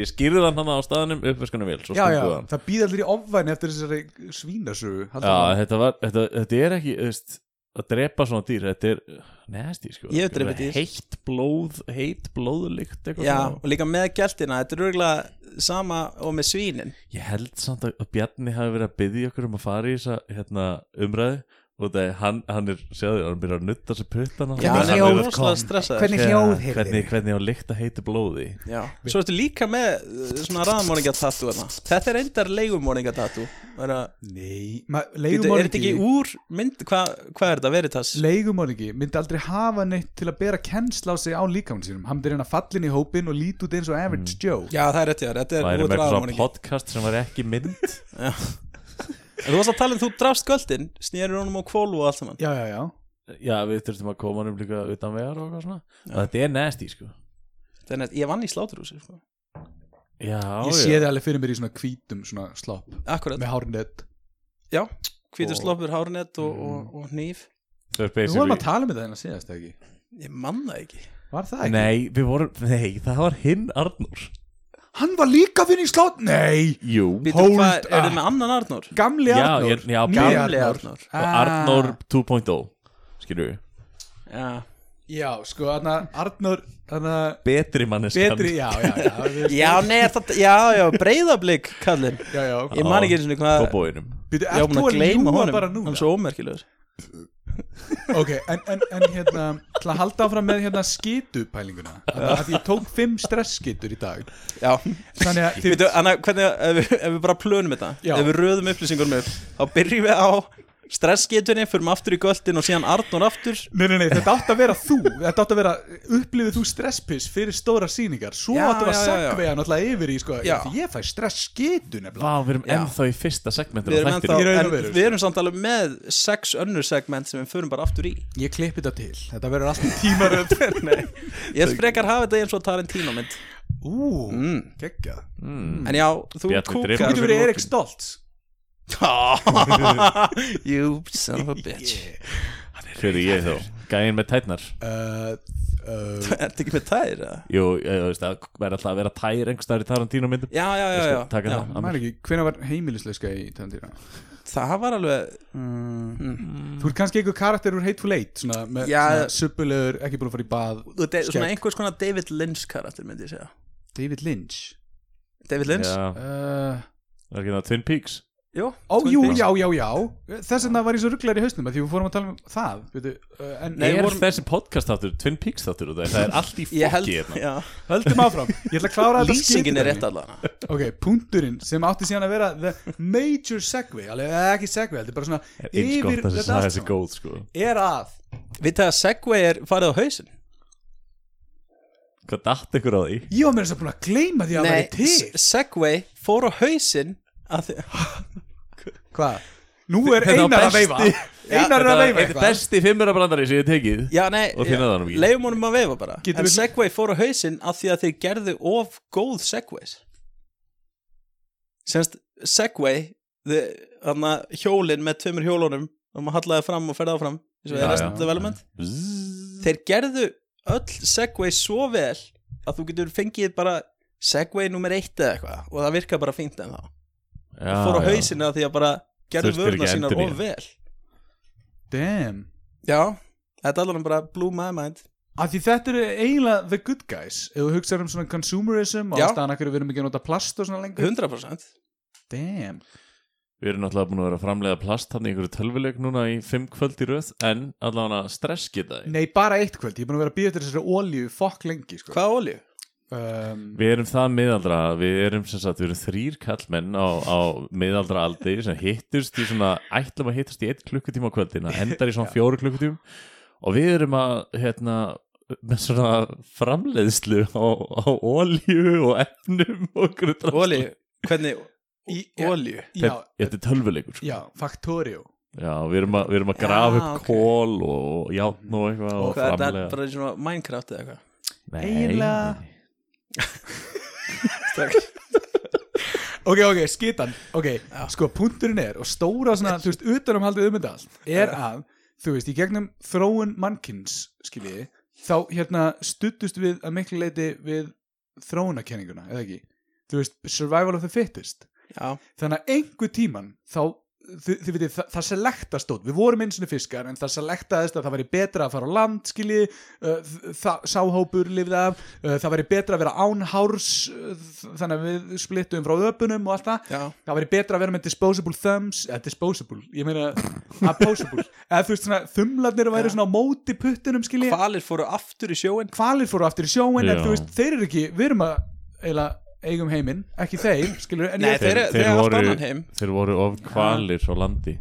Speaker 2: Ég skýrði hann hann á staðanum uppveskunum vil Svo
Speaker 3: Já, já,
Speaker 2: stunguð hann
Speaker 3: það býð allir í ofvæni eftir þessari svínasögu haldið
Speaker 2: Já,
Speaker 3: áfram.
Speaker 2: þetta, var, þetta, þetta er ekki þú veist, að drepa svona dýr þetta er neðasti sko
Speaker 4: Ég hef drepið dýr.
Speaker 2: heitt blóð, heitt blóðlykt eitthvað
Speaker 4: Já,
Speaker 2: svona.
Speaker 4: og líka með gæltina, þetta er örgulega sama og með svínin
Speaker 2: ég held samt að, að Bjarni hafi verið að byggja okkur um að fara í þessa hérna, umræðu og það er, hann, hann er, sjáðu, hann byrjar að nutta sér puttana
Speaker 4: Já,
Speaker 5: Hvernig
Speaker 4: hann er
Speaker 5: hljóð
Speaker 4: rosalega
Speaker 5: kom?
Speaker 4: stressaður.
Speaker 5: Hvernig hljóð
Speaker 2: hvernig,
Speaker 5: heyrðir
Speaker 2: hvernig, hvernig á líkt að heita blóði
Speaker 4: Já. Svo ertu líka með uh, svona raðmorningja tattoo þarna. Þetta er endar leigumorningja tattoo. Er
Speaker 3: Nei
Speaker 4: þetta ekki
Speaker 5: Leigumorðingi
Speaker 4: úr mynd, hvað hva er þetta, Veritas?
Speaker 3: Leigumorðingi myndi aldrei hafa neitt til að bera kennsla á sig á líkamann sínum Hann myndi reyna að falla inn í hópin og líti út eins og average
Speaker 2: Mm.
Speaker 3: Joe
Speaker 4: Já, það er rétt, já, þetta er
Speaker 2: væri
Speaker 4: úr
Speaker 2: með eitthvað svona
Speaker 4: raðmorningja.
Speaker 2: podcast sem var ekki mynd
Speaker 4: En Þú varst að tala um þú drafst göldin, snýrur honum á kvólu og allt saman.
Speaker 3: Já, já, já
Speaker 2: já, við þurftum að koma hann um líka utan vegar og eitthvað svona og þetta er nasty, sko
Speaker 4: Þetta er neitt, ég vann í sláturhúsi, sko.
Speaker 2: já,
Speaker 3: Ég sé
Speaker 2: já,
Speaker 3: þið alveg fyrir mér í svona hvítum svona slopp
Speaker 4: Akkurat.
Speaker 3: með hárnett
Speaker 4: Já, hvítur
Speaker 3: Og-
Speaker 4: sloppur, hárnett og, og, og hníf.
Speaker 2: þau er
Speaker 3: Við vorum
Speaker 2: basically
Speaker 3: að tala með það en að segja þetta hérna ekki
Speaker 4: Ég man það ekki.
Speaker 3: Var það ekki?
Speaker 2: nei, við vorum, nei, það var hinn Arnór
Speaker 3: Hann var líka að vinna í slott Nei
Speaker 2: jú,
Speaker 4: Býtum,
Speaker 3: Hold
Speaker 4: hvað, er
Speaker 3: up.
Speaker 4: þetta með annan Arnór?
Speaker 3: Gamli
Speaker 2: Já,
Speaker 3: Arnór
Speaker 2: ég- já, gamli
Speaker 3: Nýi
Speaker 4: Gamli Arnór.
Speaker 2: og
Speaker 3: Ah.
Speaker 2: Arnór 2.0 skilur við,
Speaker 4: Já,
Speaker 3: Já, sko, þarna Arnór þarna
Speaker 2: betri manneskan
Speaker 3: betri, já, já, já, við-
Speaker 4: já, nei, er þetta, já, já, breyðablík, kallinn.
Speaker 3: já, já.
Speaker 4: Ég man ekki eins og hvað,
Speaker 2: kópóinum
Speaker 3: Býtu,
Speaker 4: ég
Speaker 3: ert
Speaker 4: var búin
Speaker 3: þú
Speaker 4: að
Speaker 3: að
Speaker 4: gleyma
Speaker 3: ljúga
Speaker 4: honum,
Speaker 3: bara núna?
Speaker 4: hann er svo ómerkilegur.
Speaker 3: Ok, en, en, en hérna til að halda áfram með hérna skitupælinguna að því ég tók fimm stressskitur í dag
Speaker 4: Já,
Speaker 3: þannig að þið,
Speaker 4: Býtu, Anna, hvernig, ef við, ef við bara plönum þetta
Speaker 3: Já.
Speaker 4: Ef við röðum upplýsingunum upp Þá byrjum við á stressgetunni Förum aftur í göltin og síðan Arnur aftur
Speaker 3: nei, nei, nei, þetta átt að vera þú þetta átt að vera, upplifið þú stresspiss fyrir stóra síningar, svo
Speaker 4: Já,
Speaker 3: áttu að
Speaker 4: já, já, já.
Speaker 3: segveja náttúrulega yfir í sko,
Speaker 4: Já.
Speaker 3: því ég fæ stressskitu nefnilega
Speaker 2: Vá, við erum
Speaker 4: Já.
Speaker 2: ennþá í fyrsta segmentur
Speaker 4: Við erum,
Speaker 2: á
Speaker 4: ennþá,
Speaker 2: þættinum.
Speaker 3: Í raun og
Speaker 4: en,
Speaker 3: veru, sko.
Speaker 4: við erum samt alveg með sex önnur segment sem við förum bara aftur í
Speaker 3: ég klippi þetta til, þetta verður alltaf tímaröð
Speaker 4: Ég frekar hafa þetta eins og um Tarantino mynd
Speaker 3: ú,
Speaker 4: mm.
Speaker 3: geggja
Speaker 2: Mm,
Speaker 3: Mm.
Speaker 4: En já, þú
Speaker 2: Bjarni
Speaker 4: kúkar
Speaker 2: drepur.
Speaker 3: þú getur verið Erik Stoltz
Speaker 4: You son of a bitch
Speaker 2: Hver er ég þá? Gæinn með tætnar
Speaker 3: uh, uh,
Speaker 4: Ertu ekki með tær? eða?
Speaker 2: Jú, ég veist það verður alltaf að vera tær einhvers staðar í Tarantino myndum
Speaker 4: Já, já, já, já.
Speaker 2: Taka
Speaker 4: já.
Speaker 2: það að mér.
Speaker 3: maður ekki, hvenær var heimilisleiska í Tarantino?
Speaker 4: Það var alveg
Speaker 3: Mm.
Speaker 4: Mm.
Speaker 3: Þú ert kannski einhver karakter úr Hateful Eight svona, með
Speaker 4: Já.
Speaker 3: svona subbulegur, ekki búin að fara í bað
Speaker 4: þú veit, Svona
Speaker 3: Skegg.
Speaker 4: einhvers konar David Lynch karakter myndi ég segja
Speaker 3: David Lynch
Speaker 4: David Lynch?
Speaker 2: Já,
Speaker 3: uh,
Speaker 2: það er ekki það Twin Peaks
Speaker 4: Jú,
Speaker 3: Ó,
Speaker 4: Twin
Speaker 3: jú,
Speaker 4: Peaks.
Speaker 3: já, já, já Þess vegna var ég svo rugglar í hausnum að því við fórum að tala um það veitu, uh, En
Speaker 4: Nei,
Speaker 2: Er
Speaker 4: vorum-
Speaker 2: þessi podcast þáttur, Twin Peaks þáttur og það, það er allt í
Speaker 4: Ég held,
Speaker 2: fokki hérna
Speaker 4: já
Speaker 3: höldum áfram Ég ætla að klára þetta
Speaker 4: Lýsingin er
Speaker 3: skipidæmi.
Speaker 4: rétt allan
Speaker 3: Ok, punkturinn sem átti síðan að vera The major segway, alveg eða ekki segway Þetta er bara svona
Speaker 2: Er eins
Speaker 3: yfir
Speaker 2: gott að þessi
Speaker 3: þetta
Speaker 2: saga
Speaker 3: allt
Speaker 2: þessi
Speaker 3: saman.
Speaker 2: góð sko
Speaker 3: Er að
Speaker 4: Við það að Segway er farið á hausinn
Speaker 2: Hvað datt ykkur á því?
Speaker 3: Ég var mér þess að búin að gleyma því að það væri
Speaker 4: S-
Speaker 3: til
Speaker 4: Segway fór á hausinn að því-
Speaker 3: Hvað? Nú er
Speaker 2: Þetta var
Speaker 3: einar að
Speaker 2: besti-
Speaker 3: veifa Einar er að
Speaker 2: Þetta
Speaker 3: veifa
Speaker 2: er
Speaker 3: eitthvað
Speaker 2: besti fimmurabrandari sem ég hef tekið
Speaker 4: Já, nei,
Speaker 2: Og þið náðu honum ekki.
Speaker 4: leifum honum að veifa bara
Speaker 3: Getum
Speaker 4: En
Speaker 3: við-
Speaker 4: Segway fór á hausinn að því að þeir gerðu of góð Segways Semst, Segway Þannig að hjólinn með tveimur hjólunum og maður hallaði fram og ferði áfram eins og
Speaker 2: Já,
Speaker 4: er rest
Speaker 2: já.
Speaker 4: development
Speaker 2: Zzz.
Speaker 4: Þeir gerðu öll Segway svo vel að þú getur fengið bara Segway nummer eitt eða eitthvað og það virka bara fínt en þá
Speaker 2: Já,
Speaker 4: fór á
Speaker 2: já.
Speaker 4: hausinu að því að bara gerðu
Speaker 2: Þurftir
Speaker 4: vöruna
Speaker 2: ekki að
Speaker 4: sínar
Speaker 2: endurnýja.
Speaker 4: of vel
Speaker 3: Damn
Speaker 4: já, þetta er alveg bara blew my mind
Speaker 3: Af því þetta eru eiginlega the good guys Ef þú hugsaður um svona consumerism og
Speaker 4: Já.
Speaker 3: ástæðan akkur við erum ekki að nota plast og svona lengur
Speaker 4: 100%
Speaker 3: Damn
Speaker 2: Við erum náttúrulega búin að vera að framlega plast hann í einhverju tölvuleik núna í fimm kvöld í röð en allavega stress geta
Speaker 3: Nei, bara eitt kvöld, ég er búin að vera að býja til þessari ólíu fokk lengi, sko
Speaker 4: hvað olju?
Speaker 3: um,
Speaker 2: Við erum það miðaldra, við erum sem sagt, við erum þrýr kallmenn á, á miðaldra aldri sem hittust í svona, ætlum að hittast í einn klukkutíma á kvöldin, það endar í svona fjóru klukkutíma og við erum að, hérna, með svona framleiðslu á, á olju og efnum og okkur
Speaker 4: olju, hvernig
Speaker 3: Í- já.
Speaker 4: olju?
Speaker 3: Já,
Speaker 2: Þetta er tölvuleikur, sko.
Speaker 3: já, Factorio
Speaker 2: Já, við erum að, við erum að grafa
Speaker 4: Já,
Speaker 2: upp
Speaker 4: ok.
Speaker 2: kól og játn og eitthvað og,
Speaker 4: hvað er þetta
Speaker 2: framlega.
Speaker 4: bara í svona Minecraft eða eitthvað
Speaker 2: Nei,
Speaker 3: Eiginlega-
Speaker 2: nei.
Speaker 3: Ok, ok, skitan, ok, sko, punkturinn er og stóra svona, þú veist, utanumhaldið um þetta allt er að, þú veist, í gegnum þróun mannkins, skiljiði þá, hérna, stuttust við að miklu leiti við þróunakenninguna, eða ekki þú veist, survival of the fittest
Speaker 4: já,
Speaker 3: þannig að einhver tíman þá þið, þið veitir, það, það selektast út við vorum eins og fiskar en það selektaðist að það væri betra að fara á land skilji uh, það, sáhópur lifið af uh, það væri betra að vera án hárs uh, þannig að við splittum frá öpunum og allt það
Speaker 4: Já.
Speaker 3: það væri betra að vera með disposable thumbs eða disposable, ég meina opposable, eða þú veist svona þumlarnir væri svona á móti puttunum skilji
Speaker 4: Hvalir fóru aftur í sjóin
Speaker 3: hvalir fóru aftur í sjóin en
Speaker 2: Já.
Speaker 3: þú veist, þeir eru ekki, við erum að eiginlega eigum heiminn, ekki þeir skilur, en
Speaker 4: Nei,
Speaker 3: ég,
Speaker 4: þeir- þeir hafa allt annan heim.
Speaker 2: þeir voru of kvalir á landi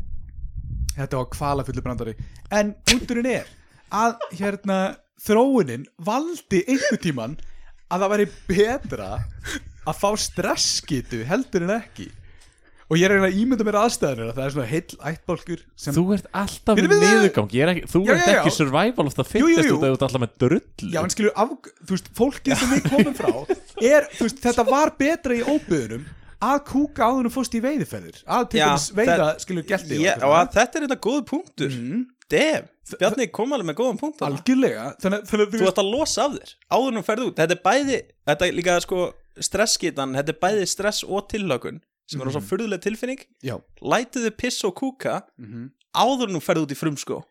Speaker 3: þetta var kvala fullu brandari en punkturinn er að hérna þróunin valdi einhver tíman að það væri betra að fá stressskitu heldur en ekki og ég er eiginlega að ímynda mér aðstæðanir að það er svona heill ættbólkur sem
Speaker 2: Þú ert alltaf í
Speaker 3: Bíddu, bíddu.
Speaker 2: niðurgang Ég er ekki, Þú
Speaker 3: Já,
Speaker 2: ert
Speaker 3: já, já.
Speaker 2: ekki survival of the
Speaker 3: jú,
Speaker 2: fittest
Speaker 3: jú.
Speaker 2: út af þú ert alltaf með drull
Speaker 3: Já, en skilur, af, þú veist, fólkið sem við komum frá er, þú veist, þetta var betra í óbyðunum að kúka áður en þú fórst í veiðiferðir að til
Speaker 4: Já,
Speaker 3: dæmis veiða,
Speaker 4: það-
Speaker 3: skilur, gelti
Speaker 4: Ég- og að þetta er þetta góð punktur mm. Dev, Bjarni kom alveg með góðan punkt þarna.
Speaker 3: Mhm. algjörlega þannig, að- þannig, að
Speaker 4: Þú
Speaker 3: þú veist,
Speaker 4: ætti að losa af þér áður en ferð út Þetta er bæði, þetta er líka sko stressskitan Þetta er bæði stress og tillökun sem er
Speaker 3: Mhm.
Speaker 4: rosa furðuleg tilfinning
Speaker 3: já,
Speaker 4: Lætiðu piss og kúka
Speaker 3: Mhm.
Speaker 4: áður en þú ferð út í frumskó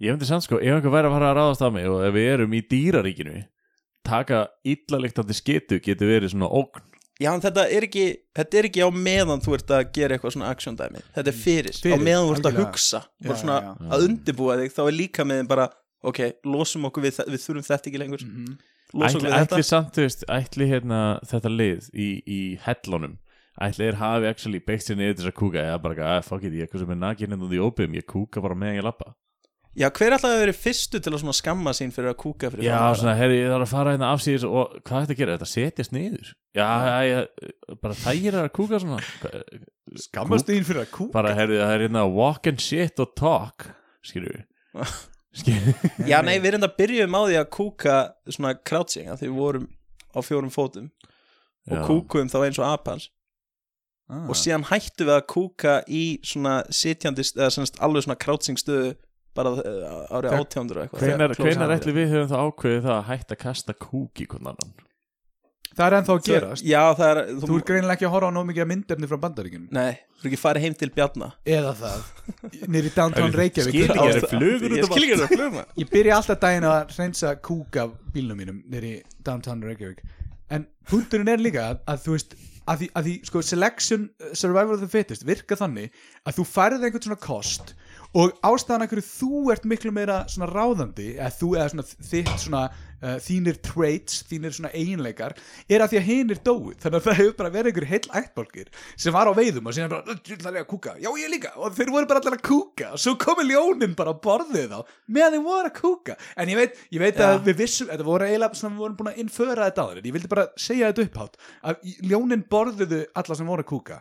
Speaker 2: Ég myndi sann sko, ef einhver væri að fara að ráðast á mig og ef við erum í dýraríkinu taka illaliktandi skitu getur verið svona ógn
Speaker 4: Já, en þetta er ekki, þetta er ekki á meðan þú ert að gera eitthvað svona action dæmi Þetta er fyrir,
Speaker 3: Fyrir,
Speaker 4: á meðan þú ert að
Speaker 3: algjörlega.
Speaker 4: hugsa
Speaker 3: Já,
Speaker 4: bara svona
Speaker 3: já, já.
Speaker 4: að undirbúa þig þá er líka með þeim bara, ok, losum okkur við, þe- við þurfum þetta ekki lengur
Speaker 3: Mhm.
Speaker 2: Ætli,
Speaker 4: losum okkur við
Speaker 2: ætli
Speaker 4: þetta
Speaker 2: samt, þú veist, ætli hérna þetta lið í, í hellunum ætli er hafi actually beitt sér niður til þess að kúka eða bara, að fuck it, ég er eitthvað sem er nakin hérna út í óbyggum, ég kúka bara meðan ég lappa
Speaker 4: Já, hver ætlaði að vera fyrstu til að svona skamma sín fyrir að kúka fyrir
Speaker 2: Já,
Speaker 4: framan aðra?
Speaker 2: svona, herri, ég þarf að fara hérna af síðis og hvað er þetta að gera, þetta setjast niður Já, ég, bara þægir að kúka svona Hva-
Speaker 3: skammast þín fyrir að kúka
Speaker 2: bara, herri, það er hérna walk and shit og talk skilur við skilur við
Speaker 4: Já, nei, við erum að byrjuðum á því að kúka svona crouching, að því við vorum á fjórum fótum og
Speaker 2: Já.
Speaker 4: kúkuðum þá eins og apans
Speaker 3: Ah.
Speaker 4: og síðan hættum við að kúka í svona sitjandi, eða semst alveg svona crouching stöðu bara uh, árið
Speaker 3: Þegar-
Speaker 4: átjándur og eitthvað
Speaker 2: Hvenar,
Speaker 4: Close
Speaker 2: hvenar
Speaker 4: eye.
Speaker 2: ætli við höfum þá ákveðið það að hætta að kasta kúk í hvernig annan?
Speaker 3: það er ennþá að
Speaker 4: Þú-
Speaker 3: gerast
Speaker 4: Já, það er
Speaker 3: þú, ert greinilega ekki að horfa á nóg mikið að myndefni frá bandaríkjunum
Speaker 4: Nei, þú er ekki farið heim til Bjarna
Speaker 3: eða það, nýri downtown Reykjavík
Speaker 2: Skil ekki,
Speaker 3: Á-
Speaker 2: það eru flugur út
Speaker 4: Ég
Speaker 2: um
Speaker 4: skil ekki
Speaker 2: allt.
Speaker 4: að það er flugum
Speaker 3: ég byrja alltaf daginn að reynsa kúk af bílnum mínum nýri downtown Reykjavík en punkturinn er líka að, að þú veist að því, að því sko, selection uh, survival of the fittest virka þannig að þú færið einhvern svona kost og ástæðan að hverju þú ert miklu meira svona ráðandi eða þú eða svona þitt svona uh, þínir traits, þínir svona eiginleikar er að því að hinir dóu þannig að það hefur bara verið einhver heill ættbólkir sem var á veiðum og síðan bara "Ö, djöfull þarf ég að kúka, já ég líka og þeir voru bara allir að kúka og svo komi ljónin bara að borðið þá meðan þeir voru að kúka en ég veit, ég veit að við vissum þetta voru eiginlega svona við vorum búin að innföra þetta aður en ég vildi bara segja þetta upphátt að í- ljónin borðuðu alla sem voru að kúka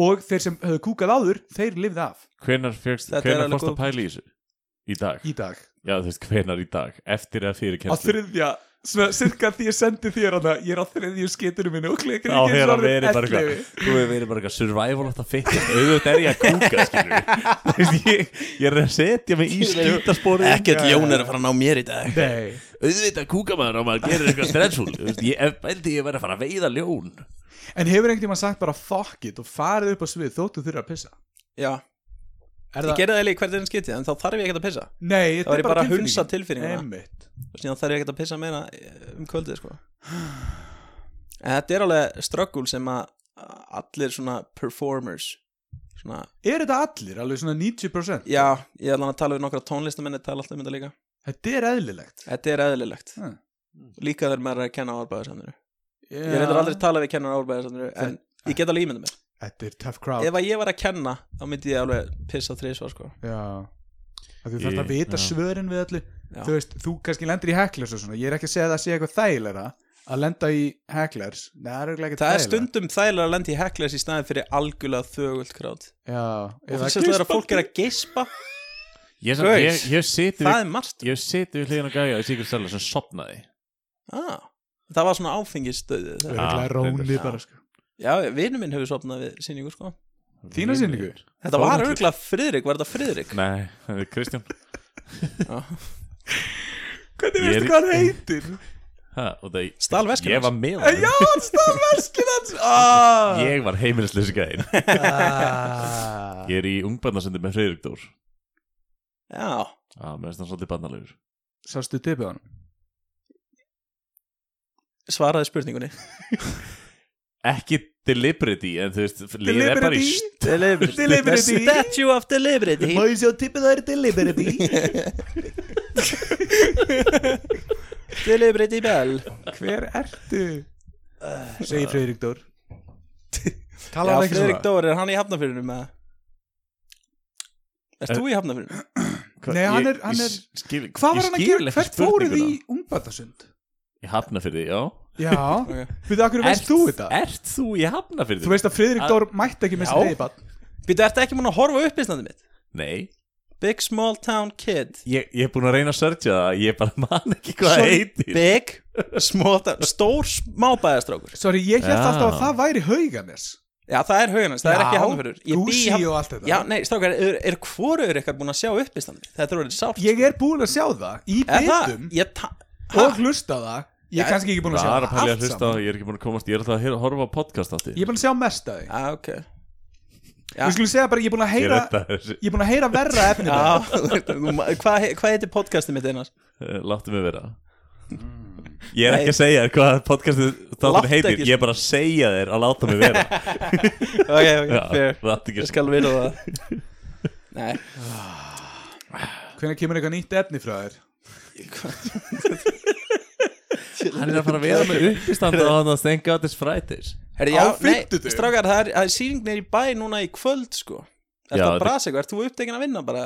Speaker 3: og þeir sem höfðu kúkað áður þeir lifði af
Speaker 2: Hvenar fjöxt,
Speaker 4: Þetta er
Speaker 2: hvenar
Speaker 4: alveg
Speaker 2: fórst
Speaker 4: góð
Speaker 2: að pæla í þessu? Í dag?
Speaker 3: í dag
Speaker 2: Já, þú veist, hvenar í dag? Eftir eða fyrir
Speaker 3: á
Speaker 2: kennslu?
Speaker 3: þriðja svona cirka því ég sendi þér hana ég er á þriðju skitinu minni og klikir
Speaker 2: Á
Speaker 3: ekki
Speaker 2: hér að
Speaker 3: svarið
Speaker 2: veri bara
Speaker 3: 11.
Speaker 2: eitthvað Þú hefur verið bara eitthvað survival of the fittest auðvitað er ég að kúka, skilur við Þú veist, ég, ég er að setja mig í skítasporið hérna.
Speaker 4: Ekkert ljón er að fara að ná mér í dag
Speaker 3: Nei,
Speaker 2: Auðvitað kúka maður og maður gerir eitthvað stressful Þú veist, ég, ef bældi ég verið að fara að veiða ljón
Speaker 3: en hefur einhvern tíma sagt bara fuck it og farið upp á svið þóttu þurfa að pissa
Speaker 4: Já,
Speaker 3: er
Speaker 4: ég gerði það eiginlega í hvert einn skiti en þá þarf ég ekkert að pissa
Speaker 3: Nei,
Speaker 4: Það
Speaker 3: þetta
Speaker 4: var
Speaker 3: er
Speaker 4: ég bara
Speaker 3: bara
Speaker 4: að hunsa tilfinninguna
Speaker 3: Einmitt.
Speaker 4: og síðan þarf ég ekkert að pissa meira eh, um kvöldið sko En þetta er alveg ströggul sem að allir svona performers svona,
Speaker 3: Er þetta allir, alveg svona 90%?
Speaker 4: já, ég ætla að tala við nokkra tónlistamenni tala alltaf um þetta líka
Speaker 3: Þetta er eðlilegt
Speaker 4: Þetta er eðlilegt
Speaker 3: Hmm.
Speaker 4: Líka þegar maður er að kenna á árbæðarsandinu Ég
Speaker 3: Já.
Speaker 4: reyndar aldrei að tala við kennar á árbæðarsandinu en ég get alveg ímyndað mér
Speaker 3: Þetta er tough crowd
Speaker 4: ef að ég var að kenna þá myndi ég alveg pissa þrísvar sko
Speaker 3: Já Að Þú þarf
Speaker 2: Í-
Speaker 3: að vita
Speaker 2: já.
Speaker 3: svörin við öllu
Speaker 4: Já.
Speaker 3: Þú veist, þú kannski lendir í hecklers og svona Ég er ekki að segja að það sé eitthvað þægilega að lenda í hecklers Nei, það er örugglega ekki
Speaker 4: það er
Speaker 3: þægilegra.
Speaker 4: stundum þægilega að lenda í heklas í staðin fyrir algjörlega þögult krát
Speaker 3: Já
Speaker 4: og
Speaker 3: eða
Speaker 4: þess að það er að
Speaker 3: geispa-
Speaker 4: fólk er að geispa
Speaker 2: Ég, samt-
Speaker 4: Guys,
Speaker 2: ég, ég seti
Speaker 4: það
Speaker 2: við,
Speaker 4: er margt
Speaker 2: ég seti við hliðin og gæja í Sigurd Sella sem sopnaði
Speaker 4: ah, það var svona áfengistöðu
Speaker 3: Það
Speaker 4: það-
Speaker 3: er örugglega
Speaker 2: Já,
Speaker 3: rónið
Speaker 2: reyndar.
Speaker 3: bara sko
Speaker 4: já, vinur minn hefur sopnað við síningu sko
Speaker 3: Þína sýningu?
Speaker 4: þetta var
Speaker 2: Þórhallur.
Speaker 4: örgulega Friðrik, var þetta Friðrik?
Speaker 2: Nei, það er Kristján
Speaker 4: Já.
Speaker 3: Hvernig
Speaker 2: Ég er-
Speaker 3: veistu hvað hann heitir?
Speaker 2: ha, og það,
Speaker 4: Stal veskinu
Speaker 2: ég var með honum.
Speaker 3: Já, hann stað verskið hans ah.
Speaker 2: ég var heimilisleysi gæðin
Speaker 5: Ah.
Speaker 2: ég er í ungbarnasundi með Freyrík Dór
Speaker 4: Já,
Speaker 2: að mér finnst hann svolítið barnalegur
Speaker 3: Sástu tipið hann?
Speaker 4: svaraði spurningunni
Speaker 2: ekki deliberity en þú veist liðið er bara í
Speaker 3: Deliberity.
Speaker 4: Delivery
Speaker 3: Delivery.
Speaker 4: The statue of delivery
Speaker 5: Má ég sjá tippið það er delivery
Speaker 4: Delivery bell
Speaker 3: Hver ertu? Segir Freyrík Dór
Speaker 4: Já,
Speaker 3: Tala hann ekki
Speaker 4: Friðrik
Speaker 3: svona
Speaker 4: Dór, er hann í hafnafyrinu með Erst
Speaker 2: Er-
Speaker 4: þú í hafnafyrinu?
Speaker 2: Hva-
Speaker 3: Nei, hann
Speaker 2: ég-
Speaker 3: er- hann
Speaker 2: ég
Speaker 3: er-
Speaker 2: skil,
Speaker 3: Hvað
Speaker 2: ég
Speaker 3: var hann að
Speaker 2: skil
Speaker 3: gera?
Speaker 2: ekki
Speaker 3: Hvert fóruð þið í
Speaker 2: spurninguna.
Speaker 3: ungbarnasund?
Speaker 2: Ég hafna fyrir því, já
Speaker 3: Já
Speaker 4: Ok.
Speaker 3: Við það, hverju veist þú þetta?
Speaker 2: Ert þú í hafna fyrir
Speaker 3: Þú veist að Freyrík
Speaker 2: Að-
Speaker 3: Dór mætti ekki mista
Speaker 4: Já.
Speaker 3: þig í bann
Speaker 4: Býtu, ertu ekki múin að horfa upp Íslandi mitt?
Speaker 2: Nei,
Speaker 4: Big small town kid
Speaker 2: ég, ég er búin að reyna að searcha það Ég bara man ekki hvað það
Speaker 4: Sorry,
Speaker 2: heitir
Speaker 4: Big small town Stór smábæðastrákur
Speaker 3: Sorry, ég held
Speaker 2: Já.
Speaker 3: alltaf að það væri hauganes
Speaker 4: Já, það er haugunans, það er ekki
Speaker 3: Já,
Speaker 4: hafnafyrur Ég bý í
Speaker 3: Gucci
Speaker 4: Hafn-
Speaker 3: og allt þetta.
Speaker 4: Já, nei, strákar, er, er hvoruður ykkar búin að sjá upp Íslandi? Þetta er orðið sárt
Speaker 3: Ég er búin að sjá það Í
Speaker 4: Er það?
Speaker 3: bitum
Speaker 4: Ég ta... Ha?
Speaker 3: og hlusta á það Ég
Speaker 4: Ja,
Speaker 3: er kannski ekki búin að
Speaker 2: Það
Speaker 3: sjá
Speaker 2: er að pælja að
Speaker 3: allt
Speaker 2: hlusta á,
Speaker 3: saman.
Speaker 2: ég er ekki búin að komast Ég er alltaf að heyra- horfa á podcast átti
Speaker 3: Ég er búin að sjá mest að því
Speaker 4: Já, ok Já.
Speaker 3: Við skulum segja bara, ég er búin að heyra Ég er búin að heyra verra efni
Speaker 4: Já,
Speaker 3: það.
Speaker 4: hvað hva heitir podcastið mitt einnars?
Speaker 2: Eh, Láttu mig vera Ég er ekki að segja þér hvað podcastið þáttur
Speaker 4: Mm. Láttu
Speaker 2: heitir
Speaker 4: ekki-
Speaker 2: Ég er bara að segja þér að láta mig vera
Speaker 4: Ok, ok,
Speaker 2: Já,
Speaker 4: fair
Speaker 2: Það átti ekki
Speaker 4: Ég
Speaker 2: að
Speaker 4: skal vilja það Nei,
Speaker 3: Hvenær kemur eitthvað nýtt efni frá þér?
Speaker 2: Hann er að fara að vera með uppistanda á hann að stenga á þess frætis
Speaker 4: Herri,
Speaker 3: Á
Speaker 4: já, nei,
Speaker 3: fimmtudögum?
Speaker 4: strákar, það er, það er sýning neyri bæ núna í kvöld, sko
Speaker 2: Já,
Speaker 4: Er það
Speaker 2: þetta-
Speaker 4: brasa eitthvað, ert þú upptekinn að vinna bara?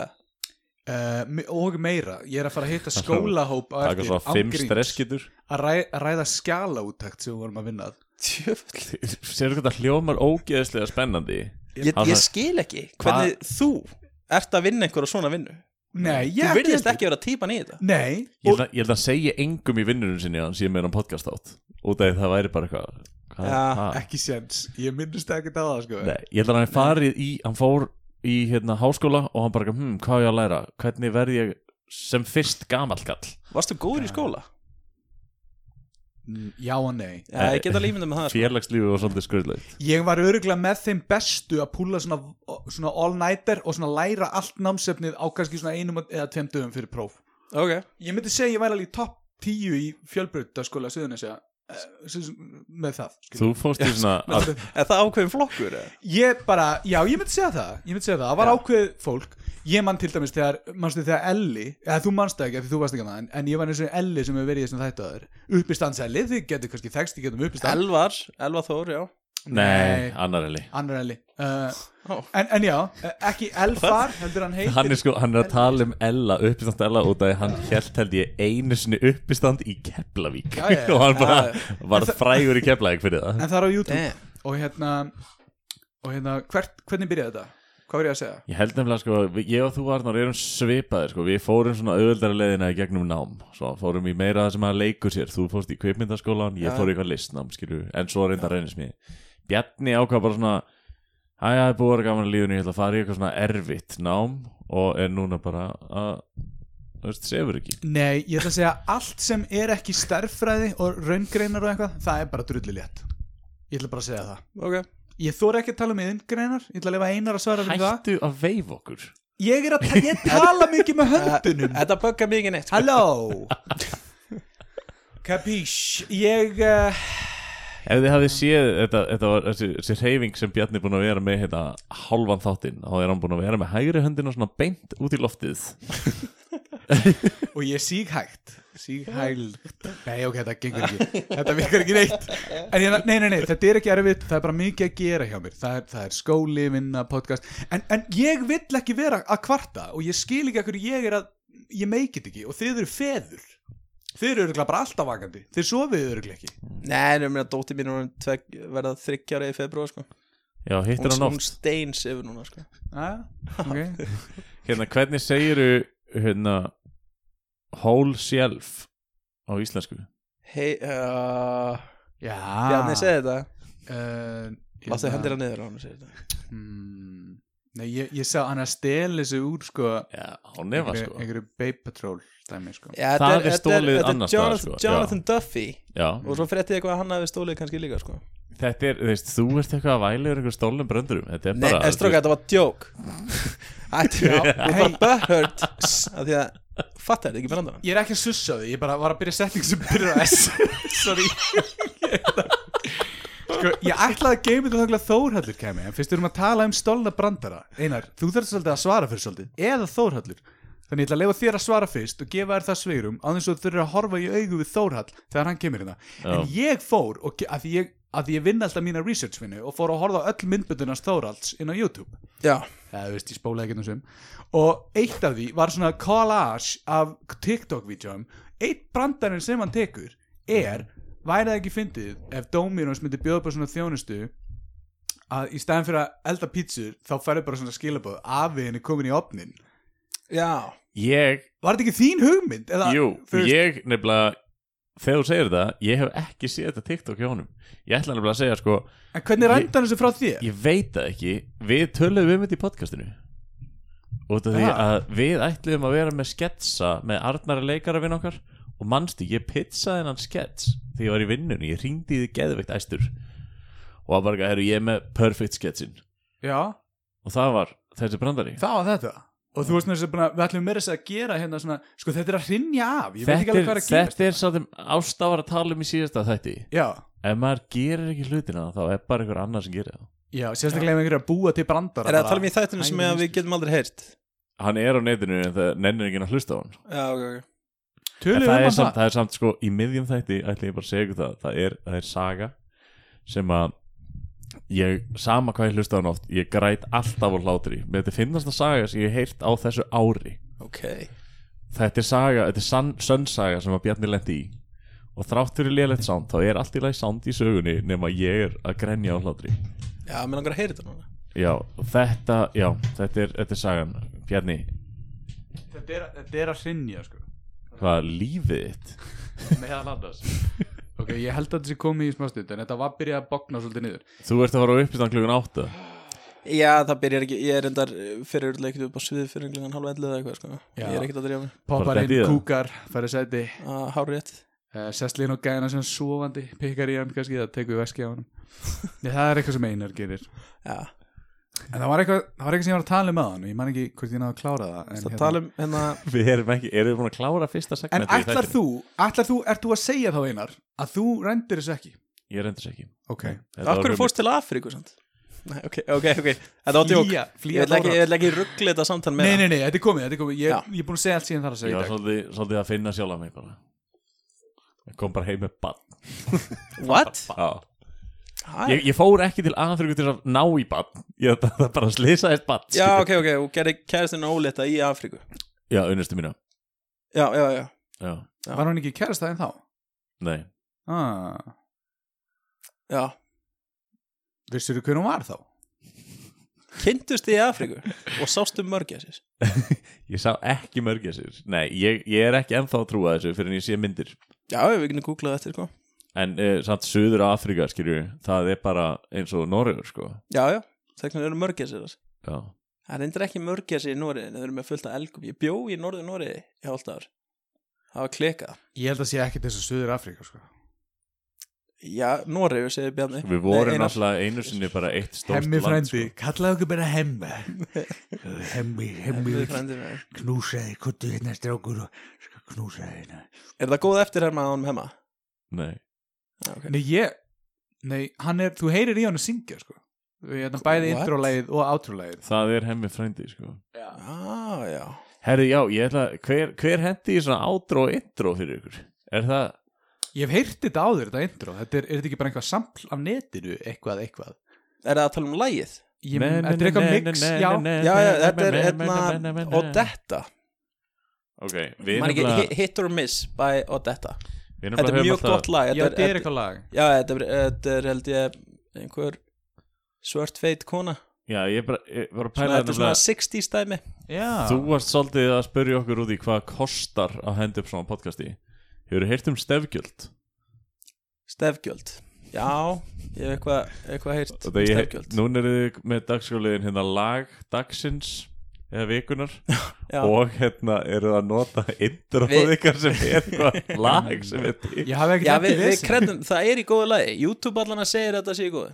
Speaker 3: Uh, me- og meira, ég er að fara að hitta skólahóp á
Speaker 2: Taka
Speaker 3: eftir,
Speaker 2: svo
Speaker 3: án
Speaker 2: fimm
Speaker 3: gríns,
Speaker 2: stresskitur
Speaker 3: að, ræ, að ræða skjálaúttakt sem við vorum að vinna að
Speaker 4: Tjöfull
Speaker 2: Sérðu hvað það hljómar ógeðslega spennandi
Speaker 4: ég,
Speaker 2: Hann-
Speaker 4: ég skil ekki hvernig þú ert að vinna einhverja svona vinnu
Speaker 3: Nei, ég
Speaker 4: Þú virðist
Speaker 3: heldur-
Speaker 4: ekki vera típan í þetta
Speaker 3: Nei,
Speaker 2: Ég
Speaker 3: og
Speaker 2: held, að, ég held að segja engum í vinnunum sinni að hann sé meira um podcast átt út af því það væri bara eitthvað hvað,
Speaker 4: Já,
Speaker 2: hvað?
Speaker 3: ekki séns Ég minnist ekki það það sko
Speaker 2: Nei, ég held að hann er farið í hann fór í hérna háskóla og hann bara hm, hvað á ég að læra, hvernig verð ég sem fyrst gamallkall
Speaker 4: Varstu góður í skóla?
Speaker 3: Mm, Já og nei
Speaker 4: Já,
Speaker 2: Eh,
Speaker 4: ég get að lífinda með það sko.
Speaker 2: félagslífi var svolítið skurðlegt
Speaker 3: Ég var öruglega með þeim bestu að púla svona, svona all-nighter og svona læra allt námsefnið á kannski svona einum eða tveim dögum fyrir próf
Speaker 4: Ok,
Speaker 3: Ég myndi segja að ég væri alveg í topp 10 í fjölbrutaskóla Suðunisja með það skilur.
Speaker 2: þú fórst í svona að,
Speaker 4: er það ákveðin flokkur? eða?
Speaker 3: ég bara, já ég myndi segja það ég myndi segja það, það var ákveðið fólk ég mann til dæmis þegar, mannstu þegar Elli eða þú mannst það ekki, af því þú varst ekki að en, en ég var eins og Elli sem hefur verið í þessum þættu aður uppistandseli, þið getur kannski þekst þið getum uppistand,
Speaker 4: Elvar, Elvar Þór, já
Speaker 2: nei, annar eli
Speaker 3: annar Elli uh,
Speaker 4: Ó.
Speaker 3: en, en já, eh, ekki Elfar heldur hann heitir
Speaker 2: Hann er, sko, hann er að tala um Ella, uppistand Ella út af því hann held held ég einu sinni uppistand í Keflavík
Speaker 3: Já, já, já.
Speaker 2: og hann bara
Speaker 4: Já,
Speaker 2: var frægur í Keflavík fyrir það
Speaker 3: en það er á YouTube
Speaker 4: Damn.
Speaker 3: og hérna, og hérna hvert, hvernig byrjaði þetta? Hvað var ég að segja?
Speaker 2: Ég held nefnilega sko, við- ég og þú Arnar erum svipaðir sko, við fórum svona auðveldara leiðina í gegnum nám, svo fórum í meira það sem að leikur sér, þú fórst í kveipmyndaskólan, ég
Speaker 4: Já.
Speaker 2: fór í eitthvað listnám, skilju, en svo reynda reynist mér. Bjarni ákvað bara svona, hæ, það er búið að vera gaman í lífinu, ég ætla að fara í eitthvað svona erfitt nám og er núna bara að, þú veist, sefur ekki.
Speaker 3: Nei, ég ætla að segja allt sem er ekki stærfræði og raungreinar og eitthvað, það er bara drulli ég ætla bara að segja það
Speaker 4: Ok,
Speaker 3: Ég þóra ekki að tala um yðingreinar, ég ætla að lifa einar að svara fyrir það.
Speaker 2: Hættu að veif okkur.
Speaker 3: Ég er að ta ég tala mikið með höndunum.
Speaker 4: þetta böggar mig ekki neitt sko.
Speaker 3: Halló. Kapísh, ég, uh,
Speaker 2: Ef þið hafið séð, þetta, þetta var þessi, þessi reyfing sem Bjarni er búin að vera með hérna, halvan þáttinn, þá er hann búin að vera með hægri höndina svona beint út í loftið
Speaker 3: og ég síg hægt, síg hægt. Nei, ok, þetta gengur ekki, þetta virkar ekki neitt. En ég, nei, nei, nei, þetta er ekki erfitt, það er bara mikið að gera hjá mér. Það er, það er skóli, vinna, podcast. En, en ég vill ekki vera að kvarta og ég skil ekki að hverju ég er að, ég meikið ekki og þið eru feður. Þið eru örgulega bara alltaf vakandi, þið sofið örgulega ekki.
Speaker 4: Nei, nefnir að dóttir mín er orðin tvegg- verða þryggjára í februar sko.
Speaker 2: Já, hittir
Speaker 4: hún,
Speaker 2: hann
Speaker 4: hún
Speaker 2: oft
Speaker 4: steins yfir núna sko.
Speaker 3: Ah, okay.
Speaker 2: Hérna, hvernig segiru hérna whole shelf á íslensku?
Speaker 4: Hei, uh,
Speaker 3: Já,
Speaker 2: Ah.
Speaker 4: Bjarni segði þetta
Speaker 3: uh,
Speaker 4: Láttu hendir að niður á hann og segir þetta
Speaker 3: mm, Nei, Nei, ég, ég sá hann að stela þessu úr sko,
Speaker 2: Já, á nefa
Speaker 3: einhverju-
Speaker 2: sko
Speaker 3: einhverju Babe Patrol dæmi sko.
Speaker 4: Já,
Speaker 2: Það
Speaker 4: þetta
Speaker 2: er
Speaker 4: þetta
Speaker 2: stólið
Speaker 4: þetta er
Speaker 2: annars staðar,
Speaker 4: Jonathan,
Speaker 2: sko. Já.
Speaker 4: Jonathan Duffy
Speaker 2: Já,
Speaker 4: og svo frétti ég eitthvað að hann hafi stólið kannski líka sko.
Speaker 2: þetta er, þú veist, þú ert eitthvað að væla yfir einhver stólnum bröndurum Þetta er
Speaker 4: Nei,
Speaker 2: bara
Speaker 4: en stróka, þetta var djók Ættu, þú er bara butthurt af því að fattar þetta ekki brandar
Speaker 3: Ég er ekki að sussa á því, ég bara var að byrja setning sem byrjar á S Sorry Sko, ég ætlaði að geima þetta þanglega Þórhallur kemi En fyrst við erum að tala um stolna brandara Einar, þú þarft svolítið að svara fyrir svolítið Eða Þórhallur Þannig ég ætla að leifa þér að svara fyrst og gefa þér það sveirum á þess að þú þurfir að horfa í augu við Þórhall þegar hann kemur hérna. En ég fór, og, ge- að því ég, að því ég vinn alltaf mína researchvinnu og fór að horfa á öll myndböndunars Þórhalls inn á YouTube
Speaker 4: Já,
Speaker 3: eða þú veist, ég spólaði ekki þessum og eitt af því var svona collage af TikTok-vídeóum eitt brandarinn sem hann tekur er, væri það ekki fyndið ef Dominos myndi bjóða upp á svona þjónustu að í staðin fyrir að elda pítsur þá færðu bara svona skilabóð afiðin er komin í opnin
Speaker 4: já,
Speaker 2: Ég,
Speaker 3: Var þetta ekki þín hugmynd? Eða,
Speaker 2: jú,
Speaker 3: þú veist-
Speaker 2: ég nefnilega Þegar þú segir það, ég hef ekki séð þetta TikTok hjá honum Ég ætla nefnilega að segja sko
Speaker 3: En hvernig
Speaker 2: ég-
Speaker 3: rændan þessu frá þér?
Speaker 2: Ég veit það ekki, við töluðum um þetta í podcastinu Út af því
Speaker 3: Ja.
Speaker 2: að við ætluðum að vera með sketsa með Arnari leikara vinn okkar og manstu, ég pizzaði hennan skets þegar ég var í vinnunni, ég ringdi í því geðveikt æstur og það var bara, herru, ég er með perfect sketsin
Speaker 3: Já,
Speaker 2: og það var þessi brandari
Speaker 3: það var þetta Og þú veist með þess að búin að- við ætlum meira þess að gera hérna svona, sko þetta er að hrinja af, ég veit ekki
Speaker 2: Þetta er,
Speaker 3: alveg
Speaker 2: hérna.
Speaker 3: hvað er að gerast.
Speaker 2: þetta er sá þeim ástafar að tala um í síðasta þætti
Speaker 3: Já.
Speaker 2: Ef maður gerir ekki hlutina þá er bara einhver annar sem gerir það
Speaker 3: Já, sérstaklega ef einhverju að búa til brandara
Speaker 4: er það að tala um í þættinu
Speaker 3: Æ,
Speaker 4: sem að við
Speaker 3: vinstri.
Speaker 4: getum aldrei heyrt
Speaker 2: Hann er á netinu en það nennir ekki að hlusta á hann
Speaker 4: Já, ok, ok
Speaker 2: En
Speaker 3: Tölum við
Speaker 2: það er,
Speaker 3: um að
Speaker 2: samt,
Speaker 3: það
Speaker 2: það er samt sko í miðjum þætti ætla ég bara að segja ykkur það það er, það er saga sem að ég, sama hvað ég hlusta á hann oft ég græt alltaf á hlátri með þetta finnast að saga sem ég hef heyrt á þessu ári
Speaker 4: Ok,
Speaker 2: þetta er saga, þetta er sann, sönn saga sem að Bjarni lendi í og þrátt fyrir lélegt sound þá er allt í lagi sound í sögunni nema ég er að grenja á hlátri
Speaker 4: já, mér langar að heyra þetta núna
Speaker 2: já, þetta, já, þetta er, þetta er sagan Bjarni,
Speaker 3: Þetta er, þetta er að sinja sko
Speaker 2: hvað lífið þitt
Speaker 3: Með að landa Ok, ég held að þetta sé komið í smá stund En þetta var byrjað að bogna svolítið niður
Speaker 2: þú ert að fara á uppistan klugan átta
Speaker 4: Já, það byrjar ekki, ég er endar fyrir öll ekkert upp á svið fyrir englingan hálfa ellu eða eitthvað sko.
Speaker 3: Já.
Speaker 4: Ég er ekkert að drjá mig
Speaker 2: Bara
Speaker 3: Poppar
Speaker 2: þetta í
Speaker 3: inn,
Speaker 2: það.
Speaker 3: kúkar, færi sæti
Speaker 4: að hára rétt
Speaker 3: uh, Sesslinn og gæna sem sofandi Pikkar í hann kannski, það tekur við veski á hann Nei, það er eitthvað sem Einar gerir
Speaker 4: Já,
Speaker 3: En það var eitthvað, það var eitthvað sem ég var að tala um að hann Ég man ekki hvort ég náðu að klára það En,
Speaker 4: það tala um hérna
Speaker 2: Við erum ekki, erum við búin að klára fyrsta segmentið
Speaker 3: en
Speaker 2: í
Speaker 3: ætlar
Speaker 2: þættinum?
Speaker 3: þú, ætlar þú, ert þú að segja þá Einar Að þú rendir þessu ekki
Speaker 2: Ég reyndis ekki
Speaker 3: Ok
Speaker 2: Þetta var
Speaker 4: Af hverju
Speaker 2: hugmynd.
Speaker 4: fórst til Afríku samt? Nei, ok, ok, ok Þetta var djók
Speaker 3: Flýja,
Speaker 4: Ég
Speaker 3: flýja
Speaker 4: vil ekki, ég vil ekki ruggla þetta samtal
Speaker 3: Nei,
Speaker 4: meira
Speaker 3: nei, nei, þetta er komið, þetta er komið Ég,
Speaker 4: Já.
Speaker 3: ég er búin að segja allt síðan þar að
Speaker 2: Ég
Speaker 3: segja í
Speaker 2: var
Speaker 3: dag
Speaker 2: svolítið, svolítið að finna sjálf að mig bara Ég kom bara heim með bann
Speaker 4: What? Hæ?
Speaker 2: ég, ég fór ekki til aðfyrir til að ná í bann Ég það, það bara slisaðist bann
Speaker 4: Já, ok, ok, og gerði kæristinu ólétta í Afríku
Speaker 2: Já, unnustu mína
Speaker 4: Já, já, já
Speaker 2: Já,
Speaker 3: Var hann ekki kærast það en þá?
Speaker 2: nei
Speaker 3: Ah,
Speaker 4: Já,
Speaker 3: vissir þú hvernig hún var þá?
Speaker 4: kynntust í Afríku og sástu mörgjasis
Speaker 2: Ég sá ekki mörgessir Nei, ég, ég er ekki ennþá að trúa þessu fyrir en ég sé myndir
Speaker 4: Já, við getum googlað þetta sko
Speaker 2: En uh, samt Suður Afrika, skilju Það er bara eins og Noregur, sko
Speaker 4: Já, já, þess vegna eru mörgjasis þar
Speaker 2: Já,
Speaker 4: Það er endur ekki mörgjasi í Nóriði en þeir eru með fullt af elgum Ég bjó í norður Nóriði í hálft ár Það var klekað
Speaker 3: Ég held að sé ekki þessu Suður Afríka sko.
Speaker 4: Já, Nóriði segir Bjarni
Speaker 2: við vorum
Speaker 4: Nei, Einar.
Speaker 2: náttúrulega einu sinni bara eitt stórt
Speaker 3: Hemmi
Speaker 2: land sko.
Speaker 3: frændi, kallaði okkur bara hemmi Sko, Hemmi, hemmi
Speaker 4: Við frændin er.
Speaker 5: knúsaði kuttu hérna strákur og
Speaker 3: sko,
Speaker 5: knúsaði hérna
Speaker 4: Er það góð eftir herma á honum hemma?
Speaker 2: Nei,
Speaker 4: Já, ok.
Speaker 3: Nei, ég Nei, hann er, þú heyrir í hann að syngja sko. Þannig bæði
Speaker 4: What?
Speaker 3: intro-lægið og outro-lægið
Speaker 2: það er hemmi frændi, sko
Speaker 4: Já, Ah, já
Speaker 2: Herri, já, ég ætla, hver, hver hendi í svona átro og intro fyrir ykkur? Er það,
Speaker 3: Ég hef heyrt þetta áður, þetta intro Þetta er, er þetta ekki bara einhvað sampl af netinu eitthvað, eitthvað
Speaker 4: Er það að tala um lægið?
Speaker 3: Ég, Þetta er eitthvað mix, já
Speaker 4: Já, já, þetta er hérna Odetta
Speaker 2: Ok, við
Speaker 4: Man ekki,
Speaker 2: nefnilega
Speaker 4: hi- Hit or Miss by Odetta
Speaker 2: Við
Speaker 4: Þetta er
Speaker 2: nefnilega höfum
Speaker 4: mjög gott
Speaker 2: alltaf
Speaker 4: lag
Speaker 3: Já, þetta er eitthvað lag
Speaker 4: Já, þetta er, þetta er held ég einhver svört feit kona
Speaker 2: Já, ég bara, ég var að
Speaker 4: svona,
Speaker 2: pæla
Speaker 4: Þetta er svona
Speaker 2: nefnilega
Speaker 4: 60s dæmi
Speaker 3: Já,
Speaker 2: Þú varst svolítið að spyrja okkur út í hvað kostar að henda upp svona podcasti Hefur heyrt um stefgjöld?
Speaker 4: Stefgjöld Já, ég hef eitthvað eitthvað heyrt um
Speaker 2: Þetta ég, núna eru þið með dagskóliðin hérna lag dagsins eða vikunar
Speaker 4: Já.
Speaker 2: og hérna eru það að nota introð
Speaker 4: Við-
Speaker 2: ykkar sem er eitthvað lag sem er til
Speaker 3: Ég hafi ekkert
Speaker 4: Já,
Speaker 3: eftir
Speaker 4: við, við
Speaker 3: vesen.
Speaker 4: kreddum, það er í góðu lagi YouTube allan að segir að þetta sé í góðu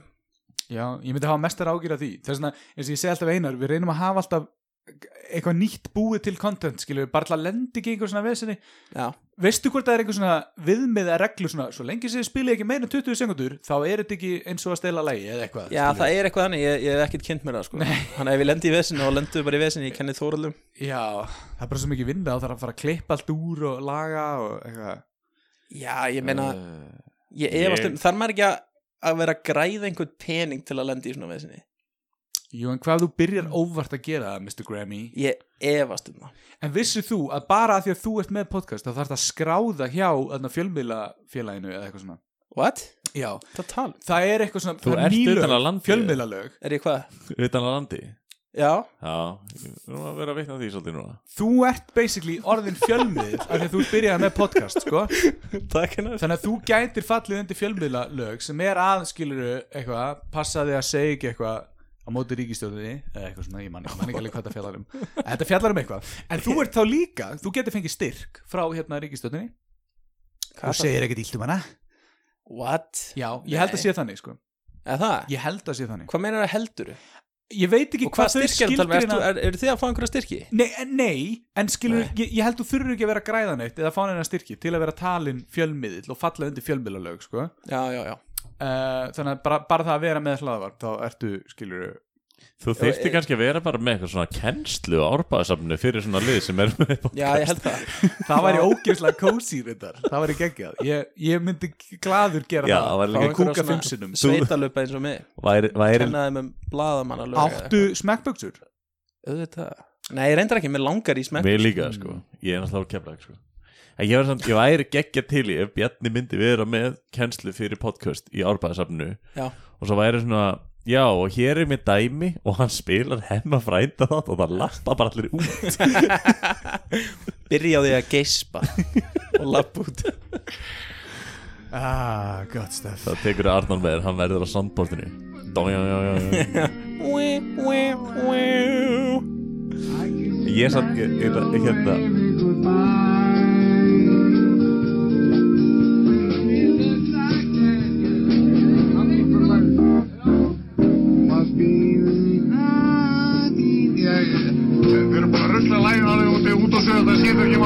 Speaker 3: Já, ég myndi hafa mestar ágjur af því Þess vegna, eins og ég segi alltaf einar, við reynum að hafa alltaf eitthvað nýtt búið til content skilur við bara alltaf lendi ekki í einhver svona vesinni
Speaker 4: Já,
Speaker 3: veistu hvort það er einhver svona viðmiða reglu svona, svo lengi sem þið spilið ekki meina 20 sekundur, þá er þetta ekki eins og að stela lægi eða eitthvað
Speaker 4: Já það er eitthvað þannig, ég, ég hef ekkert kynnt mér það sko. Þannig að ef við lendi í vesinu og lendum við bara í vesinu ég kenni Þóralum
Speaker 3: Já, það er bara svo mikið vinda og það er að fara að klippa allt úr og laga og eitthvað
Speaker 4: Já, ég meina,
Speaker 2: Eh,
Speaker 4: ég efast um
Speaker 2: ég-
Speaker 4: Þarf maður ekki að, að vera að græða einhvern pening til að lendi í svona vesinu
Speaker 3: Jú, en hvað ef þú byrjar óvart að gera það, Mr. Grammy?
Speaker 4: Ég efast um það
Speaker 3: En vissið þú að bara að því að þú ert með podcast þá þarf það að skráða hjá þarna, fjölmiðlafélaginu eða eitthvað svona
Speaker 4: What?
Speaker 3: Já,
Speaker 4: Það tal
Speaker 3: það er eitthvað svona
Speaker 2: Þú
Speaker 3: það er
Speaker 2: ert
Speaker 3: ný lög,
Speaker 2: utan af landi.
Speaker 3: Fjölmiðlalög
Speaker 4: Er ég hvað?
Speaker 2: utan að landi
Speaker 4: Já,
Speaker 2: Já, við erum að vera að vitna að því svolítið núna
Speaker 3: Þú ert basically orðin fjölmiðl af því að þú byrjaði með podcast sko.
Speaker 4: takk hennar
Speaker 3: Þannig að þú gætir fallið undir fjölmiðlalög sem er aðskiluru eitthvað passaði að segja ekki eitthvað á móti ríkistjóðinni eða eitthvað svona, ég man ég man ekki alveg hvað það fjallar um En Þetta fjallar um eitthvað En þú ert þá líka, þú getur fengið styrk frá hérna ríkistjóðinni Þú segir ekkert ílt um hana
Speaker 4: What?
Speaker 3: Já, ég held að
Speaker 4: Nei.
Speaker 3: sé þannig sko
Speaker 4: Eða það?
Speaker 3: Ég held að sé þannig
Speaker 4: Hvað meinar það heldur?
Speaker 3: Ég veit ekki
Speaker 4: Og
Speaker 3: hvað
Speaker 4: hvað
Speaker 3: þau
Speaker 4: styrkir það?
Speaker 3: skilgrina
Speaker 4: Eru er, er þið að fá einhverja styrki?
Speaker 3: nei, en- nei, en skilur
Speaker 4: Nei.
Speaker 3: Ég, ég held þú þurfur ekki að vera græðan eitt eða fá hennar styrki til að vera talin fjölmiðill og falla undir fjölmiðlalög sko. uh,
Speaker 4: Já, já, já
Speaker 3: Þannig að bara, bara það að vera með hlaðvarp þá ertu, skilur
Speaker 2: Þú
Speaker 4: eh,
Speaker 2: þyrfti kannski að vera bara með eitthvað svona kennslu á árbæðasafnu fyrir svona lið sem er með
Speaker 4: Já, ég held það
Speaker 3: Það væri ógeðslega kósi þetta Það væri geggjað Ég, ég myndi gladur gera
Speaker 2: Já, það
Speaker 3: það
Speaker 2: væri
Speaker 3: Fá
Speaker 2: líka
Speaker 3: einhverja kúka fimm sinnum
Speaker 4: Sveitalöpa eins og mig
Speaker 2: væri, væri,
Speaker 4: Kennaði með blaðamannalög
Speaker 3: Áttu smekkböksur?
Speaker 4: Auðvitað Nei, ég reyndar ekki, mér langar í smekk
Speaker 2: Mér líka sko, ég er náttúrulega keflag sko En ég, var samt, ég væri geggja til í ef Bjarni myndi vera með kennslu fyrir podcast í árbæðasafnu
Speaker 4: Já.
Speaker 2: og svo væri svona, já og hér er mér dæmi og hann spilar hemma frænda þátt og það lappa bara allir út
Speaker 4: Byrja á því að geispa Og lapp út
Speaker 3: Ah, gott stef
Speaker 2: það tekur Arnar með þér, hann verður á sandbortinu Dó, já, já, já, já. Ég er samt ekki- ég er- hérna
Speaker 1: Must be the night, yeah, yeah. Við erum bara að rusla lægin á þig út á sögðu, það skiptir ekki